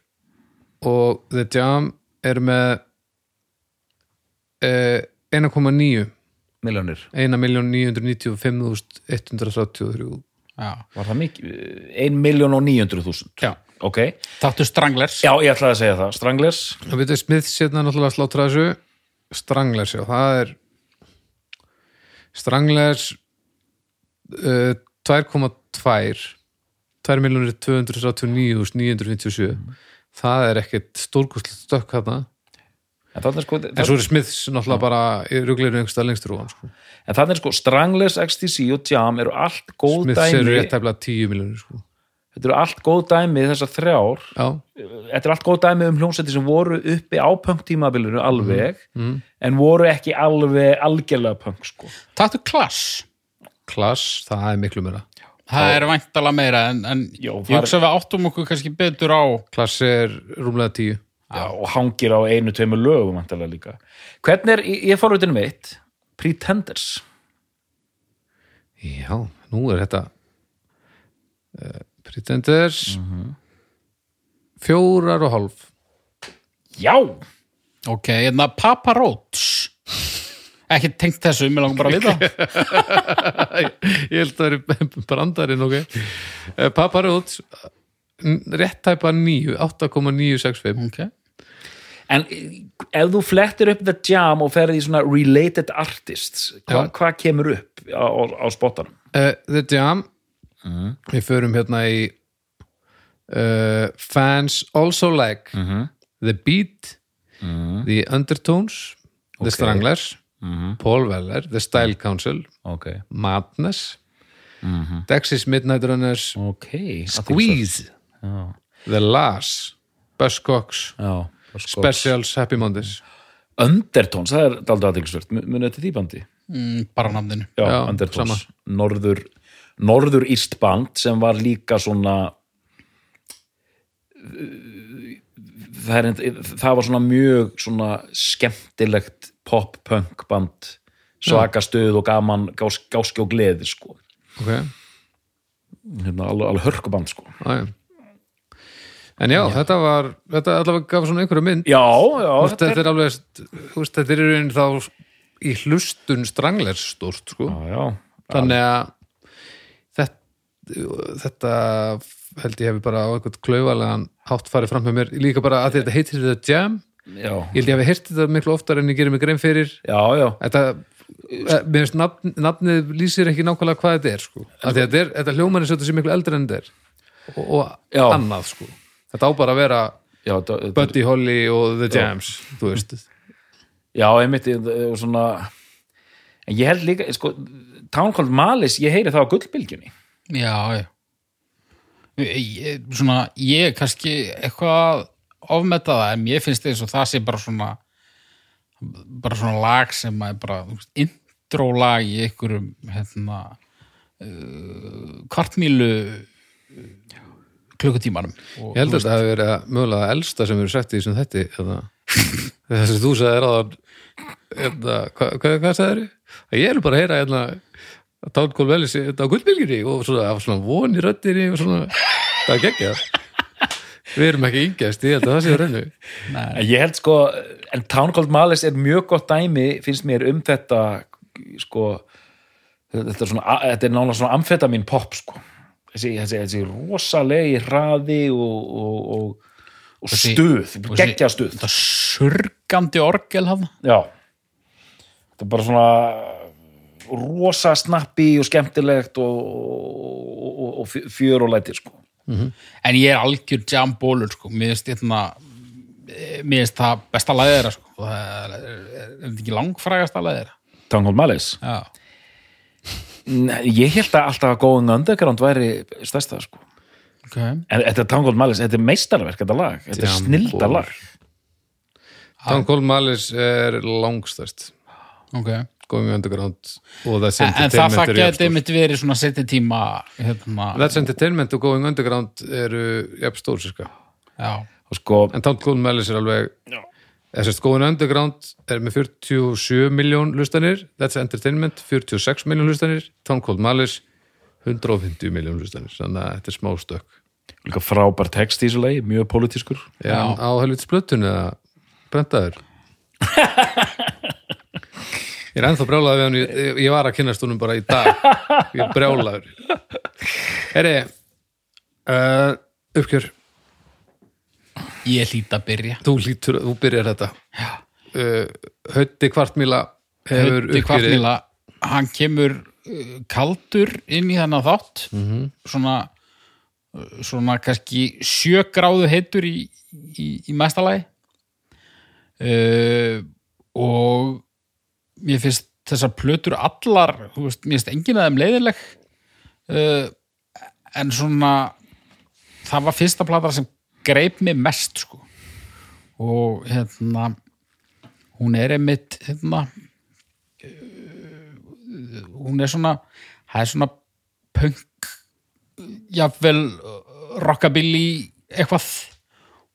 [SPEAKER 1] og The Jam eru með eh, 1,9
[SPEAKER 2] Miljónir.
[SPEAKER 1] 1.995.133
[SPEAKER 3] Já.
[SPEAKER 2] Var það mikið? 1.900.000.
[SPEAKER 3] Já.
[SPEAKER 2] Ok.
[SPEAKER 3] Taktu stranglers.
[SPEAKER 2] Já, ég ætlaði að segja það. Stranglers.
[SPEAKER 1] og við þetta smið sérna náttúrulega að slátra þessu Stranglers, já, það er Stranglers uh, 2,2 2.239.997 það er ekkit stórkustlega stökk hérna
[SPEAKER 2] En þannig sko,
[SPEAKER 1] En svo er Smiths náttúrulega bara í ruglirinu einhverstað lengstur úr hann sko.
[SPEAKER 2] en þarna er sko Stranglers, XTC og Jam eru allt góð
[SPEAKER 1] Smiths
[SPEAKER 2] dæmi
[SPEAKER 1] eru rétt tæfla 10 miljonir sko.
[SPEAKER 2] Þetta eru allt góð dæmi þessar þrjár
[SPEAKER 1] Já,
[SPEAKER 2] Þetta eru allt góð dæmi um hljómsætti sem voru uppi á pöngtímabilinu alveg en voru ekki alveg algjörlega pöng sko.
[SPEAKER 3] Taktu klass.
[SPEAKER 1] klass, það er miklu meira
[SPEAKER 3] Það er væntalega meira en, en
[SPEAKER 2] Jó,
[SPEAKER 3] ég
[SPEAKER 2] var-
[SPEAKER 3] hugsa að við áttum okkur kannski betur á
[SPEAKER 1] Klass er rúmlega 10
[SPEAKER 2] Já, og hangir á einu, tveimur lögum vantarlega líka. Hvernig er, ég- ég fór út inn mitt, Pretenders
[SPEAKER 1] Já, nú er þetta uh, Mhm. Pretenders Fjórar og hálf
[SPEAKER 2] Já,
[SPEAKER 3] Ok, hérna Papa Roach Ekki tengt þessu, mér langar bara að vita
[SPEAKER 1] ég held að það er <laughs> brandarinn ok Eh, Papa Rhodes eh, rétt tæpa 9 8,965
[SPEAKER 3] Ok,
[SPEAKER 2] En ef þú flettir upp The Jam og ferði í svona related artists, hva,
[SPEAKER 1] Já.
[SPEAKER 2] hvað kemur upp á, á, á spottanum?
[SPEAKER 1] uh, The Jam við förum hérna í uh, fans also like The Beat The Undertones The Stranglers Paul Weller The Style Council
[SPEAKER 2] Ok.
[SPEAKER 1] Madness
[SPEAKER 2] Mhm.
[SPEAKER 1] Dexys Midnight Runners
[SPEAKER 2] Ok.
[SPEAKER 1] Squeeze
[SPEAKER 2] Já.
[SPEAKER 1] The Lars Buzzcocks
[SPEAKER 2] Já.
[SPEAKER 1] Specials Happy Mondays
[SPEAKER 2] Undertones, það er daldið aðeinsvört, munið þetta því bandi?
[SPEAKER 3] mm, bara nafninu
[SPEAKER 2] Já,
[SPEAKER 1] Já,
[SPEAKER 2] Undertones,
[SPEAKER 1] sama.
[SPEAKER 2] norður, norður Ístband sem var líka svona það, er, reynd- það var svona mjög svona skemmtilegt pop-punk band svaka stuð og gaman gás, gáski og gleði sko
[SPEAKER 1] ok
[SPEAKER 2] hérna, alveg, alveg hörkuband sko
[SPEAKER 1] Já, já. En já, þetta var þetta allavega gaf svona einhverju mynd
[SPEAKER 2] já, já,
[SPEAKER 1] Úst,
[SPEAKER 2] þetta er,
[SPEAKER 1] þetta er alveg úst, þetta er í raunin þá í hlustun strangler stórt sko.
[SPEAKER 2] já, já,
[SPEAKER 1] þannig að þetta, þetta held ég hefði bara á einhvern klaufalegan hátt farið fram með mér líka bara að því þetta heitir þetta jam
[SPEAKER 2] já,
[SPEAKER 1] ég held ég hefði heyrt þetta miklu oftar en ég gerir mig grein fyrir
[SPEAKER 2] já, já.
[SPEAKER 1] þetta eh, mér finnst nafn, nafnið lýsir ekki nákvæmlega hvað þetta er sko. Af því þetta, er, þetta hljóman er svo þetta sem miklu eldri en þetta er og, og
[SPEAKER 2] Já.
[SPEAKER 1] annað sko. þetta á bara að vera
[SPEAKER 2] já þetta- þetta-
[SPEAKER 1] Buddy Holly og The Jams þú veist
[SPEAKER 2] Já, einmitt, ég- og svona en ég held líka, sko Town Called Malice, ég heyri það á gullbylgjunni
[SPEAKER 3] Já, já ég, Svona, ég kannski eitthvað ofmeta það en mér finnst eins og það sé bara svona bara svona lag sem að er bara þú veist, intro lag í einhverjum hérna uh, kvartmílu uh, klukkutímanum og,
[SPEAKER 1] ég held að þetta hafi verið að mögulega það elsta sem eru sett í þessum þætti þetta
[SPEAKER 3] <laughs>
[SPEAKER 1] þess að þú sagðir á hérna, hvað, hvað, hvað sagðir ég er bara að heyra hérna Tálkól Velis þetta á gullbylginni og svona, það var svona von í röddinni og svona, það er geggja við erum ekki yngjast, ég held að það sé að rennu
[SPEAKER 3] <laughs>
[SPEAKER 2] en ég held sko, en Town Called Malice er mjög gott dæmi, finnst mér um þetta sko þetta er svona, þetta er nála svona amfetamin pop sko, þessi, þessi, þessi rosalegi hraði og, og, og, og
[SPEAKER 3] Þessi-
[SPEAKER 2] stuð
[SPEAKER 3] og þessi-
[SPEAKER 2] geggja stuð
[SPEAKER 3] þetta surgandi orgel hafða
[SPEAKER 2] Já Þetta er bara svona rosa snappi og skemmtilegt og, og, og, og fjö- fjör og læti sko.
[SPEAKER 3] en ég er algjör jambólur sko. mér finnst hérna eh, mér finnst það besta lagið þeirra sko. það er, er, er þetta ekki langfrægasta lagið þeirra
[SPEAKER 2] Tangold Malice
[SPEAKER 3] já,
[SPEAKER 2] Ég held að alltaf að Going Underground væri stærsta sko.
[SPEAKER 3] ok
[SPEAKER 2] En þetta Tangold Malice, þetta er meistarverk þetta lag, þetta er
[SPEAKER 1] Jam
[SPEAKER 2] snilda
[SPEAKER 1] Ball.
[SPEAKER 2] lag
[SPEAKER 1] Tálkól Velis er langstæst
[SPEAKER 3] ok
[SPEAKER 1] Going Underground og That's
[SPEAKER 3] En, en
[SPEAKER 1] Entertainment
[SPEAKER 3] það það
[SPEAKER 1] eru jafnstórt.
[SPEAKER 3] geti einmitt verið svona setni tíma hérna,
[SPEAKER 1] That's Entertainment og Going Underground eru jafn stór sérska
[SPEAKER 3] já,
[SPEAKER 2] og sko,
[SPEAKER 1] en Tom Golden Mellis er alveg þess að Going Underground er með 47 miljón lustanir That's Entertainment 46 miljón lustanir Tom Golden Mellis 150 miljón lustanir þannig að þetta er smá stökk
[SPEAKER 2] líka frábær text í þessu lagi, mjög pólitískur
[SPEAKER 1] Já,
[SPEAKER 3] Já.
[SPEAKER 1] á helvits blöttunni eða brentaður Ég er ennþá brjálaður við hann, ég, ég var að kynast honum bara í dag Ég er brjálaður Heri uh, uppgjör,
[SPEAKER 3] ég hlýt að byrja
[SPEAKER 1] þú lítur, þú byrjar þetta uh, Hötti kvartmíla hefur
[SPEAKER 3] Hauti
[SPEAKER 1] uppgjörið
[SPEAKER 3] Kvartnila, hann kemur uh, kaldur inn í þennan þátt
[SPEAKER 1] Mhm.
[SPEAKER 3] svona uh, svona kannski sjö gráðu heitur í, í, í mestalagi uh, og mér finnst þessar plötur allar, þú veist, mér finnst engin að þeim leiðileg uh, en svona það var fyrsta plata sem greip mig mest sko og hérna hún er einmitt hérna, hún er svona það er svona punk jafnvel uh, rockabilly eitthvað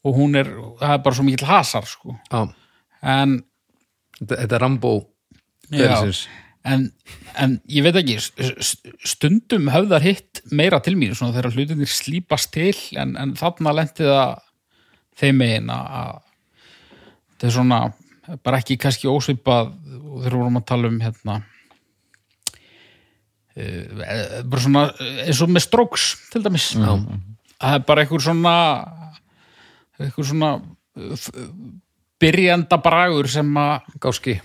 [SPEAKER 3] og hún er, það er bara svo mikill hasar sko.
[SPEAKER 1] Já,
[SPEAKER 3] en,
[SPEAKER 1] þetta, þetta er Rambo ferilsins.
[SPEAKER 3] en, en ég veit ekki s- s- stundum höfðar hitt meira til mín svona þegar hlutinir slípast til en, en þarna lendi það þeim megin að að þetta er svona bara ekki kannski ósvipað og þegar vorum að tala um hérna eh, bara svona eh, eins og með stróks til dæmis mm. það er bara einhver svona einhver svona eh, f- byrjanda bragur sem að
[SPEAKER 1] Gáski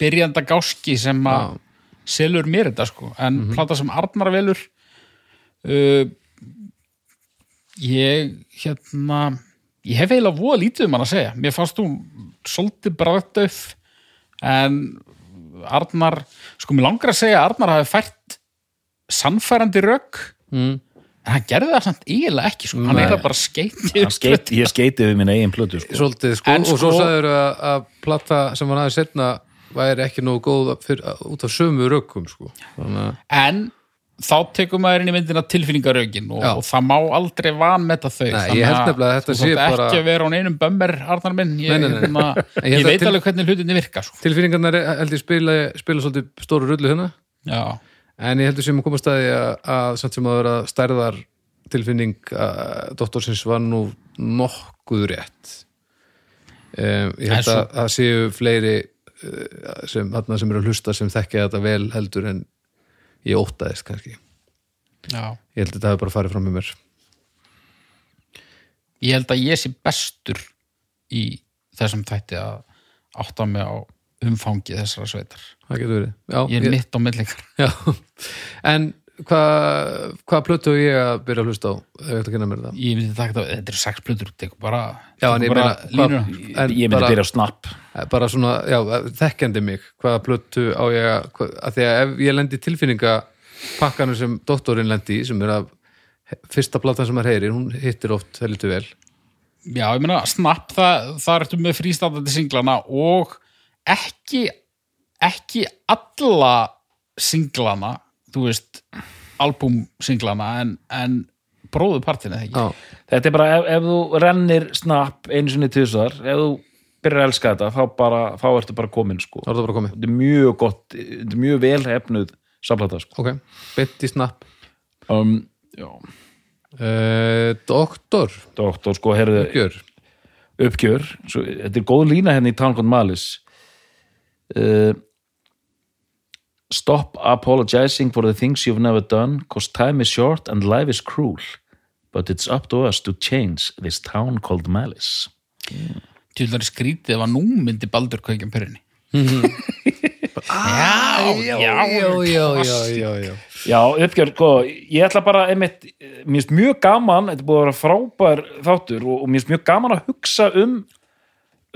[SPEAKER 3] byrjanda gáski sem að
[SPEAKER 1] Já. Mhm.
[SPEAKER 3] selur mér þetta sko en plata sem Arnar velur uh, ég hérna ég hef eiginlega voða lítið um hann að segja mér fannst hún svolítið bræðdöf en Arnar, sko mér langar að segja að Arnar hafi fært sannfærandi rök
[SPEAKER 1] mm.
[SPEAKER 3] en hann gerði það samt eiginlega ekki sko. hann
[SPEAKER 1] Nei.
[SPEAKER 3] eiginlega bara skeiti
[SPEAKER 2] Hann skeit, ég skeiti við minna eigin plötu sko.
[SPEAKER 1] Svolítið sko,
[SPEAKER 3] En
[SPEAKER 1] og svo
[SPEAKER 3] sko-
[SPEAKER 1] sagður að, að plata sem var aðeins setna væri ekki nógu góð fyr, út af sömu rökkum sko. þannig að
[SPEAKER 3] en þá tekur maður inn í myndina tilfinningarögin og,
[SPEAKER 1] Já.
[SPEAKER 3] og það má aldrei vanmeta þau
[SPEAKER 1] Nei,
[SPEAKER 3] þannig
[SPEAKER 1] ég held nefnilega að þetta
[SPEAKER 3] þú
[SPEAKER 1] sé
[SPEAKER 3] þarft
[SPEAKER 1] bara-
[SPEAKER 3] ekki að vera án einum bömmir, Arnar minn ég,
[SPEAKER 1] Nei, nei, nei.
[SPEAKER 3] hérna,
[SPEAKER 1] En <laughs> ég
[SPEAKER 3] ég,
[SPEAKER 1] held að
[SPEAKER 3] veit
[SPEAKER 1] til-
[SPEAKER 3] alveg hvernig hlutinni virka sko.
[SPEAKER 1] tilfinningarnar er- held ég spila, spila svolítið stóru rullu hérna
[SPEAKER 3] já,
[SPEAKER 1] en ég heldur sem að koma staði að, að samt sem að vera stærðar tilfinning að doktorsins var nú nokkuð rétt um, ég
[SPEAKER 3] En
[SPEAKER 1] held
[SPEAKER 3] svo-
[SPEAKER 1] að það séu fleiri eh, sem, þarna sem eru að hlusta sem þekkja þetta vel heldur en ég óttaðist kannski ég
[SPEAKER 3] já
[SPEAKER 1] held að þetta hafi bara farið fram með mér
[SPEAKER 3] ég held að ég sé bestur í þessum þætti að átta mig á umfangi þessara sveitar
[SPEAKER 1] það getur verið já,
[SPEAKER 3] ég er mitt á millingar
[SPEAKER 1] Já, <laughs> en hvað hva plötu á ég að byrja að hlusta á ef ég ætla að kynna mér það?
[SPEAKER 3] ég myndi taka þetta, þetta eru sex plötur tekur bara,
[SPEAKER 1] Já, en
[SPEAKER 3] tekur
[SPEAKER 1] ég
[SPEAKER 3] bara
[SPEAKER 1] meina,
[SPEAKER 3] línuna
[SPEAKER 1] hvað- En
[SPEAKER 2] Ég myndi
[SPEAKER 1] bara-
[SPEAKER 2] byrja á snapp
[SPEAKER 1] Eh, Bara svona, já, eh, þekkjandi mig hvaða plötu á ég að, hva, að því að ef ég lendi í tilfinninga pakkanum sem doktorinn lendi í, sem er að fyrsta platan sem maður heyrir, hún hittir oft heldur vel.
[SPEAKER 3] Já, ég meina, Snap, það, það ertu með frístandandi singlana og ekki, ekki alla singlana, þú veist, albúmsinglana, en, en bróðupartin eða ekki.
[SPEAKER 1] Já,
[SPEAKER 2] Þetta er bara ef, ef þú rennir snapp einu sinni tvisar, ef þú byrjar að elska þetta, þá, bara, þá ertu bara komin sko.
[SPEAKER 1] þá er það bara komið.
[SPEAKER 2] Þetta er mjög gott, þetta er mjög vel hefnuð samplata sko.
[SPEAKER 1] Ok, beint í snapp.
[SPEAKER 2] Um, já,
[SPEAKER 1] Uh, doktor,
[SPEAKER 2] doktor sko, herðu,
[SPEAKER 1] gjör.
[SPEAKER 2] uppgjör svo, þetta er góð lína hérna í Tankon Malis uh, Stop apologizing for the things you've never done cause time is short and life is cruel but it's up to us to change this town called Malis
[SPEAKER 3] Tjúlar skrítið ef að nú myndi Baldur um kveikjum pyrrinni. já,
[SPEAKER 1] já, já, já, já, já.
[SPEAKER 2] Já, uppgjör, sko, ég ætla bara einmitt, eh, mér finnst mjög gaman þetta er búið að vera frábær þáttur og, og mér finnst mjög gaman að hugsa um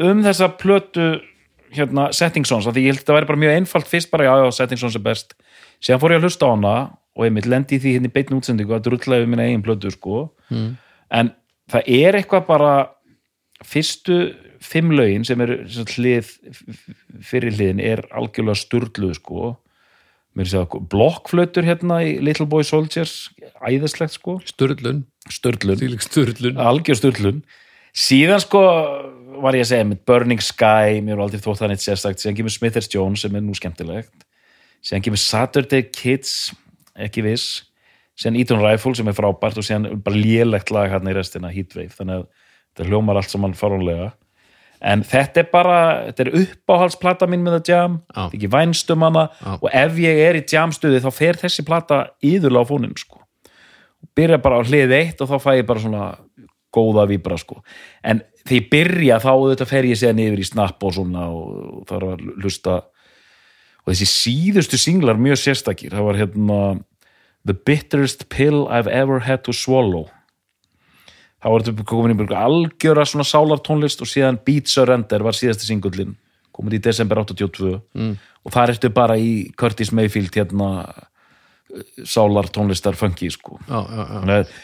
[SPEAKER 2] um þessa plötu hérna, Setting Sons, af því ég held að þetta væri bara mjög einfalt fyrst bara, já, já, Setting Sons er best síðan fór ég að hlusta á hana og einmitt lendi í því hérna í beinni útsendingu að drulla yfir minna eigin plötu, sko mm. en það er eitthvað bara fyrstu fimm lögin sem eru sem sagt, hlið fyrir hliðin er algjörlega sturluð, sko mér sé að blokkflötur hérna í Little Boy Soldiers æðislegt sko,
[SPEAKER 1] Sturlun,
[SPEAKER 2] störlun
[SPEAKER 1] þvílík sturlun.
[SPEAKER 2] algjör störlun síðan sko var ég að segja með Burning Sky, mér er aldrei þótt það neitt sérstakt síðan kemur Smithers Jones sem er nú skemmtilegt síðan kemur Saturday Kids ekki viss síðan Eton Rifle sem er frábært og síðan bara lélegt lag hérna í restina, Heatwave þannig að þetta hljómar allt saman faranlega en þetta er bara, þetta er uppáhaldsplata mín með að jam,
[SPEAKER 1] Já.
[SPEAKER 2] þetta er ekki vænst um hana
[SPEAKER 1] Já.
[SPEAKER 2] og ef ég er í jamstuði þá fer þessi plata íðurlega á fóninn sko byrja bara á hlið eitt og þá fæ ég bara svona góða víbra sko en þegar ég byrja þá auðvitað fer ég séðan yfir í snapp og svona og, og það var að hlusta og þessi síðustu singlar mjög sérstakir það var hérna The bitterest pill I've ever had to swallow það var þetta komin í mjög algjöra svona sálartónlist og síðan Beat Surrender var síðasti singullin komin í desember 82 mm. og það ertu bara í Curtis Mayfield hérna eh, sálartónlistar funky sko
[SPEAKER 1] Já, já, já.
[SPEAKER 2] Þannig að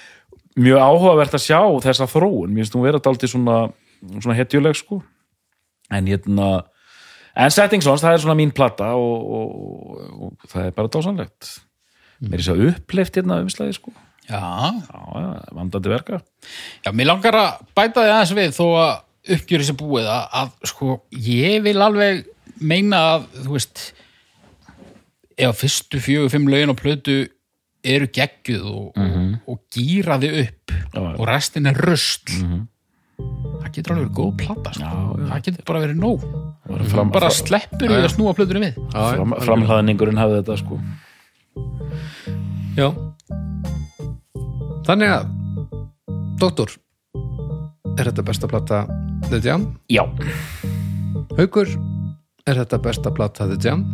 [SPEAKER 2] mjög áhugavert að sjá þessa þróun, mér finnst hún vera daldið svona, svona hetjuleg sko en hérna en Setting Sons, það er svona mín plata og, og, og, og það er bara dásanlegt mér er svo uppleift hérna umslæði sko, já,
[SPEAKER 3] Já,
[SPEAKER 2] já, vandandi verka
[SPEAKER 3] Já, mér langar að bæta því aðeins við þó að uppgjöri sér búið að, að sko, ég vil alveg meina að, þú veist ef að fyrstu fjögur, fimm lögin og plötu eru geggjuð og, mm og gýra þið upp
[SPEAKER 2] Mhm. Já, já.
[SPEAKER 3] og restin er rusl það getur alveg verið góð plata sko.
[SPEAKER 2] Já, já.
[SPEAKER 3] það getur bara verið nóg
[SPEAKER 2] Bara fram,
[SPEAKER 3] bara sleppur í
[SPEAKER 1] Já, já.
[SPEAKER 3] að snúa plötunum við
[SPEAKER 2] fram, framhlaðningurinn hafði þetta sko
[SPEAKER 1] Já Þannig að Doktor Er þetta besta plata The Jam?
[SPEAKER 2] Já,
[SPEAKER 1] Haukur Er þetta besta plata The Jam?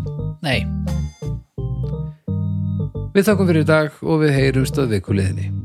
[SPEAKER 3] nei
[SPEAKER 1] Við þakkum fyrir í dag og við heyrumst að vikuleðinni